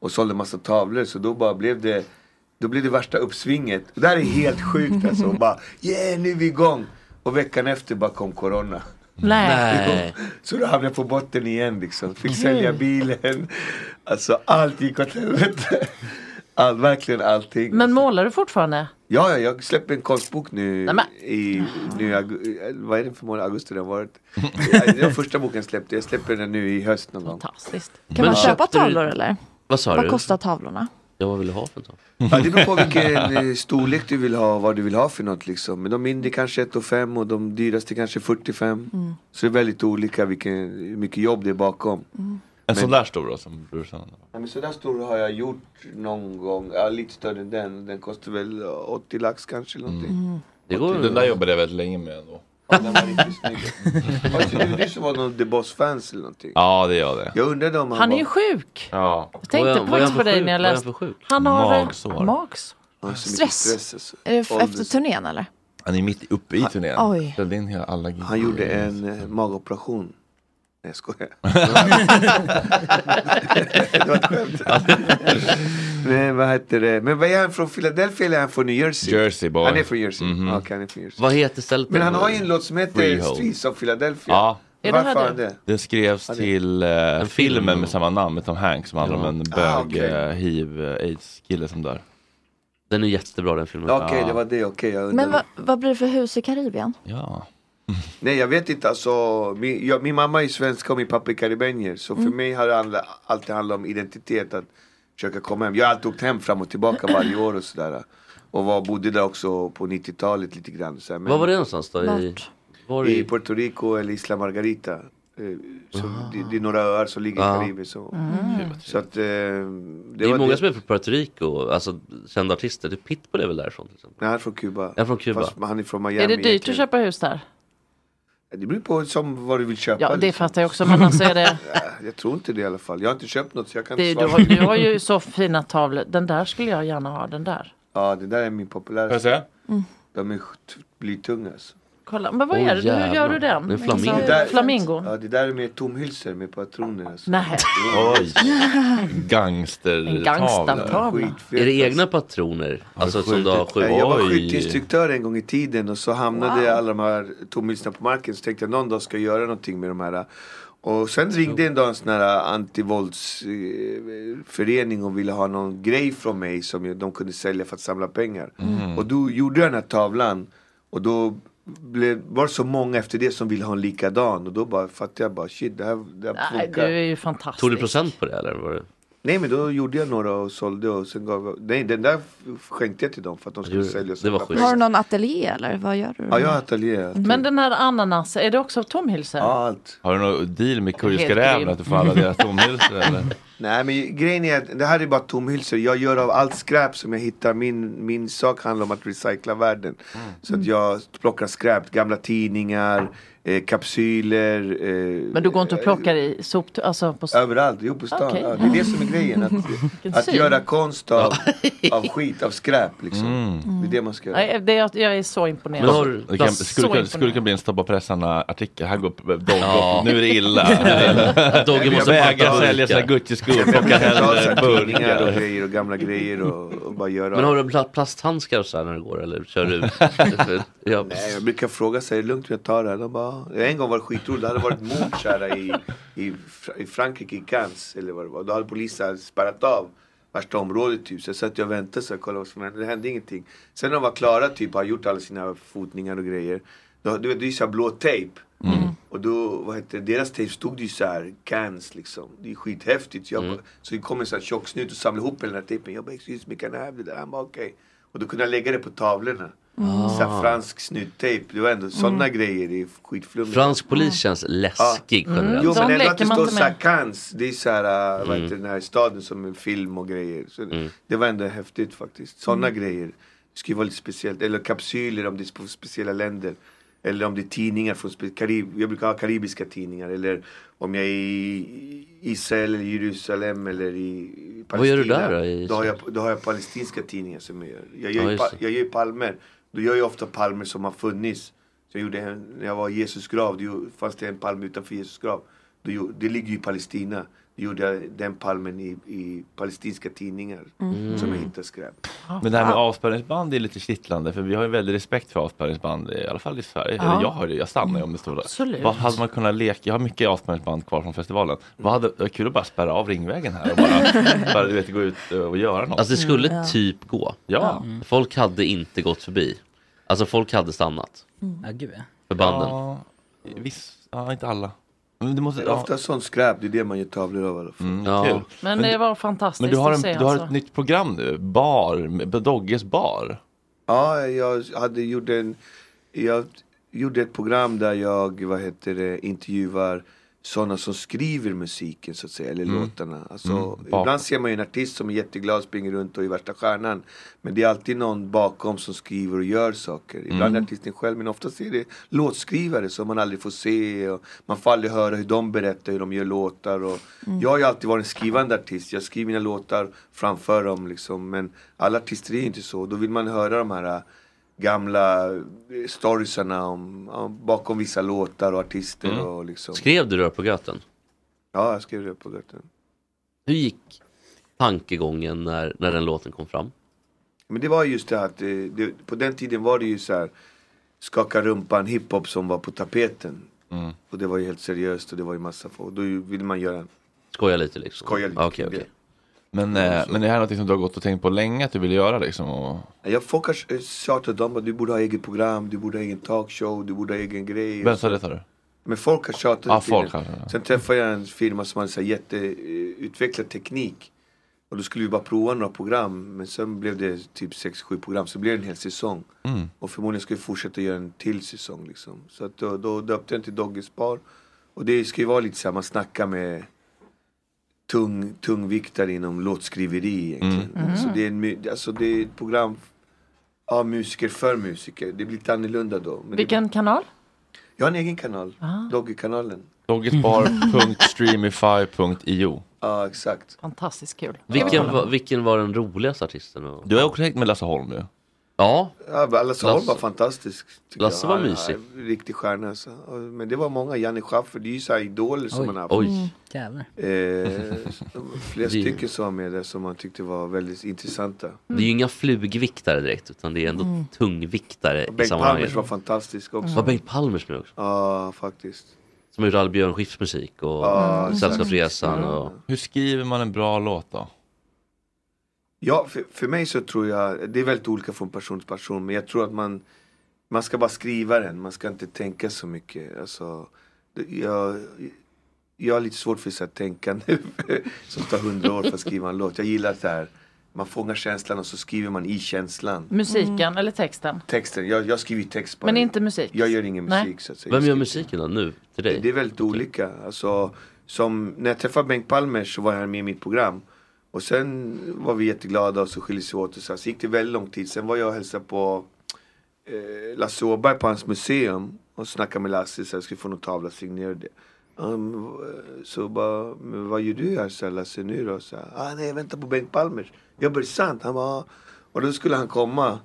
och sålde massa tavlor. Så då bara blev det, då blev det värsta uppsvinget. Och det här är helt sjukt alltså. Och bara, yeah nu är vi igång! Och veckan efter bara kom corona.
Nej.
Jo, Så då hamnade jag på botten igen liksom. Fick sälja bilen. Alltså allt gick åt helvete. All, verkligen allting.
Men målar du fortfarande?
Ja, ja, jag släpper en konstbok nu
Nej, men-
i, nu i augusti, vad är det för månad? Augusti den har varit. Det var första boken jag släppte, jag släpper den nu i höst någon gång.
Fantastiskt.
Kan man köpa tavlor eller?
Vad sa
Vad
du?
kostar tavlorna?
Jag vad vill du ha för tavla?
Ja, det beror på vilken eh, storlek du vill ha och vad du vill ha för något liksom. Men de mindre kanske 1 och 5 och de dyraste kanske 45.
Mm.
Så det är väldigt olika vilken, hur mycket jobb det är bakom.
En
Men-
sån där stor då som brorsan?
Ja, men sådär stor har jag gjort någon gång. Ja, lite större än den. Den kostar väl 80 lax kanske eller någonting.
Det går... Den där jobbade jag väldigt länge med ändå.
Ja, den var riktigt snygg. Var det inte du som var någon The Boss-fans eller någonting?
Ja, det gör det.
Jag undrade om han,
Han är
var...
ju sjuk.
Ja.
Jag tänkte faktiskt på dig när jag läste. Han har
Magsår.
Mags.
Stress. stress alltså.
Är det f- efter turnén eller?
Han är mitt uppe i turnén.
Oj.
Ställde in hela alla gig.
han gjorde en eh, magoperation. Nej, jag skojar. det var ett skämt. Nej, vad heter det? Men vad är han från Philadelphia eller är han från New Jersey?
Jersey boy.
Han är från Jersey.
Mhm.
Ja, Okej, han är från Jersey.
Vad heter stället?
Men han har ju en låt som heter
Freehold.
eh, Streets of Philadelphia.
Ja.
Varför har han det?
Det skrevs till eh, filmen med samma namn med Tom Hanks som handlar om en bög
Ah, okej.
eh, hiv eh, aids kille som dör.
Den är jättebra den filmen.
Okej, det var det. Okej, jag
Men
undrade.
vad, vad blir det för hus i Karibien?
Ja.
Nej jag vet inte, alltså, min, jag, min mamma är svenska och min pappa är karibenier. Så för
Mm.
mig har det handla- alltid handlat om identitet, att försöka komma hem. Jag har alltid åkt hem fram och tillbaka varje år och sådär. Och var, bodde där också på 90-talet lite grann. Så här, men,
Var var det någonstans då? I... Var
I
i...
Puerto Rico eller Isla Margarita. Eh, Så det, det är några öar som ligger
Ah.
i Karibien. Så,
Mm.
så att, eh, det,
Det är många som är från Puerto Rico, alltså kända artister. Det Pitbull är väl därifrån till exempel?
Nej, han är från Kuba.
Jag är från Kuba.
Fast han är från Miami.
Är det dyrt att
egentligen.
köpa hus där?
Det beror på som vad du vill köpa.
Ja, det
liksom.
fattar jag också. Men alltså är det...
Ja, Jag tror inte det i alla fall. Jag har inte köpt något så jag kan
det är,
inte
du,
svara
har,
på det.
du har ju så fina tavlor. Den där skulle jag gärna ha, den där.
Ja, det där är min populäraste.
Får jag
Mm.
De är sj- blytunga alltså.
Kolla, men vad
Åh,
är det? Hur gör
jävlar.
du den?
Det är flamingo.
Alltså,
Det där-
flamingon.
Ja, det där är med tomhylsor med patroner alltså.
Nej.
Oj.
Gangster...
En gangstertavla. Skitfet,
Är det egna patroner? Alltså som du har skjutit?
Nej, Jag var
Oj.
skytteinstruktör en gång i tiden och så hamnade
Wow.
alla de här tomhylsorna på marken. Så tänkte jag någon dag ska jag göra någonting med de här. Och sen ringde en dag en sån här antivåldsförening och ville ha någon grej från mig som jag- de kunde sälja för att samla pengar.
Mm.
Och då gjorde jag den här tavlan och då blev, var det så många efter det som ville ha en likadan och då bara fattade jag bara shit det här, det här
Nej, du
funkar.
är ju fantastisk.
Tog du
Procent på det eller? Var det...
Nej men då gjorde jag några och sålde och sen gav jag, nej den där skänkte jag till dem för att de skulle sälja och samla pengar.
Har du någon ateljé eller vad gör du?
Ja, jag har ateljé.
Men den här ananas, är det också av tomhylsor?
Allt.
Har du någon deal med kurdiska
Helt
räven
grym.
att du får alla deras tomhylsor eller?
Nej men grejen är att det här är bara tomhylsor. Jag gör av allt skräp som jag hittar. Min, min sak handlar om att recycla världen.
Mm-hmm.
Så att jag plockar skräp, gamla tidningar, eh, kapsyler. Eh,
Men du går inte och plockar i sop... Alltså på...
Överallt, jo på stan.
Okej.
Ja, det är det som är grejen.
Vilken
Att, att
syn.
göra konst av, av skit, av skräp liksom.
Mm.
Det är det man ska göra.
Nej, det, jag, jag är så imponerad.
Men har, det
Jag är
kan,
så
skulle, kunna,
imponerad.
skulle kunna bli en stoppa pressarna artikel. Här går Dogge
Ja.
upp. Nu är det illa.
Dogge måste
Vägrar
panta
sälja sina
burkar.
Gucci-skor.
Jag
Plockar hellre
Tidningar och
burkar.
grejer och gamla grejer och, och bara göra
Men
av.
har du pla- plasthandskar och så här när du går eller kör du? ja.
Nej, jag brukar fråga sig, är det lugnt om jag tar det här? De bara, "Ja." en gång var det skitroligt, det hade varit mord så här, i, i, Fra- i Frankrike, i Cannes eller vad det var. Då hade polisen spärrat av värsta området typ. Så jag satt jag och väntade så här, kollade vad som hände. Det hände ingenting. Sen när de var klara typ, har gjort alla sina fotningar och grejer. Då, du vet, det är ju såhär blå tejp. Och då, vad heter det, deras tejp stod ju så här, Cannes liksom. Det är skithäftigt. Jag,
Mm.
bara- Så det kom en sån här tjock snut och samlade ihop hela den här tejpen. Jag bara, excuse me, can I have det där? Han bara, okej. Och då kunde jag lägga det på tavlorna.
Mm.
Så här
Ah. Mm.
fransk snuttejp. Det var ändå sådana grejer. Det är skitflummigt.
Fransk polis känns läskig
Ja.
generellt.
Mm. Jo men ändå att det står
inte med.
Sakans. Det är så här, äh, vad
Mm.
heter den här staden som en film och grejer. Så Det var ändå häftigt faktiskt. Sådana grejer. Det skulle ju vara lite speciellt. Eller kapsyler om det är på speciella länder. Eller om det är tidningar från spe- Karib Jag brukar ha karibiska tidningar. Eller om jag är i Israel eller Jerusalem eller i i Palestina.
Vad gör du där då, i
Då har jag, då har jag palestinska tidningar som jag gör. Jag
Ja,
gör, ju,
just
pa-
det.
jag gör ju palmer. Då gör jag ofta palmer som har funnits. Så jag gjorde en, när jag var i Jesus grav, då fanns det en palm utanför Jesus grav. Då, gjo- det ligger ju i Palestina. gjorde jag den palmen i, i palestinska tidningar
Mm.
som jag hittade skräp.
Men det här med avspärrningsband är lite kittlande för vi har ju väldigt respekt för avspärrningsband i alla fall i Sverige.
Ja.
Eller jag har det, jag stannar ju om det står
Absolut.
Vad hade man kunnat leka? Jag har mycket avspärrningsband kvar från festivalen. Vad hade, det var kul att bara spärra av Ringvägen här och bara, bara du vet, gå ut och göra något.
Alltså det skulle
Mm, ja.
typ gå.
Ja.
Folk hade inte gått förbi. Alltså folk hade stannat.
Ja, gud ja.
För banden.
Ja, visst, ja, inte alla. Men du måste,
Det är ofta sånt skräp, det är det man gör tavlor av i alla fall.
ja. kul.
Men det var fantastiskt
Men du har,
att se
en, du har
alltså.
ett nytt program nu, bar, med Dogges bar.
Ja, jag hade gjort en... Jag gjorde ett program där jag, vad heter det, intervjuar sådana som skriver musiken så att säga, eller
Mm.
låtarna. Alltså,
Mm, bakom.
Ibland ser man ju en artist som är jätteglad, springer runt och är värsta stjärnan. Men det är alltid någon bakom som skriver och gör saker. Ibland
Mm.
är artisten själv, men oftast är det låtskrivare som man aldrig får se. Och man får aldrig höra hur de berättar hur de gör låtar. Och
Mm.
Jag har ju alltid varit en skrivande artist. Jag skriver mina låtar framför dem liksom. Men alla artister är ju inte så. Då vill man höra de här äh, gamla eh, storiesarna om, om, bakom vissa låtar och artister
Mm.
och liksom.
Skrev du rör på göten?
Ja, jag skrev det på götten.
Hur gick tankegången när, när den låten kom fram?
Men det var just det här att eh, det, på den tiden var det ju så här skaka rumpan hiphop som var på tapeten.
Mm.
Och det var ju helt seriöst och det var ju massa folk. Då vill man göra
Skoja lite liksom.
Skoja lite.
Okej, okej.
Men, eh, men det här är något som du har gått och tänkt på länge att du vill göra liksom? Och...
Jag folk har eh, tjatat om att du borde ha eget program, du borde ha egen talkshow, du borde ha egen grej.
Vem sa det sa du?
Men folk har tjatat
Ja,
i tiden.
folk har tjatat.
Sen träffade jag en firma som hade så här jätteutvecklad teknik. Och då skulle vi bara prova några program. Men sen blev det typ 6-7 program. Så blev det en hel säsong.
Mm.
Och förmodligen ska vi fortsätta göra en till säsong. Liksom. Så att då, då döpte jag den till Dogges bar. Och det ska ju vara lite så här, man snackar med tung, tungviktare inom låtskriveri egentligen.
Mm. Mm.
Så det är, en, my- alltså det är ett program av musiker för musiker. Det blir lite annorlunda då. Men det,
Vilken kanal?
jag har en egen kanal,
Ah.
Doggekanalen.
Doggetbar.streamify.io
Ja, exakt.
Fantastiskt kul.
Vilken, var- vilken var den roligaste artisten? att-
Du har också hängt med Lasse Holm nu.
Ja.
Ja, men Lasse Holm var
Lasse-
fantastisk. tycker
Lasse
jag.
var
Han-
mysig.
han är en Riktig stjärna alltså. Och- Men det var många, Janne Schaffer, det är ju så här idoler som
Oj,
man har haft.
oj. Mm, jävlar.
Eh, de- flera
Det-
stycken som var med där som man tyckte var väldigt intressanta.
Det
Mm.
är ju inga flugviktare direkt utan det är ändå
Mm.
tungviktare i
Bengt
sammanhanget.
Palmers var fantastisk också.
Var Bengt Palmers med också?
Ja, faktiskt.
Som har gjort all Björn Skifs musik och
Ja, exakt.
Sällskapsresan
Mm.
och...
Hur skriver man en bra låt då?
Ja, för, för mig så tror jag, det är väldigt olika från person till person, men jag tror att man, man ska bara skriva den, man ska inte tänka så mycket. Alltså, det- jag, jag har lite svårt för så här tänkande som tar hundra år för att skriva en låt. Jag gillar så här, man fångar känslan och så skriver man i känslan.
Musiken eller texten?
Texten, jag, jag skriver ju text bara.
Men inte musik?
Mm. Jag gör ingen
Nej.
musik så att säga. Vem gör musiken då nu till dig? Det är väldigt olika. Alltså, som, när jag träffade Bengt Palmer så var han med i mitt program. Och sen var vi jätteglada och så skildes vi åt och så, här. så gick det väldigt lång tid. Sen var jag och hälsade på eh, Lasse Åberg på hans museum och snackade med Lasse så jag skulle få någon tavla signerad. Um, så bara, "Men vad gör du här så här, Lasse nu då? Så här, ah, nej, jag väntar på Bengt Palmer. Jag bara, "Är det sant? Han bara, "Ah." och då skulle han komma.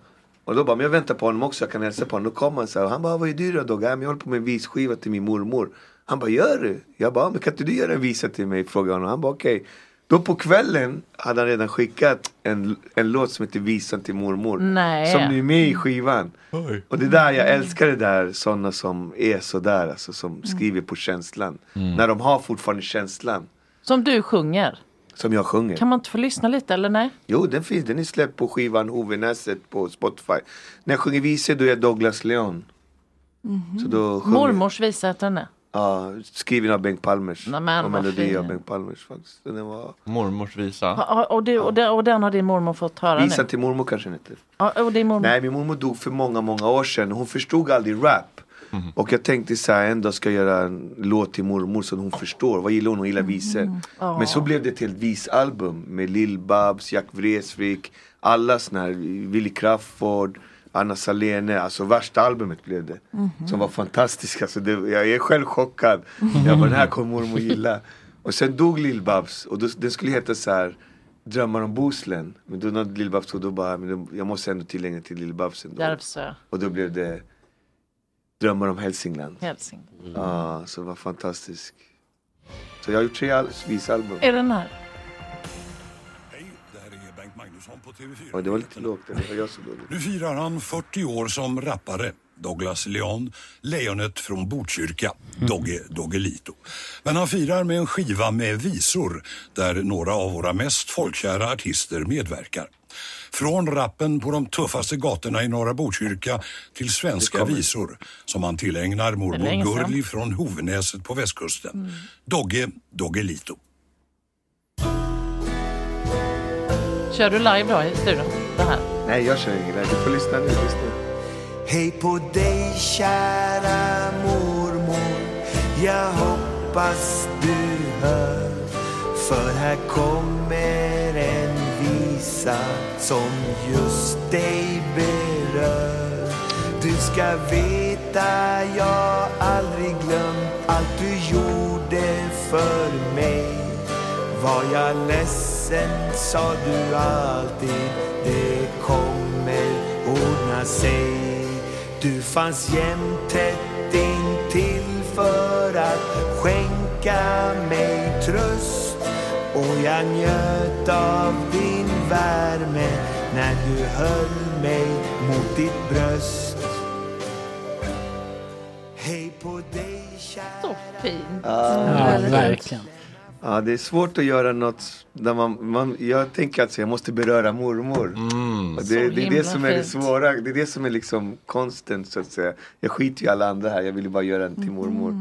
Och då bara, men jag väntar på honom också, jag kan hälsa på honom. Då kom han så här, och han bara, vad är du då Dogge? "Ah, men Jag håller på med en visskiva till min mormor. Han bara, gör du? Jag bara, "Ah, men kan inte du göra en visa till mig? Frågade honom. Han bara, okej. Då på kvällen hade han redan skickat en, en låt som heter Visan till mormor.
Nej.
Som nu är med i skivan. Och det där, jag älskar det där, sådana som är sådär, alltså
Mm.
som skriver på känslan.
Mm.
När de har fortfarande känslan,
Som du sjunger.
som jag sjunger.
Kan man inte få lyssna lite eller nej?
Jo, den finns, den är släppt på skivan Hovenäset på Spotify. När jag sjunger visor då är jag Douglas Leon. Mm-hmm. Så då sjunger,
Mm. Mormors visa heter den.
Ja, skriven av Bengt Palmers.
Nämen,
och
vad
melodi av
fin.
Bengt Palmers faktiskt. Den var...
Mormors visa.
Ja, Och, du, och, den, och den har din mormor fått höra
Visan
nu?
till mormor kanske den heter.
Ja, och din mormor.
Nej, min mormor dog för många, många år sedan. Hon förstod aldrig rap. Och jag tänkte så här, en dag ska jag göra en låt till mormor så hon förstår. Vad gillar hon? Hon gillar visor.
Mm. Ja.
Men så blev det ett helt visalbum med Lill-Babs, Jack Vreeswijk, alla såna här, Willy Crawford, Anna Salene. Alltså värsta albumet blev det.
Mhm.
Som var fantastiskt. Alltså, det, jag är själv chockad. Jag bara, den här kommer mormor gilla. Och sen dog Lill-Babs och då, den skulle heta så här Drömmar om Bohuslän. Men då när Lill-Babs dog, då bara, men då- jag måste ändå tillägna till Lill-Babs ändå.
Järvsö.
Och då blev det Drömmar om Hälsingland.
Hälsing.
Ja, så det var fantastisk. Så jag har gjort tre al- visalbum.
Är den här?
Ja, det var lite lågt. Det var jag som låg.
Nu firar han 40 år som rappare. Douglas Leon, lejonet från Botkyrka, Dogge Doggelito. Men han firar med en skiva med visor där några av våra mest folkkära artister medverkar. Från rappen på de tuffaste gatorna i norra Botkyrka till svenska visor som han tillägnar
Det är länge
mormor
sedan.
Gurli från Hovenäset på västkusten.
Mm.
Dogge Doggelito.
Kör du live då i studion? Det här?
Nej, jag kör ingen live. Du får lyssna nu. Lyssna.
Hej på dig kära mormor Jag hoppas du hör För här kommer en visa som just dig berör Du ska veta jag aldrig glömt allt du gjorde för mig Var jag ledsen sa du alltid Det kommer ordna sig Du fanns jämt tätt intill för att skänka mig tröst Och jag njöt av din värme När du höll mig mot ditt bröst Hej på dig kära Så
fint.
Mm. Ja, det är svårt att göra något där man, man jag tänker alltså jag måste beröra mormor. Och
Så
det, det är
himla
det som är det
fint.
svåra, det är det som är liksom konsten så att säga. Jag skiter ju i alla andra här, jag vill ju bara göra den
Mm.
till mormor.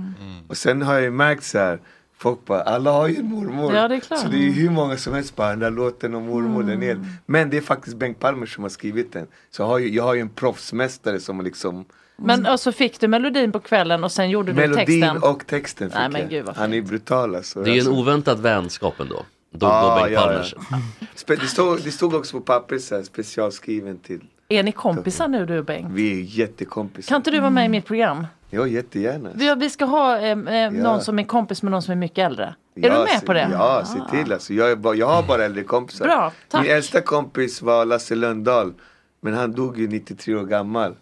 Och sen har jag ju märkt så här, folk bara, alla har ju en mormor.
Ja, det är klart. Mm.
Så det är ju hur många som helst bara, den där låten om mormor, den är. Men det är faktiskt Bengt Palmer som har skrivit den. Så jag har ju, jag har ju en proffsmästare som liksom,
Men och så fick du melodin på kvällen och sen gjorde du
melodin
texten?
och texten fick
Nej, men
jag.
gud, vad
Han är brutal alltså.
Det är ju en
Alltså.
oväntad vänskap ändå. Då
Ah,
går Bengt
ja,
Palmers.
ja.
Mm.
Spe- Det, stod, det stod också på pappret så här, specialskriven till.
Är ni kompisar nu du och Bengt?
Vi är ju jättekompisar.
Kan inte du vara med i mitt program?
Ja, jättegärna.
Vi, vi ska ha eh, eh, någon som är kompis med någon som är mycket äldre. Är
Ja,
du med
se-
på det?
Ja, se till alltså. Jag, är bara, jag har bara äldre kompisar.
Bra, tack.
Min äldsta kompis var Lasse Lundahl. Men han dog ju 93 år gammal.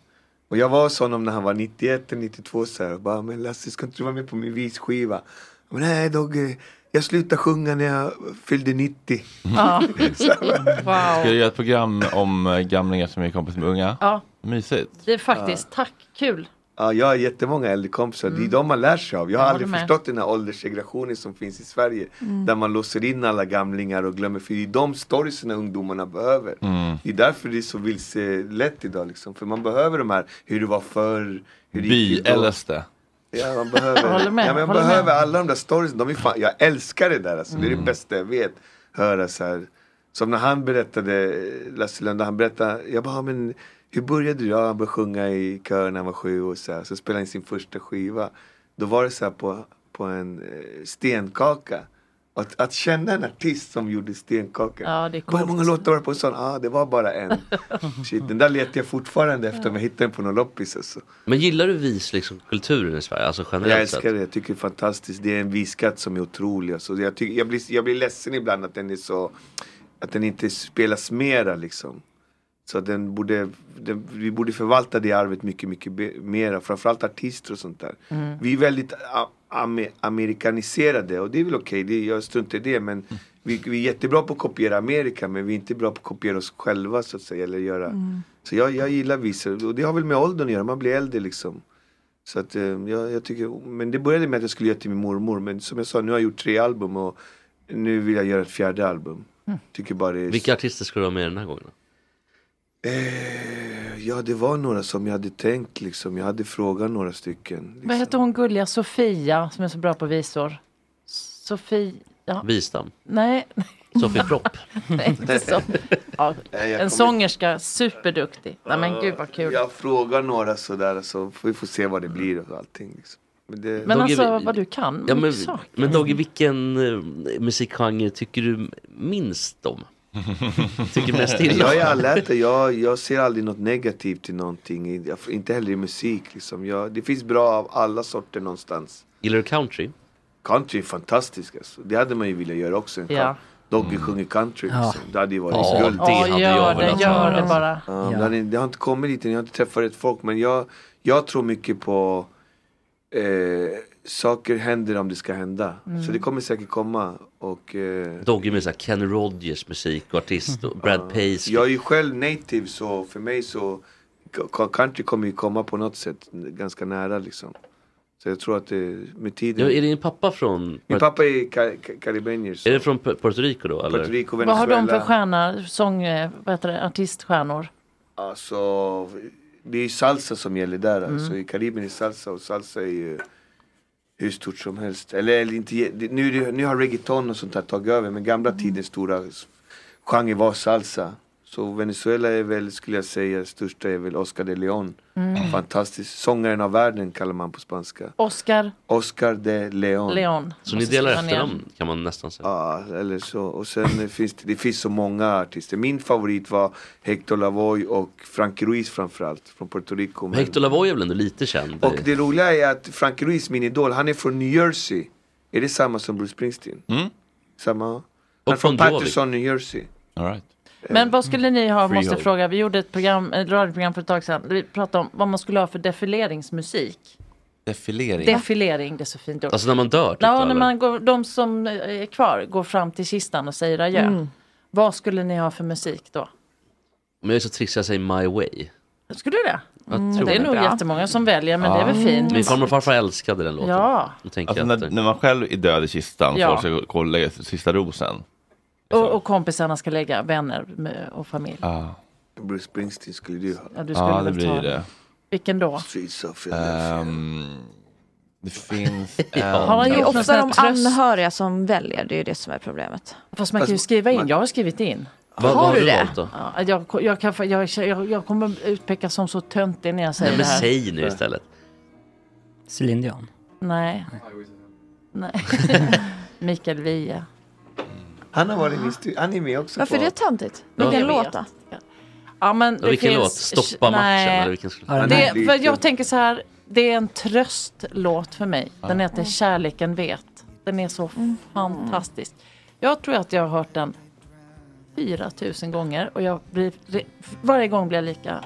Och jag var hos honom när han var 91 eller 92 så här. Och bara, men Lasse ska inte du vara med på min visskiva? Men nej Dogge, jag slutade sjunga när jag fyllde 90.
Ja.
Ska
wow.
du göra ett program om eh, gamlingar som är kompis med unga?
Ja.
Mysigt.
Det är faktiskt, tack, kul.
Ja, jag har jättemånga äldre kompisar. Det är
Mm.
de man lär sig av. Jag har
Jag
aldrig
håller med.
förstått den här ålderssegregationen som finns i Sverige.
Mm.
Där man låser in alla gamlingar och glömmer. För det är de storiesna ungdomarna behöver.
Mm.
Det är därför det är så vilselätt idag. Liksom. För man behöver de här, hur det var förr. Hur det gick till då.
By-LSD.
Ja, man
Jag
behöver,
håller med,
ja, men jag
håller
behöver
med. Mm.
alla de där storiesen. De är fan, jag älskar det där. Alltså. Det är det bästa jag vet. Höra så här. Som när han berättade, Lasse Lund, han berättade, jag bara, "Ja, men hur började du? Ja, han började sjunga i kör när han var sju och så här. Så spelade han in sin första skiva. Då var det så här på, på en eh, stenkaka. Att, att känna en artist som gjorde stenkaka.
Ja, det är
Bara, Hur många
coolt.
låtar var det på en sån? Ja, ah, det var bara en. Shit, den där letar jag fortfarande efter om jag hittar den på någon loppis. Alltså.
Men gillar du vis liksom, kulturen i Sverige? Alltså generellt
Jag
sett?
älskar det, jag tycker det är fantastiskt. Det är en viskatt som är otrolig. Alltså, jag, tycker, jag, blir, jag blir ledsen ibland att den är så... Att den inte spelas mera liksom. Så den borde, den, vi borde förvalta det arvet mycket, mycket be- mera. Framförallt artister och sånt där.
Mm.
Vi är väldigt a- ame- amerikaniserade och det är väl okej, det- jag struntar i det. Men
Mm.
vi, vi är jättebra på att kopiera Amerika men vi är inte bra på att kopiera oss själva så att säga. Eller göra.
Mm.
Så jag, jag gillar visor och det har väl med åldern att göra, man blir äldre liksom. Så att eh, jag, jag tycker, men det började med att jag skulle göra till min mormor men som jag sa nu har jag gjort tre album och nu vill jag göra ett fjärde album.
Mm.
Tycker bara det är
Vilka artister ska du ha med den här gången? då?
Eh, Ja, det var några som jag hade tänkt liksom. Jag hade frågat några stycken.
Vad heter hon gulliga Sofia som är så bra på visor? Sofia?
Wistam.
Nej.
Sofie Propp.
Nej, inte så. Ja,
Nej, jag
en
kommer-
sångerska, superduktig. Nej men gud vad kul.
Jag frågar några sådär så får vi får se vad det blir och allting. Liksom. Men, det...
Men
Dogge,
alltså
vi-
vad du kan.
Ja, men,
också.
men Dogge, vilken eh, musikgenre tycker du minst om? Tycker mest illa om?
Jag är allätare, jag, jag ser aldrig något negativt i någonting. i- jag- Inte heller i musik liksom. Jag, det finns bra av alla sorter någonstans.
Gillar du country?
Country är fantastiskt alltså. Det hade man ju velat göra också. En
Ja.
Dogge sjunger country
Ja.
liksom. Det hade ju varit
Mm. Ja,
guld.
det Ja, hade jag gör det, velat gör höra, det alltså. bara.
Ja, men
Ja.
det hade- Det har inte kommit dit än, jag har inte träffat rätt folk. Men jag, jag tror mycket på eh, saker händer om det ska hända.
Mm.
Så det kommer säkert komma. Och, eh,
Dogge med så här Kenny Rogers musik och artist och Brad Paisley.
jag är ju själv native så för mig så k- country kommer ju komma på något sätt ganska nära liksom. Så jag tror att det, med tiden.
Ja, är din pappa från...
Min pappa är ka- ka- karibenier. så-
Är det från Pu- Puerto Rico då? Eller?
Puerto Rico,
Vad har de för
Venezuela.
stjärna, sång, eh, vad heter det, artiststjärnor?
Alltså, det är ju salsa som gäller där.
Mm.
Alltså, I Karibien är salsa och salsa är ju hur stort som helst. Eller, eller inte, ge- det- nu, är det- nu har reggaeton och sånt här tagit över men gamla
Mm.
tidens stora s- genre var salsa. Så Venezuela är väl, skulle jag säga, största är väl Oscar de Leon.
Mm.
Fantastisk. Sångaren av världen kallar man på spanska.
Oscar
Oscar de Leon.
Leon.
Så
ni Måste delar skriva ner. efternamn,
kan man nästan säga.
Ja, eller så. Och sen eh, finns det, det finns så många artister. Min favorit var Hector Lavoe och Frankie Ruiz framförallt från Puerto Rico. Men-
Hector Lavoe är väl ändå lite känd?
Och det roliga är att Frankie Ruiz, min idol, han är från New Jersey. Är det samma som Bruce Springsteen?
Mm.
Samma? Han är
Och
från
Bon Jovi.
Patterson, New Jersey. Eh,
All right.
Men
Eh,
vad skulle ni ha,
Freehold.
måste fråga, vi gjorde ett program, ett radioprogram för ett tag sedan, där vi pratade om vad man skulle ha för defileringsmusik.
Defilering.
Defilering, det är så fint ord.
Alltså när man dör? typ,
Ja, när
eller?
man går, de som eh, är kvar går fram till kistan och säger adjö.
Mm.
Vad skulle ni ha för musik då?
Men jag är så trist, jag säger My Way.
Skulle det? Mm,
Jag tror
det är
det.
nog
Bra.
jättemånga som väljer, men det är väl fint.
Min farmor och farfar älskade den låten.
Ja.
Jag tänker
Alltså,
att
när, när man själv är död i kistan och
Ja.
folk ska gå- gå och lägga sista rosen.
Och, och kompisarna ska lägga, vänner med- och familj.
Ja,
Bruce Springsteen skulle du ha.
Ja, du skulle
Ah. Ja, det
väl
blir
ta
det.
Vilken då?
Streets of
Ehm, det finns en...
det är ofta de
tröst-
anhöriga som väljer, det är ju det som är problemet.
Fast man kan
Alltså,
Alltså,
ju skriva in, jag har skrivit in.
Vad- Har vad har du du det? valt
då?
Ja, jag, jag, kan, jag, jag, jag kommer utpekas som så töntig när jag säger
Nej,
det
men
här.
säg-
säg nu istället.
Céline Dion.
Nej. Nej. Mikael Wiehe.
Han har varit min stu- Han är med också.
Varför
på-
är det töntigt?
Ja.
Vilken
Jag
låt
vet.
då?
Ja, men
Ja,
det
vilken
finns...
låt? Stoppa matchen, eller vilken skulle- Ja, den här
det,
blir
för
lite-
Jag tänker så här, det är en tröstlåt för mig. Den
Ja.
heter Kärleken vet. Den är så
Mm.
fantastisk. Jag tror att jag har hört den 4000 gånger och jag blir, varje gång blir jag lika...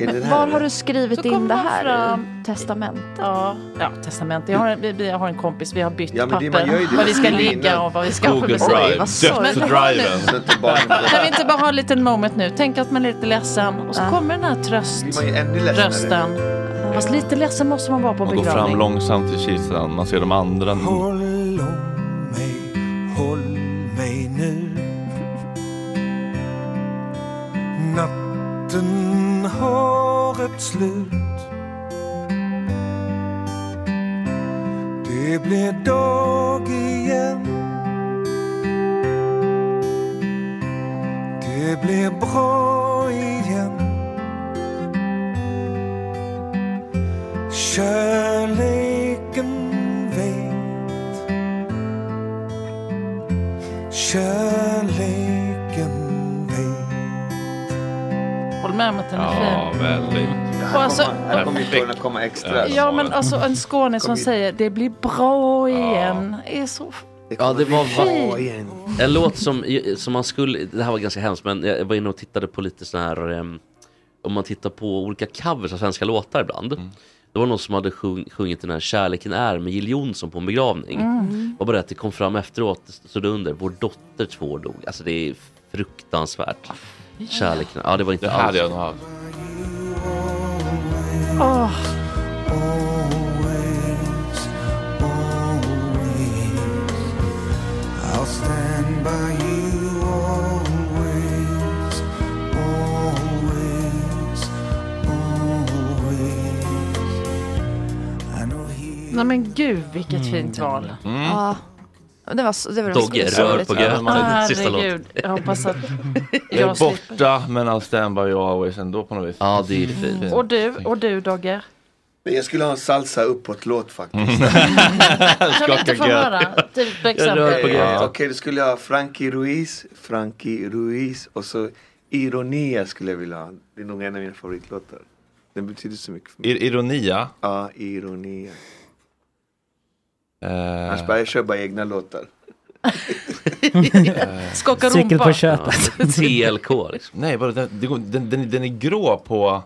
Är det det här,
Var
eller?
har du skrivit
Så
in
kommer
det
man
här?
fram-
i Testament?
Ja, ja testamente. Jag har, en, vi- vi, jag har en kompis, vi har bytt
Ja, men det-
papper.
man gör ju det.
Var vi ska
Skriver
ligga
innan.
och vad vi ska ha för
Google
musik.
Drive. Vad sorgligt.
Driven.
Så att barnen-
Kan vi inte bara ha en liten moment nu? Tänk att man är lite ledsen och så kommer den här tröst,
Blir man ju ännu ledsenare.
rösten. Fast lite ledsen måste man vara på
Man går fram
begravning.
långsamt till kistan, man ser de andra.
Håll om mig, håll mig nu Natten har ett slut Det blir dag igen Det blir bra igen Kärleken vet Kärleken
Håll med om att den är
Ja,
fin.
väldigt.
Och alltså,
Här kommer tårarna komma extra.
ja men alltså en skåning som säger det blir bra igen. Är så...
Ja, det var
Fint.
en låt som, som man skulle, det här var ganska hemskt men jag var inne och tittade på lite sån här, em, om man tittar på olika covers av svenska låtar ibland.
Mm.
Det var någon som hade sjung, sjungit den här Kärleken är med Jill Johnson på en begravning.
Mm.
Och bara det att det kom fram efteråt, det stod under, vår dotter två dog. Alltså det är fruktansvärt. Kärleken, ja det var inte
Det här
alls.
hade jag nog haft.
Åh.
Always, always, I'll stand by you always, always, always. I know he
Nej men gud vilket
Mm,
fint val.
Mm.
Ja. Det var, så- det var
Dogge,
så-
rör på
sorgligt.
gröten.
Åh,
Sista låt.
Ah, herregud, jag hoppas att
Jag
jag
är
slipper.
borta men I'll stand by you always ändå på något vis.
Ja det är
Mm. Och du, och du Dogge?
Men jag skulle ha en salsa uppåt-låt faktiskt.
Mm.
Kan vi inte få höra? Typ
Eh,
exempel.
Okej, då skulle jag ha Frankie Ruiz, Frankie Ruiz och så Ironia skulle jag vilja ha. Det är nog en av mina favoritlåtar. Den betyder så mycket för mig.
I- Ironia.
Ja, Ironia.
Eh,
Annars bara jag kör bara egna låtar.
Skaka
Cykel på köpet.
TLK liksom.
Nej, vadå, den, det går- den, den, den är grå på...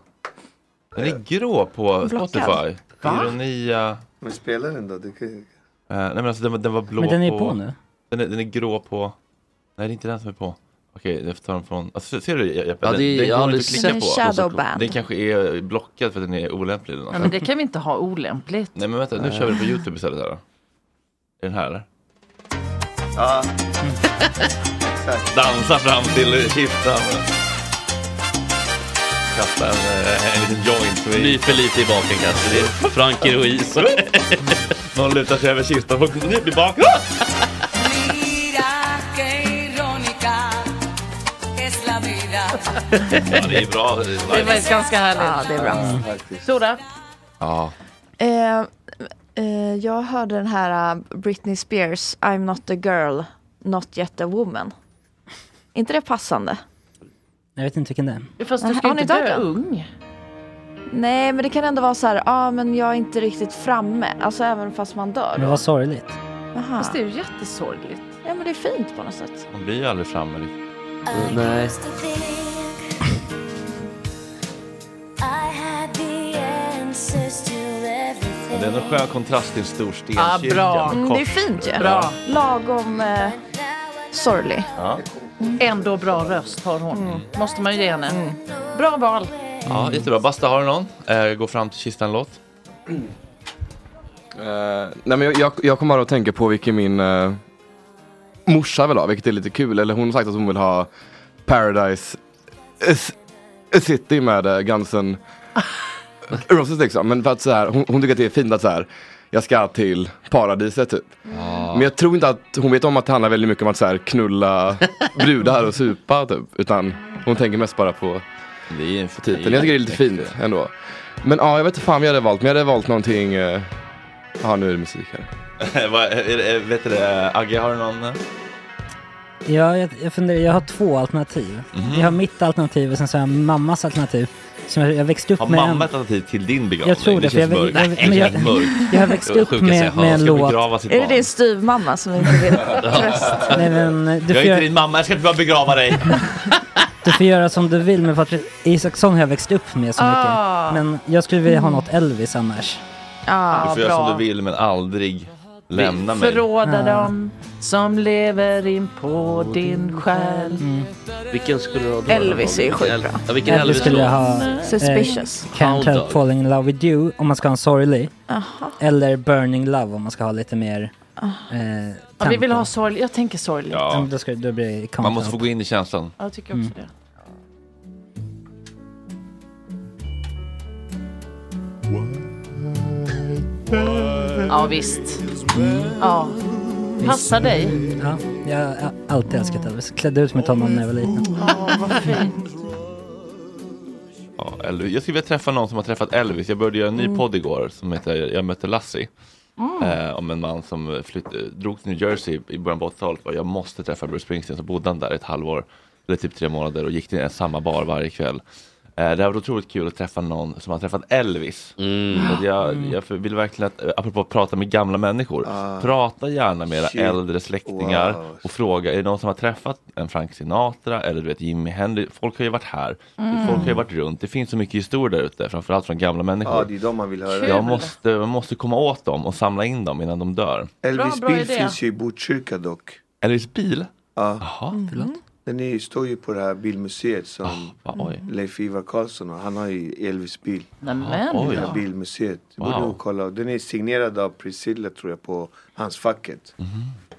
Den är grå på
Blockad.
Spotify.
Va?
Ironia.
Men spela den då. Det kan...
Eh, nej men alltså den, var- den var blå
Men den är
på...
på nu.
Den är, den är grå på... Nej det är inte den som är på. Okej, jag får ta den från... Alltså, ser du Jeppe?
Ja,
Den-
det är-
den
jag
går
har
inte
aldrig
att klicka
sett- Shadowban.
Den kanske är blockad för att den är olämplig eller något.
Nej, men det kan vi inte ha olämpligt.
Nej men vänta, nu kör vi det på YouTube istället här då. Är den här eller?
Ja.
Dansa fram till kista. Kasta en, eh, en liten joint. Nyper lite i bakenkastet. Det är Frank Ruiz. Någon lutar sig över kistan och nyper i baken.
Mira qué irónica es la vida.
Ja, det är bra.
Det var ganska härligt.
Ja, det är bra.
Mm.
Sora?
Ja.
Eh, eh, jag hörde den här eh, Britney Spears I'm not a girl, not yet a woman. inte det passande?
Jag vet inte vilken det är.
Fast du
Nej,
ska
har
ju
ni
inte
inte hört
dö
den?
ung.
Nej, men det kan ändå vara så här, ja ah, men jag är inte riktigt framme. Alltså även fast man dör.
Men vad sorgligt.
Fast
det är ju jättesorgligt.
Ja, men det är fint på något sätt.
Hon blir ju aldrig framme riktigt.
Mm,
Nej.
I had the answers to
Men
everything.
det är en skön kontrast till storstenkyrkan.
Ja,
Kort.
Mm, det är fint ju.
Ja.
Lagom eh, sorglig. Mm.
Ja.
Ändå bra röst har hon. Måste man ju ge henne. Bra val.
Mm.
ja, jättebra. Basta, har du någon? Eh, gå fram till kistan-låt.
Eh, nej men jag, jag, jag kommer bara att tänka på vilken min eh, morsa vill ha, vilket är lite kul. Eller hon har sagt att hon vill ha Paradise S- City med uh, Gansen Roses liksom. Men för att så här, hon, hon tycker att det är fint att så här, jag ska till paradiset typ.
Ah.
Men jag tror inte att hon vet om att det handlar väldigt mycket om att så här, knulla brudar och supa typ. Utan hon tänker mest bara på
det är
titeln. Jag tycker det är lite fint ändå. Men ja, jag vet inte fan vad jag hade valt. Men jag hade valt någonting... eh, Ja, nu är det musik här.
Vad- är det- eh, Vet du det, Agge, har du någon? eh?
Ja, jag, jag funderar, jag har två alternativ.
Mhm.
Jag har mitt alternativ och sen så har jag mammas alternativ. Som jag, jag växte upp
Har
med
mamma
en-
ett alternativ till din begravning?
Jag tror det, för
känns
jag-
mörkt.
jag-
Nej,
men
det
jag-
känns mörkt.
jag har växt
Det var
upp
sjukaste jag
med-
hört.
med en
Ska
låt.
begrava sitt
Är det
barn?
din styvmamma som inte vill tröst?
Nej, men, eh, du
jag
får
är inte
göra,
din mamma, jag ska inte bara begrava dig.
du får göra som du vill med Patrik Isaksson har jag växt upp med så mycket.
Ah.
Men jag skulle vilja ha något Elvis annars.
Ja,
du får göra som du vill men aldrig lämna mig.
Förråda dem som lever in på din själ.
Vilken skulle du ha då?
Elvis är ju skitbra.
Ja, vilken
Elvis
Elvis
skulle jag ha
låt?
Suspicious.
Eh, Can't
Hound
help
Dog.
falling in love with you om man ska ha en sorglig.
Aha.
Eller Burning love om man ska ha lite mer... Eh,
Ah. Ja, vi
tempo.
vill ha sorg. Jag tänker sorgligt.
Ja, men Då, ska, då blir det Count
Man måste
Up.
få gå in i känslan.
Ja, jag tycker också det. Ja, visst. Ja. Passar dig.
Ja, jag har alltid älskat Elvis. Klädde ut mig till honom när jag var liten.
vad fint.
Ja, Elvis. Jag skulle vilja träffa någon som har träffat Elvis. Jag började göra en ny podd igår som heter Jag mötte Lassie.
Mm.
Eh, om en man som flytt, eh, drog till New Jersey i början på 80-talet. och Jag måste träffa Bruce Springsteen. Så bodde han där ett halvår, eller typ tre månader och gick till en samma bar varje kväll. Eh, det har varit otroligt kul att träffa någon som har träffat Elvis. Så att jag,
Mm. Ah.
jag vill verkligen att, eh, apropå att prata med gamla människor, prata gärna med era
Shit.
äldre släktingar
Wow.
och fråga, är det någon som har träffat en Frank Sinatra eller du vet Jimi Hendrix? Folk har ju varit här,
Mm.
folk har ju varit runt. Det finns så mycket historier där ute, framförallt från gamla människor.
Ja, det är de man vill höra.
Jag måste, man måste komma åt dem och samla in dem innan de dör.
Elvis bil finns ju i Botkyrka dock.
Elvis bil?
Ja.
Jaha. Förlåt?
Mm.
Den är, ju- står ju på det här bilmuseet som
va, Ah, oj.
Leif-Ivar Karlsson har. Han har ju Elvis bil.
Mm. Nämen.
Det
Oj.
här bilmuseet. Du borde
Ah, Wow.
nog kolla. Den är signerad av Priscilla tror jag på hans facket.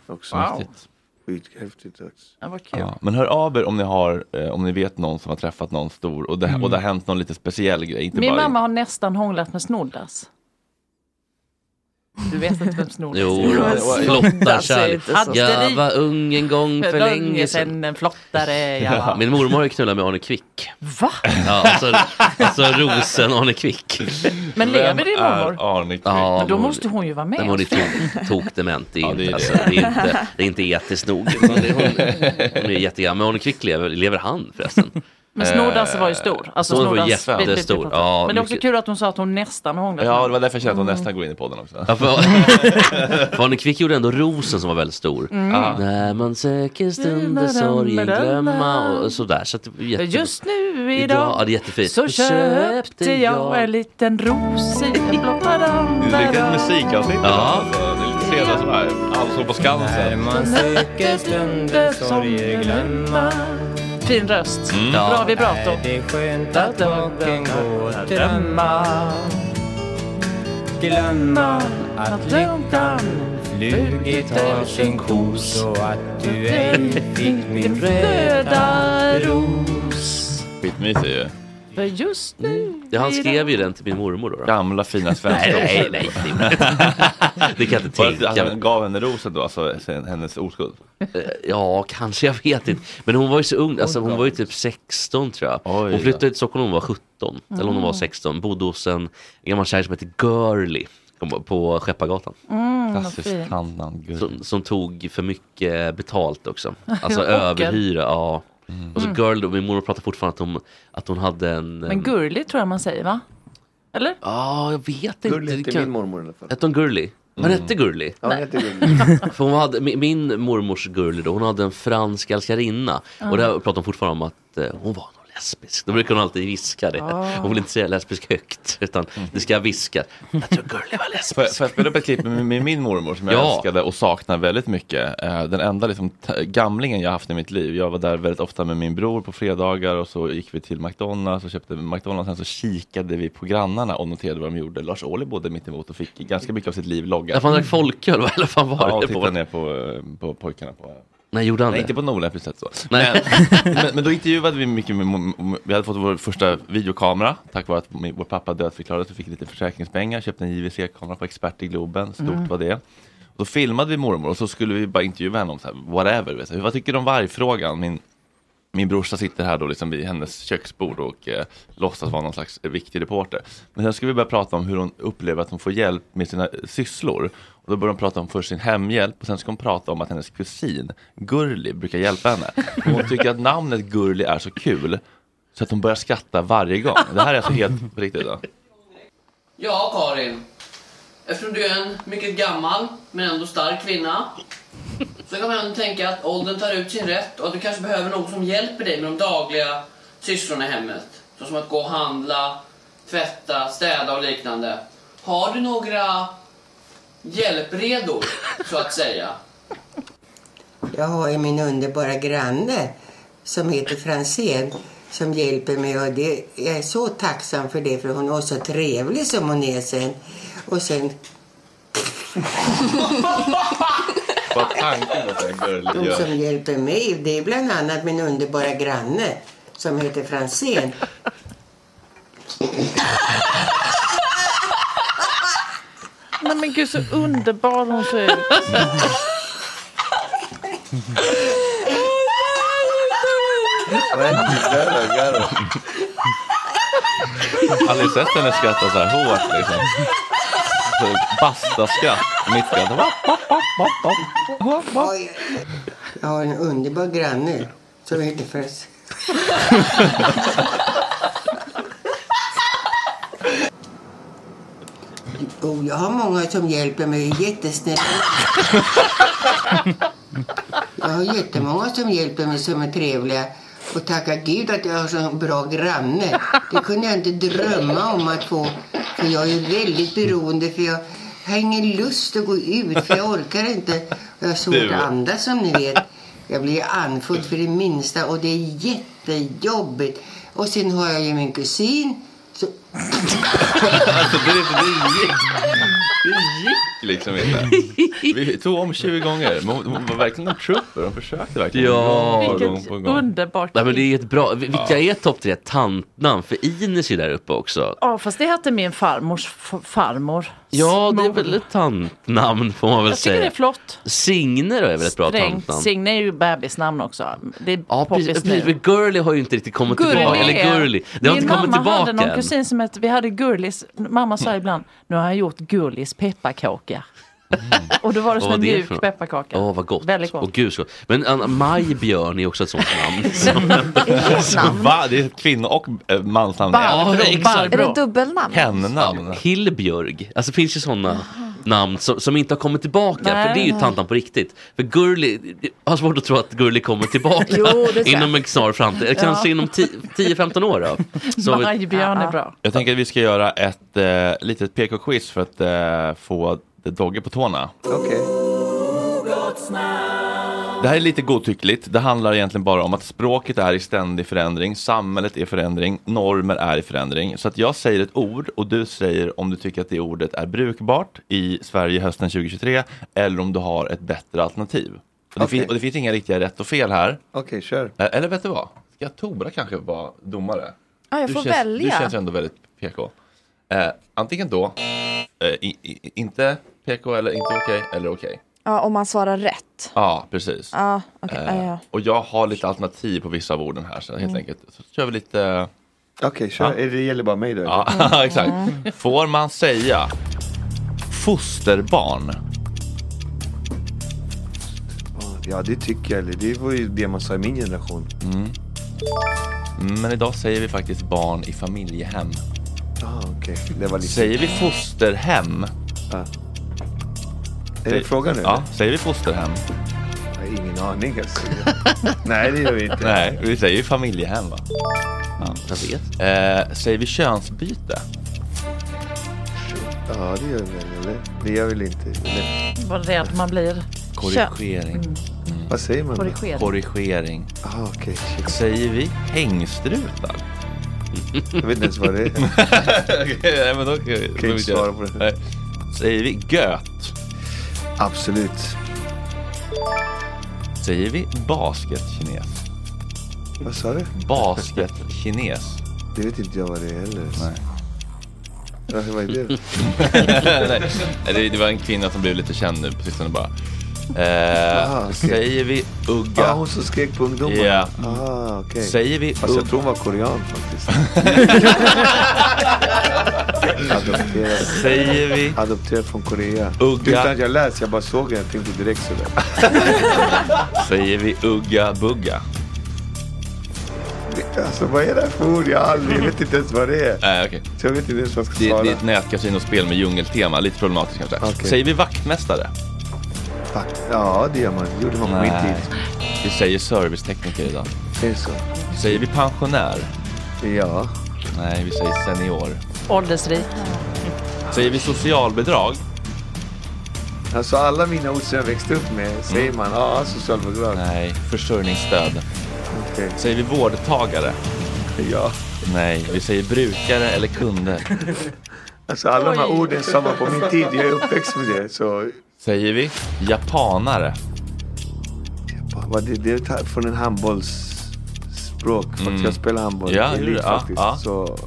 Också.
Mhm. Wow. Häftigt.
Skithäftigt också.
Ja, vad kul.
Ja, men hör av er om ni, har, eh, om ni vet någon som har träffat någon stor och det, och det har hänt någon lite speciell grej. Inte
Mm. Min
bara...
mamma har nästan hånglat med Snoddas. Du vet inte
Mm,
vem Snoddas
Jo,
är?
då. flotta kärlek. Jag var ung en gång för länge sedan.
sedan. En flottare jag var.
Min mormor har ju knullat med Arne Kvick.
Va?
Ja, alltså, alltså rosen Arne Kvick.
Men lever din mormor?
Arne Kvick?
Ja,
Men då måste hon ju vara med.
Nej, men hon är tok, tokdement. Det är,
det är
inte,
det.
Alltså, det är inte, det är inte etiskt nog. utan det- Hon, hon är jättegammal. Men Arne Kvick lever. Lever han förresten?
Men snordansen var ju stor. Alltså
Snordansen var
snordansen- vi- vi- vi
jättestor.
pratar.
Ja,
Men det är också
mycket.
kul att hon sa att hon nästan hånglade.
Ja, det var därför jag kände att hon nästan går in i podden också.
Ja, för, för Arne Kvick gjorde ändå rosen som var väldigt stor.
Mm. Ja.
När man söker stunder sorgen glömma och sådär. Så att det var jätte...
Just nu
Idag, ja,
idag
det är jättefint.
så köpte jag en liten ros i en blotta
Det är riktigt
randara.
musikavsnitt.
Ja.
Det är lite senare sådär. Allsång på Skansen.
Söker stunder sorger glömma. Fin röst.
Mm. Ja.
Bra vibrato. Det är skönt att dagen går att drömma. Glömma att längtan flugit har sin kos och att du ej fick min röda ros.
Skitmysig ju.
För just nu
Ja, han skrev ju den till min mormor då. då.
Gamla fina svenska
Nej, nej, nej. det är- Det kan jag inte
Var det
tänka
att Han gav henne rosen då, alltså sen- hennes oskuld?
eh, Ja, kanske. Jag vet inte. Men hon var ju så ung. Alltså, hon var ju typ 16 tror jag.
då.
Hon flyttade till Stockholm när hon var 17. Eller om hon var
Mm.
16. Bodde hos en gammal kärring som hette Girly. På Skeppargatan.
Mm, vad Klassisk fint.
som, som tog för mycket betalt också. Alltså
Ocker.
överhyra. Ja. Och så
Mm.
Girly, min mormor pratar fortfarande att hon, att hon hade en...
Men gurlig tror jag man säger va? Eller?
Ja, jag vet inte.
Gurli
Det
hette min
mormor i alla fall.
Hette hon Gurli? Hon
Mm.
hette Gurli?
Ja, hon hette
För hon hade, min, min mormors Gurli då, hon hade en fransk älskarinna.
Ah.
Och där pratar hon fortfarande om att eh, hon var nog lesbisk. Då brukar hon alltid viska det.
Ah.
Hon vill inte säga lesbisk högt, utan
Mm.
det ska jag viska. Jag tror Gurli var lesbisk.
Får jag, får jag spela upp ett klipp med, med min mormor som jag
Ja.
älskade och saknar väldigt mycket. Eh, Den enda liksom, t- gamlingen jag haft i mitt liv. Jag var där väldigt ofta med min bror på fredagar och så gick vi till McDonalds och köpte McDonalds. Sen så kikade vi på grannarna och noterade vad de gjorde. Lars Ohly bodde mitt emot och fick ganska mycket av sitt liv loggat.
Ja, för han drack folköl, va? Eller fan var
ja, typ
det
och
på?
tittade ner på, eh, på pojkarna på
Nej, gjorde han
Nej,
det?
inte på något olämpligt sätt så.
Nej.
Men, men, men då intervjuade vi mycket med, mom- vi hade fått vår första videokamera tack vare att min- vår pappa dödförklarades och fick lite försäkringspengar, köpte en JVC-kamera på Expert i Globen, stort
Mm.
var det. Och då filmade vi mormor och så skulle vi bara intervjua henne om så här, whatever, vet du. vad tycker du om vargfrågan? Min, min brorsa sitter här då liksom vid hennes köksbord och eh, låtsas vara någon slags viktig reporter. Men sen ska vi börja prata om hur hon upplever att hon får hjälp med sina eh, sysslor. Och då börjar hon prata om först sin hemhjälp och sen ska hon prata om att hennes kusin Gurli brukar hjälpa henne. Och hon tycker att namnet Gurli är så kul så att hon börjar skratta varje gång. Det här är alltså helt på riktigt. Då.
Ja, Karin. Eftersom du är en mycket gammal men ändå stark kvinna så kan man ändå tänka att åldern tar ut sin rätt och att du kanske behöver någon som hjälper dig med de dagliga sysslorna i hemmet. Såsom att gå och handla, tvätta, städa och liknande. Har du några hjälpredor, så att säga?
Jag har ju min underbara granne som heter Franzén som hjälper mig och det, jag är så tacksam för det för hon är så trevlig som hon är sen. Och sen...
Bara tanken att säga Gurli
De
gör.
som hjälper mig det är bland annat min underbara granne som heter Franzén.
Nej men gud så underbar hon ser ut.
Aldrig sett henne skratta så här hårt liksom. Så Basta-skratt, mitt skratt.
Jag har en underbar granne som heter Franzén. Jo, jag har många som hjälper mig. Jättesnälla. Jag har jättemånga som hjälper mig som är trevliga. Och tacka gud att jag har så bra granne. Det kunde jag inte drömma om att få. För jag är ju väldigt beroende. För jag har ingen lust att gå ut. För jag orkar inte. Och jag har svårt
Du.
att andas som ni vet. Jag blir andfådd för det minsta. Och det är jättejobbigt. Och sen har jag ju min kusin. Så...
Alltså det, är- det, gick, det gick liksom inte. Vi tog om 20 gånger. Men hon hon var verkligen en trooper. Hon försökte verkligen. gång
Ja.
på gång
Vilket
på gång.
underbart
Nej men det är ett bra, vil-
Ja.
vilka är topp tre tantnamn? För Ines är ju där uppe också.
Ja fast det hette min farmors f- farmor.
Ja, det är väl ett tantnamn får man väl
Jag tycker
säga.
det är flott.
Signe då är väl ett bra
Strängt.
tantnamn?
Signe är ju bebisnamn också. Det är
Ja, precis,
poppis
precis,
nu.
men Girly har ju inte riktigt kommit tillbaka. Eller Girly. Det har
Min
inte kommit
mamma hade
tillbaka
någon
än.
kusin som hette, vi hade Gurlis, mamma sa ibland, nu har jag gjort Gurlis pepparkaka. Och då var det som
Mm. Vad var
en
det
mjuk
för något?
pepparkaka.
Åh vad gott.
Väldigt gott.
Åh gud så gott. Men Anna, Majbjörn är också ett sånt namn.
namn. Va? Det är ett kvinno och eh, mansnamn.
Ja,
Är det dubbelnamn?
Hennamn. Hillbjörg. Alltså det finns ju sådana namn som, som inte har kommit tillbaka.
Nej.
För det är ju tantan på riktigt. För Gurli, jag har svårt att tro att Gurli kommer tillbaka
Jo, det tror jag.
inom en snar framtid.
Ja.
Kanske inom 10-15 år då. Så- Ah,
Majbjörn är bra.
Jag tänker att vi ska göra ett eh, litet PK-quiz för att eh, få Dogge på tårna. Det här är lite godtyckligt. Det handlar egentligen bara om att språket är i ständig förändring, samhället är förändring, normer är i förändring. Så att jag säger ett ord och du säger om du tycker att det ordet är brukbart i Sverige hösten 2023 eller om du har ett bättre alternativ. Och det,
Okej.
fin- och det finns inga riktiga rätt och fel här. Eh,
Okej, kör.
Eller vet du vad? Ska Tora kanske vara domare?
Ja, jag
du
får
känns,
välja.
Du känns ju ändå väldigt PK. Eh, antingen då, eh, i, i, inte PK eller inte okej, eller okej.
Ja, om man svarar rätt.
Ja, precis.
Ja, okej.
Eh,
Ja, ja.
Och jag har lite alternativ på vissa av orden här, så helt
Mm.
enkelt. Så kör vi lite...
Okej, kör. Det gäller bara mig då?
Ja,
Mm.
exakt.
Mm.
Får man säga fosterbarn?
Ja, det tycker jag. Eller det var ju det man sa i min generation.
Mm. Men idag säger vi faktiskt barn i familjehem.
Ah, okej. Det var lite...
Säger vi fosterhem?
Är det frågan nu?
Ja, säger vi fosterhem?
Jag har ingen aning. Alltså. Nej, det gör vi inte.
Nej, vi säger ju familjehem va? Ja.
Jag vet.
Eh, säger vi könsbyte?
Ja, det gör vi väl, eller? Det gör vi väl inte? Eller?
Vad rädd man blir.
Korrigering.
Mm.
Vad säger man? då?
Korrigering.
Korrigering.
Ah, okej.
Säger vi hängstrutar?
Jag vet inte ens vad det är.
Okej, nej, men då kan jag
inte svara på det.
Nej. Säger vi göt?
Absolut.
Säger vi basketkines?
Vad sa du?
Basketkines.
Det vet inte jag vad det är heller.
Nej.
Ja, vad är det?
nej, nej, det, det var en kvinna som blev lite känd nu på sistone bara. Eh,
Ah, okej.
Säger vi ugga?
Ah, hon som skrek på ungdomarna?
Ja.
Ah, okej.
Säger vi
Fast jag
ugg-
tror hon var korean faktiskt. Adopterad.
Säger vi?
Adopterad från Korea.
Ugga.
Utan att jag läst, jag bara såg henne. Jag tänkte direkt sådär.
Säger vi ugga bugga?
Alltså vad är det här för ord? Jag, har aldrig, jag vet inte ens vad det är.
Nej, okej.
Så jag vet inte ens vad jag ska
Det,
svara.
det är ett nätkasinospel med djungeltema, lite problematiskt kanske.
Okej.
Säger vi vaktmästare?
Ja, det gör man. Det gjorde man på min tid.
Vi säger servicetekniker idag.
Det är så.
Säger vi pensionär?
Ja.
Nej, vi säger senior.
Åldersrik.
Säger vi socialbidrag?
Alltså alla mina ord som jag växte upp med säger man ja, socialbidrag.
Mm. Nej, försörjningsstöd.
Okej.
Säger vi vårdtagare?
Ja.
Nej, vi säger brukare eller kunder.
Alltså alla de här
Oj.
orden sa man på min tid. Jag är uppväxt med det. Så
Säger vi japanare?
vad det, det är ta- från en handbollsspråk. För att
Mm.
jag spelar handboll
Ja,
i
gjorde
elit
det. Ja,
faktiskt.
ja.
Så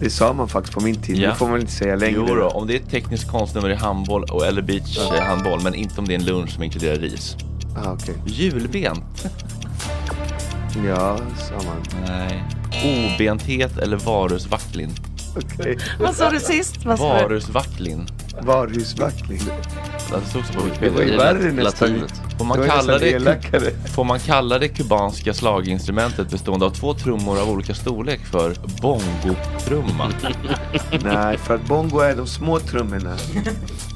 det sa man faktiskt på min tid.
Ja.
Det får man inte säga längre.
Jo då, om det är ett tekniskt konstnummer i handboll och, eller beachhandboll, men inte om det är en lunch som inkluderar ris.
Ah, okej.
Julbent?
Ja, sa man.
Nej. Obenthet eller varusvacklin?
Okej.
Vad sa du sist? Vad sa du?
Varusvacklin.
Varuhusvaktning.
Det stod så på
liksom. Det var ju
Wikipedia.
värre nästan.
Får
Det
man,
var
kalla
nästan
det,
elakare.
får man kalla det kubanska slaginstrumentet bestående av två trummor av olika storlek för bongotrumma?
Nej, för att bongo är de små trummorna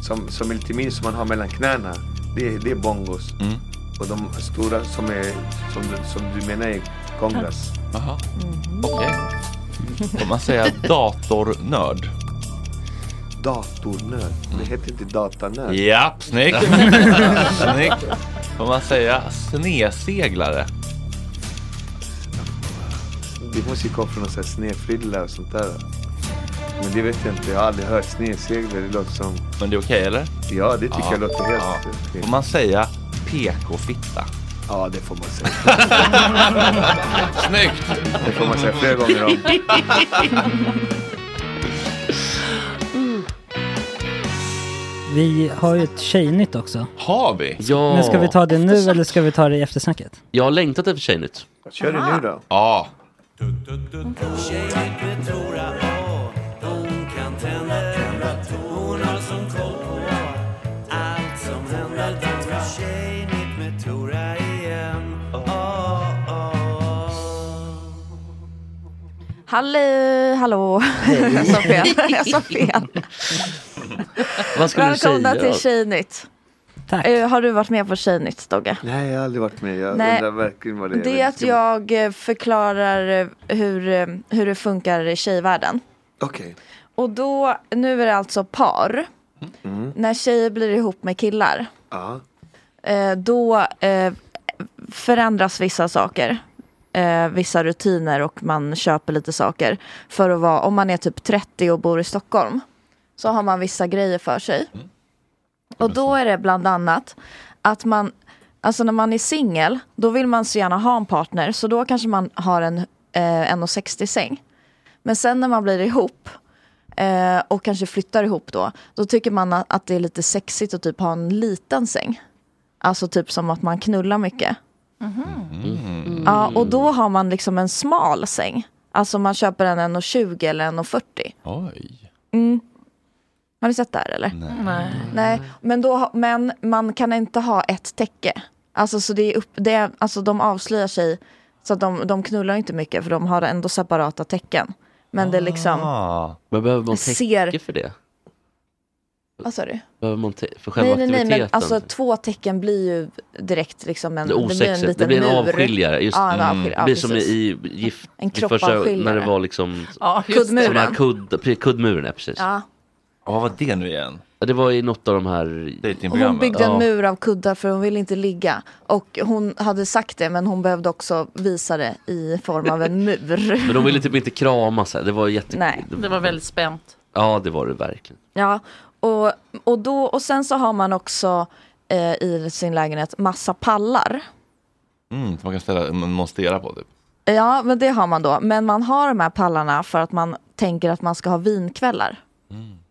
som, som är lite mindre som man har mellan knäna. Det, är- det är bongos.
Mm.
Och de stora som, är, som, du- som du menar är congas.
Jaha, okej. Får man säga datornörd?
Datornörd. Det heter inte datanörd.
Japp, Mm. snyggt! snyggt! Får man säga sneseglare?
Det måste ju komma från någon sån här snedfrilla och sånt där. Men det vet jag inte. Jag har aldrig hört snedsegler. Det låter som...
Men det är okej eller?
Ja, det tycker jag låter helt
ja.
okej.
Får man säga PK-fitta?
Ja, det får man säga.
Snyggt!
Det får man säga flera gånger om.
Vi har ju ett tjejnytt också.
Har vi?
Ja.
Men ska vi ta det nu eller ska vi ta det i eftersnacket?
Jag har längtat efter Tjejnytt.
Kör det nu då.
Ja.
Tjejer med Tora A. Hon kan tända, tända. Hon har som koll på A.
Halli, hallå. Jag sa fel. Jag sa fel.
Vad ska du
Välkomna
säga?
till Tjejnytt. Eh, har du varit med på Tjejnytt Dogge?
Nej, jag har aldrig varit med. Jag
Nej.
undrar verkligen vad det är.
Det är att jag eh, förklarar eh, hur, eh, hur det funkar i tjejvärlden.
Okej.
Och då, nu är det alltså par.
Mm.
När tjejer blir ihop med killar.
Ja.
eh, då eh, förändras vissa saker. Eh, vissa rutiner och man köper lite saker. För att vara, om man är typ 30 och bor i Stockholm. Så har man vissa grejer för sig. Och då är det bland annat att man, alltså när man är singel, då vill man så gärna ha en partner. Så då kanske man har en eh, 1,60 säng. Men sen när man blir ihop eh, och kanske flyttar ihop då, då tycker man att, att det är lite sexigt att typ ha en liten säng. Alltså typ som att man knullar mycket.
Mm-hmm.
Ja, och då har man liksom en smal säng. Alltså man köper en 1,20 eller 1,40.
Oj.
Mm. Har ni sett det här eller?
Nej.
Nej, men, då, ha- men man kan inte ha ett täcke. Alltså, så det är upp, det är, alltså de avslöjar sig, så att de, de knullar inte mycket för de har ändå separata tecken. Men det är liksom,
Ah. Men behöver man täcke
Ser-
för det?
vad sa du?
Behöver man te- för själva
Nej, nej, nej,
aktiviteten?
men alltså två tecken blir ju direkt liksom en,
det är osexigt. Det blir en,
mur.
avskiljare. Just,
ja, en
Mm.
avskilj- ja,
det blir som
precis.
i gift,
En
vid första-
kroppavskiljare.
När det var liksom...
Ja, just
sådana
Kuddmuren.
här Kudd, pre- kuddmuren, ja precis.
Ja.
Ja, vad var det nu igen? Det var i något av de här...
Hon byggde en mur av kuddar för hon ville inte ligga. Och hon hade sagt det men hon behövde också visa det i form av en mur.
Men de ville typ inte kramas. här. Det var jätte...
Nej.
Det var väldigt spänt.
Ja, det var det verkligen.
Ja, och, och, då, och sen så har man också eh, i sin lägenhet massa pallar.
Mm, som man kan ställa en monstera på typ.
Ja, men det har man då. Men man har de här pallarna för att man tänker att man ska ha vinkvällar.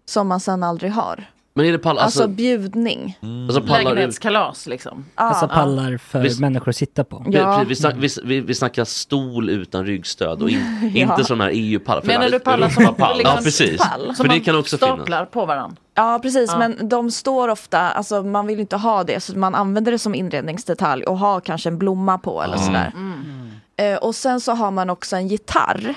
Som man sen aldrig har.
Mm. Men är det pall...
Alltså,
Alltså,
bjudning.
Alltså pallar ut-
Lägenhetskalas liksom.
Alltså pallar för
Visst-
människor att sitta på.
vi, vi, snack, vi, vi, vi snackar stol utan ryggstöd och in,
Ja.
inte sådana här EU-pallar. För
Menar
det-
du pallar som
Europapall.
liksom
Ja, precis.
pall?
För det kan också finnas.
staplar på varandra.
Ja, precis.
Ja.
Men de står ofta, alltså man vill ju inte ha det. Så man använder det som inredningsdetalj och har kanske en blomma på eller
Mm.
sådär. Eh, och sen så har man också en gitarr.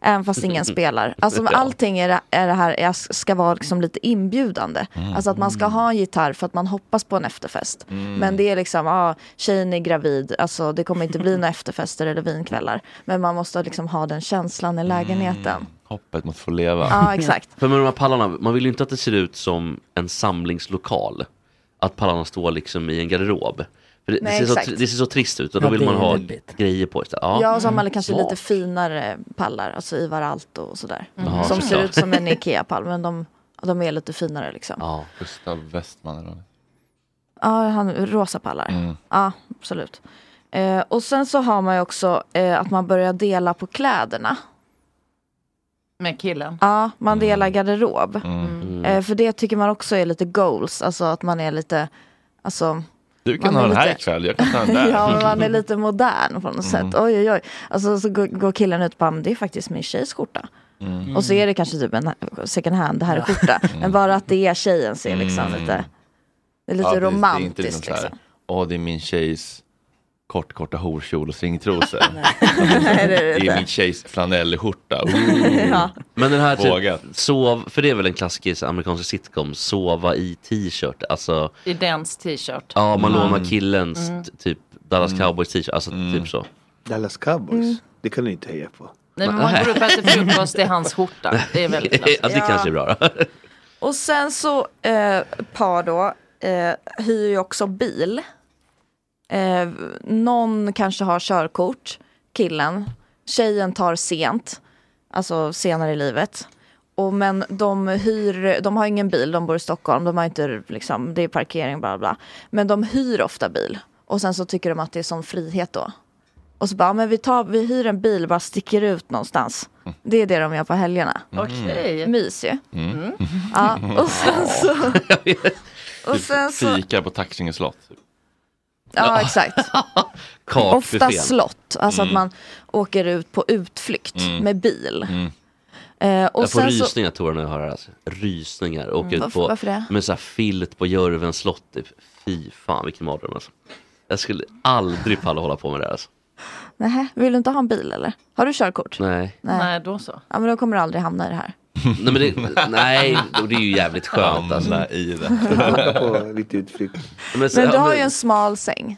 Även fast ingen spelar. Alltså med
Ja.
allting är det, är det här jag ska vara liksom lite inbjudande. Alltså att man ska ha en gitarr för att man hoppas på en efterfest.
Mm.
Men det är liksom, ja, tjejen är gravid, alltså det kommer inte bli några efterfester eller vinkvällar. Men man måste liksom ha den känslan i
Mm.
lägenheten.
Hoppet mot att få leva.
Ja, exakt.
För med de här pallarna, man vill ju inte att det ser ut som en samlingslokal. Att pallarna står liksom i en garderob. För det,
Nej,
det, ser så,
exakt.
det ser så trist ut och då
Ja,
vill
det
man
är
ha
väldigt.
grejer på Mm. istället.
Ja, och så har man kanske
Mm.
Smart.
lite finare pallar, alltså Ivar Alto och sådär.
Mm. Jaha,
som ser
såklart.
ut som en Ikea-pall, men de, de är lite finare liksom. Ja,
Ja.
Gustav Westman eller vad det
han, rosa pallar.
Mm.
Ja, absolut. Eh, och sen så har man ju också eh, att man börjar dela på kläderna.
Med killen.
Ja, man delar garderob.
Mm.
Eh, för det tycker man också är lite goals, alltså att man är lite, alltså
Du kan
Man
ha
är
den här
lite-
ikväll, jag kan ha den där.
ja, men man är lite modern på något
Mm.
sätt. Oj, oj, oj. Alltså så går- går killen ut och bara, "Men det är faktiskt min tjejs skjorta.
Mm.
Och så är det kanske typ en second hand, det här är skjorta. Men bara att det är tjejens är liksom
Mm.
lite, det är lite
precis,
romantiskt.
Det är inte
liksom.
liksom så här, åh det är min tjejs kort, korta horkjol och stringtrosor.
Nej, det är det
det är
inte.
min tjejs flanellskjorta.
liksom. Ja.
Men den här
Vågat.
typ, sov, för det är väl en klassisk amerikansk sitcom, sova i t-shirt. Alltså,
I dens t-shirt.
ja man lånar
Mm.
killens
Mm.
t- typ Dallas Cowboys t-shirt, alltså typ så.
Dallas Cowboys?
Mm.
Mm.
Det kan du inte heja på.
Nej, men man
Mm.
går upp och äter frukost i hans skjorta. Det är väldigt klassiskt.
Ja, det kanske är bra då.
Och sen så, eh, par då, eh, hyr ju också bil. Eh, någon kanske har körkort, killen. Tjejen tar sent, alltså senare i livet. Och, men de, hyr, de har ingen bil, de bor i Stockholm, de har inte, liksom, det är parkering, bla bla. Men de hyr ofta bil. Och sen så tycker de att det är sån frihet då. Och så bara, men vi, tar, vi hyr en bil och bara sticker ut någonstans. Det är det de gör på helgerna.
Okej.
Mys ju.
Mm.
Mm. Ja, och sen så... och
Typ
sen så
Fika på Taxinge slott.
ja, exakt. Ofta slott, alltså att
Mm.
man åker ut på utflykt
Mm.
med bil.
Mm.
Eh, och
jag får
sen så,
rysningar Tore när jag hör det här. Alltså. Rysningar. Åker
Mm.
ut
Varför-
på,
varför det?
Med så här filt på Jörvens slott. Typ. Fy fan vilken mardröm alltså. Jag skulle aldrig palla hålla på med det här alltså.
Nej, vill du inte ha en bil eller? Har du körkort?
Nej.
Nej.
Nej, då så.
Ja, men då kommer du aldrig hamna i det här.
Nej, men det, nej, och det är ju jävligt skönt. Alltså.
i det.
på
lite utflykt.
Men, så,
Men du
ja,
har
men,
ju en smal säng.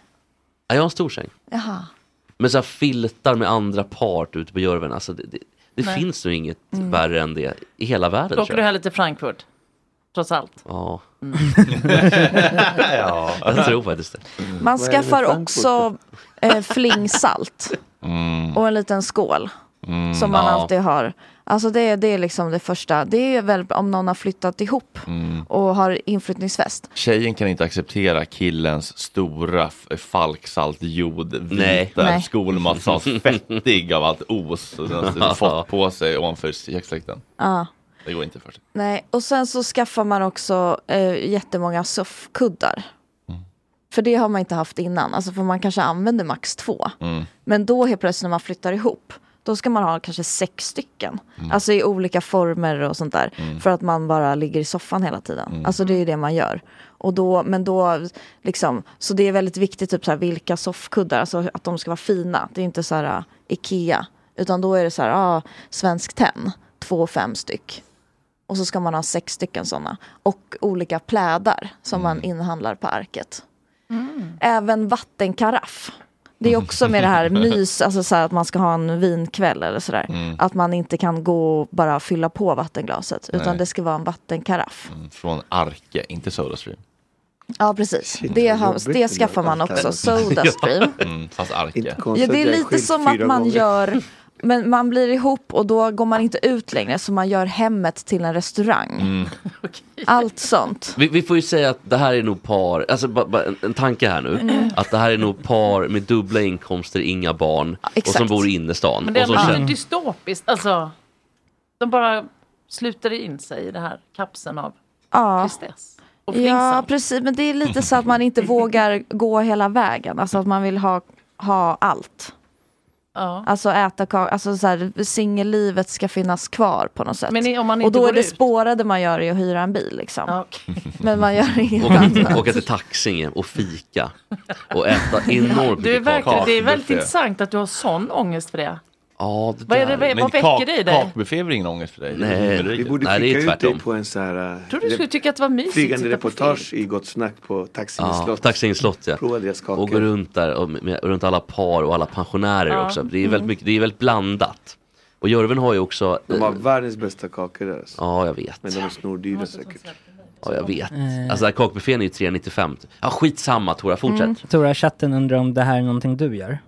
ja, jag har en stor säng.
Jaha.
Men så här, filtar med andra part ute på Jörven. Alltså, det det, det
Nej.
finns nog inget
Mm.
värre än det i hela världen.
Då
tror
åker
jag.
du hellre till Frankfurt. Trots allt.
Ja.
Mm.
ja, jag tror faktiskt Mm. det.
Man skaffar också eh, flingsalt och en liten skål som man
Mm. ja.
alltid har. Alltså det, är- det är liksom det första. Det är väl om någon har flyttat ihop
Mm.
och har inflyttningsfest.
Tjejen kan inte acceptera killens stora f- falksaltjod,
Nej.
vita
Nej.
skolmatsals, fettig av allt os som den har fått på sig ovanför jacksläkten.
Ja.
Det går inte för sig.
Nej, och sen så skaffar man också eh, jättemånga soffkuddar. För det har man inte haft innan, alltså för man kanske använder max
Mm.
två. Men då helt plötsligt när man flyttar ihop, då ska man ha kanske sex stycken. Alltså i olika former och sånt där. För att man bara ligger i soffan hela tiden. Alltså det är ju det man gör. Och då, men då, liksom, så det är väldigt viktigt typ så här, vilka soffkuddar, alltså att de ska vara fina. Det är inte så här äh, Ikea, utan då är det så här, ah, svensk tenn, två fem styck. Och så ska man ha sex stycken sådana. Och olika plädar som man inhandlar på arket. Även vattenkaraff. Det är också med det här mys, alltså så här att man ska ha en vinkväll eller sådär. Att man inte kan gå och bara fylla på vattenglaset. Utan
Nej.
det ska vara en vattenkaraff.
Mm, Från Arke, inte Sodastream.
Ja precis, det, har, det skaffar man också. Sodastream.
Mm, fast Arke.
Ja, det är lite som att man gör, men man blir ihop och då går man inte ut längre. Så man gör hemmet till en restaurang.
Mm.
Allt sånt.
Vi, vi får ju säga att det här är nog par, alltså ba, ba, en, en tanke här nu,
Mm.
att det här är nog par med dubbla inkomster, inga barn och som
exakt.
bor i innerstan.
Men det är
och som
ändå lite
känner-
dystopiskt. Alltså, de bara sluter in sig i den här kapseln av
Ja.
tristess. Och Mm.
Ja, precis. Men det är lite så att man inte vågar gå hela vägen. Alltså att man vill ha, ha allt.
Ja.
Alltså äta kaka, alltså så här, singellivet ska finnas kvar på något sätt.
Men i- om man
och
inte
då
går
är det
ut?
spårade man gör i att hyra en bil liksom. Men man gör inget annat.
Åka, åka till Taxinge och fika och äta enormt
Du är
mycket
verkligen, det är väldigt
Kakbuffé.
intressant att du har sån ångest för det.
Ja, det
Vad är det-
där.
vad Men väcker kak- det i dig?
Kakbuffé är väl ingen ångest för dig?
Nej,
Vi borde
nej, det är
skicka ut dig
tvärtom.
på en så här... eh,
Tror du skulle tycka att det var mysigt? att
Flygande
titta på
reportage i Gott Snack på Taxinge
Ja,
slott.
Taxinge slott ja.
Prova deras kakor.
Och gå runt där, och med, med, runt alla par och alla pensionärer
Ja.
också. Det är,
Mm.
väldigt mycket, det är väldigt blandat. Och Jörven har ju också... eh,
De har världens bästa kakor där. Alltså.
Ja, jag vet.
Men de är snordyra säkert.
Ja, jag vet.
Eh.
Alltså, den här kakbuffén är ju 3,95. Ja, skitsamma Tora, fortsätt.
Mm.
Tora, chatten undrar om det här är någonting du gör?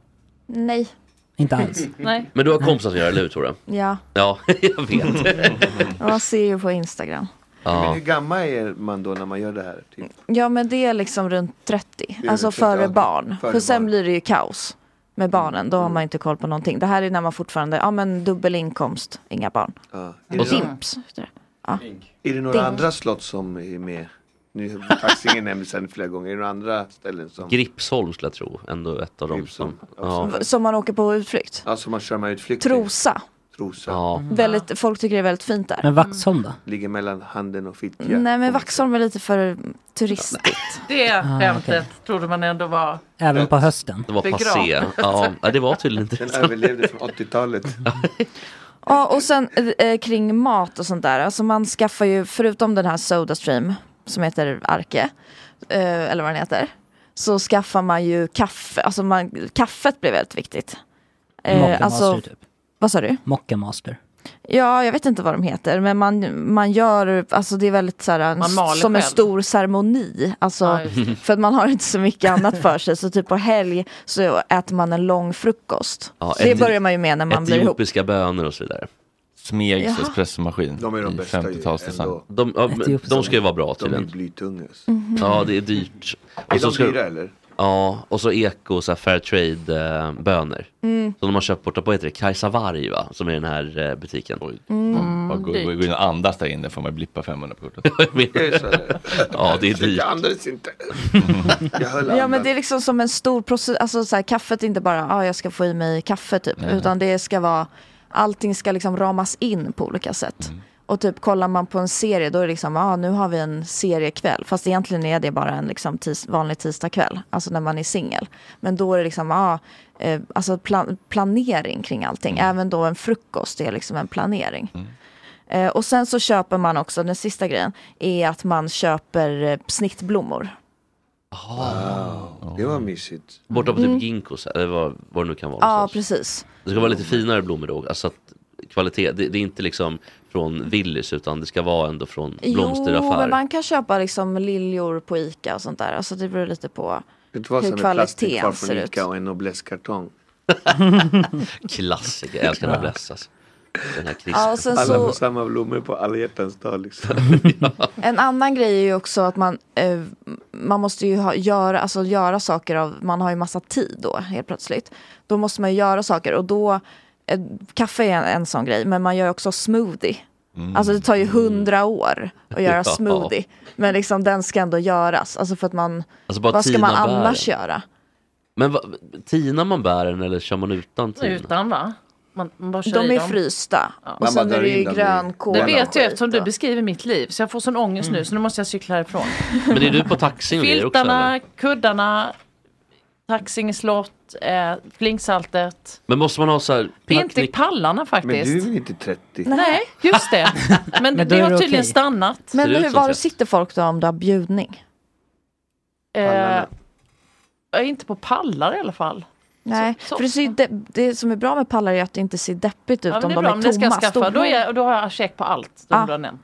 Nej.
Inte alls.
Nej.
Men du har kompisar som gör det, eller hur Tora?
Ja,
Ja, jag vet.
Mm.
man ser ju på Instagram.
Men hur gammal är man då när man gör det här? Typ?
Ja, men det är liksom runt 30.
runt
Alltså
30,
före
ja.
barn.
liksom Före
För sen
barn.
blir det ju kaos med barnen. Då har man ju inte koll på någonting. Det här är när man fortfarande, ja men dubbel inkomst, inga barn.
Ja.
Och Vimps. heter det. Ja.
Är det några
Ding.
andra slott som är med? Nu Taxingen nämndes här flera gånger. Är det några andra ställen som...
Gripsholm skulle jag tro, ändå ett av dem som... Ja.
V- Som man åker på utflykt.
Ja, som man kör med utflykt.
Trosa.
Trosa.
Väldigt, folk tycker det är väldigt fint där.
Men Vaxholm då?
Ligger mellan handen och Fittja.
Mm.
Nej men Vaxholm är lite för turistigt.
Det
Ah,
skämtet
okej.
trodde man ändå var...
Även på hösten?
Det var passé.
Begravt.
Ja, ja, det var tydligen inte
Den överlevde från 80-talet.
Ja, och sen eh, kring mat och sånt där. Alltså man skaffar ju, förutom den här Sodastream som heter Arke, eh, eller vad den heter, så skaffar man ju kaffe. Alltså man, kaffet blir väldigt viktigt. Eh, alltså,
Mockamaster typ.
Vad sa du?
Mockamaster.
Ja, jag vet inte vad de heter, men man, man gör, alltså det är väldigt så här, en,
Man maler
som en
själv.
stor ceremoni. Alltså,
Ja, just det.
för att man har inte så mycket annat för sig. Så typ på helg så äter man en lång frukost.
Ja,
det
ett-
börjar man ju med när man blir ihop.
Etiopiska bönor och så vidare.
Smegs
Jaha.
espressomaskin.
De är de
i
bästa ju
50-talsdesign.
ändå.
De, ja, men
Etiopiska
de ska ju vara bra
De är
tydligen.
blytunga. alltså.
Mhm.
Ja, det är dyrt.
Är
så
de
ska-
dyra, eller?
Ja, och så eko, så här fair trade-bönor.
Mm.
Som de har köpt borta på, heter det Kajsa Varg va? Som är den här eh, butiken. Oj.
Mm, Bara gå- gå- gå in och andas där inne får man blippa 500 på kortet.
Är det så, eller? Ja, det är dyrt.
Jag andades inte. Jag höll
Ja men
andan.
det är liksom som en stor process, alltså så här, kaffet är inte bara, ah, jag ska få i mig kaffe typ,
Nej. Mm.
utan det ska vara, allting ska liksom ramas in på olika sätt. Och typ kollar man på en serie då är det liksom, ja ah, nu har vi en seriekväll. Fast egentligen är det bara en liksom tis vanlig tisdagkväll. Alltså när man är singel. Men då är det liksom, ja, ah, eh, alltså plan planering kring allting.
Mm.
Även då en frukost är liksom en planering. Eh, och sen så köper man också, den sista grejen, är att man köper eh, snittblommor.
Wow. Det var mysigt.
Borta på typ
Mm.
Ginkgo, så- eller vad, vad det nu kan vara.
Ja, precis.
Det ska vara lite finare blommor då. Alltså att kvalitet, det, det är inte liksom från Willys utan det ska vara ändå från
Jo, men
blomsteraffär.
man kan köpa liksom liljor på Ica och sånt där. Alltså det beror lite på
Det var
hur
som en plastik kvar
kvaliteten
från
ser ut.
Ica och en noblesskartong.
Klassiker, jag älskar den här alltså. Den här krispen.
Ja, och sen
Alla
så-
får samma blommor på alla hjärtans dag liksom.
En annan grej är ju också att man, eh, man måste ju ha, göra, alltså göra saker av, man har ju massa tid då helt plötsligt. Då måste man ju göra saker och då, eh, kaffe är en, en sån grej, men man gör ju också smoothie.
Mm.
Alltså det tar ju hundra år att göra
Ja.
smoothie. Men liksom den ska ändå göras, alltså för att man,
Alltså bara
vad ska
tina
man annars
bären.
göra?
Men va, tinar man bären eller kör man utan tin?
Utan va? Man, man bara kör
De
i
är
dem.
frysta. Och
Man
sen
bara
är det
drar in
ju
dem i-
grönkål.
Det vet jag
och
eftersom
skit
du
och-
beskriver mitt liv. Så jag får sån ångest nu så nu måste jag cykla härifrån.
Men är du på taxi och grejer också? eller?
Filtarna, kuddarna, Taxinge slott, eh, flinksaltet.
Men måste man ha så här
Inte
picknick?
pallarna faktiskt.
väl
inte 30?
Nej, just det. Men,
Men då
det
är
har
det okej.
tydligen stannat.
Men hur, var sitter folk då om du har bjudning?
Eh,
Pallarna?
jag är inte på pallar i alla fall.
Nej, för det, ser ju de, det som är bra med pallar är att det inte ser deppigt ut
Ja, men
om
det är
de
bra,
är
men det ska jag
tomma.
skaffa.
stora.
Då, är jag, och då har jag check på allt som
Ah.
du har nämnt.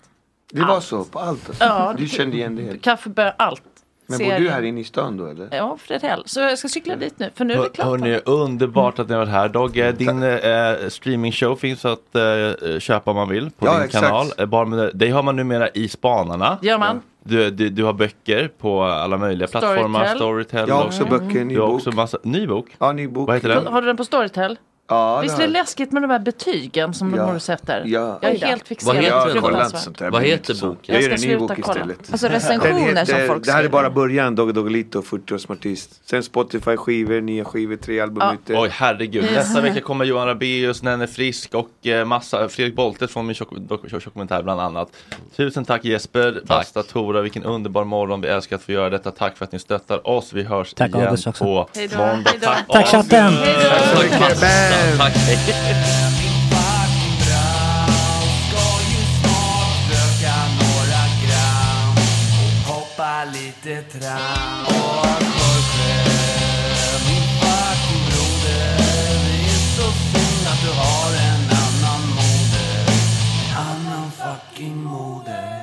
Det var så på allt alltså.
Ja.
Du kände igen det.
Kaffebön, allt.
Men
Serien.
bor du här inne i stan då eller?
Ja, Fredhäll. Så jag ska cykla dit nu, för nu är det
Mm. Hör,
klart.
hörni, underbart att ni har varit här. Dogge,
Mm,
din eh, streamingshow finns att eh, köpa om man vill på
Ja,
din
exakt.
kanal. Eh, Bara med, dig har man numera i spanarna. Eh,
Gör man.
Du, du, du har böcker på alla möjliga plattformar.
Storytel.
Storytel.
Jag har också
Mm.
böcker, ny
du har
bok.
också massa, ny bok?
Ja, ny bok.
Vad heter den?
Har du den på Storytel?
Ja,
Visst är det läskigt med de här betygen som de
Ja.
Mm, har och sätter?
Ja.
Jag är helt fixerad.
Vad heter
Jag
den?
fruktansvärt.
Vad heter boken?
Jag
Jag gör
ska
en ny
sluta
bok
kolla.
istället.
Alltså recensioner
Den
som folk
Det här är
skriver.
bara början, Dogge Doggelito, 40 år som artist. Sen Spotify skivor, nya skivor, tre album ute.
Oj herregud, nästa vecka kommer Johan Rabaeus, Nenne Frisk och eh, massa, Fredrik Bolte från min dokumentär bland annat. Tusen tack Jesper, Basta Tora, vilken underbar morgon, vi älskar att få göra detta. Tack för att ni stöttar oss, vi hörs
Tack,
igen
August, också.
på
Hej då.
måndag.
Hej då. Tack, chatten.
August.
Hej då.
Tack, Basta. Tack.
Röka några gram och hoppa lite tram. Och Jorge, min fucking broder, det är så synd att du har en annan moder. En annan fucking moder.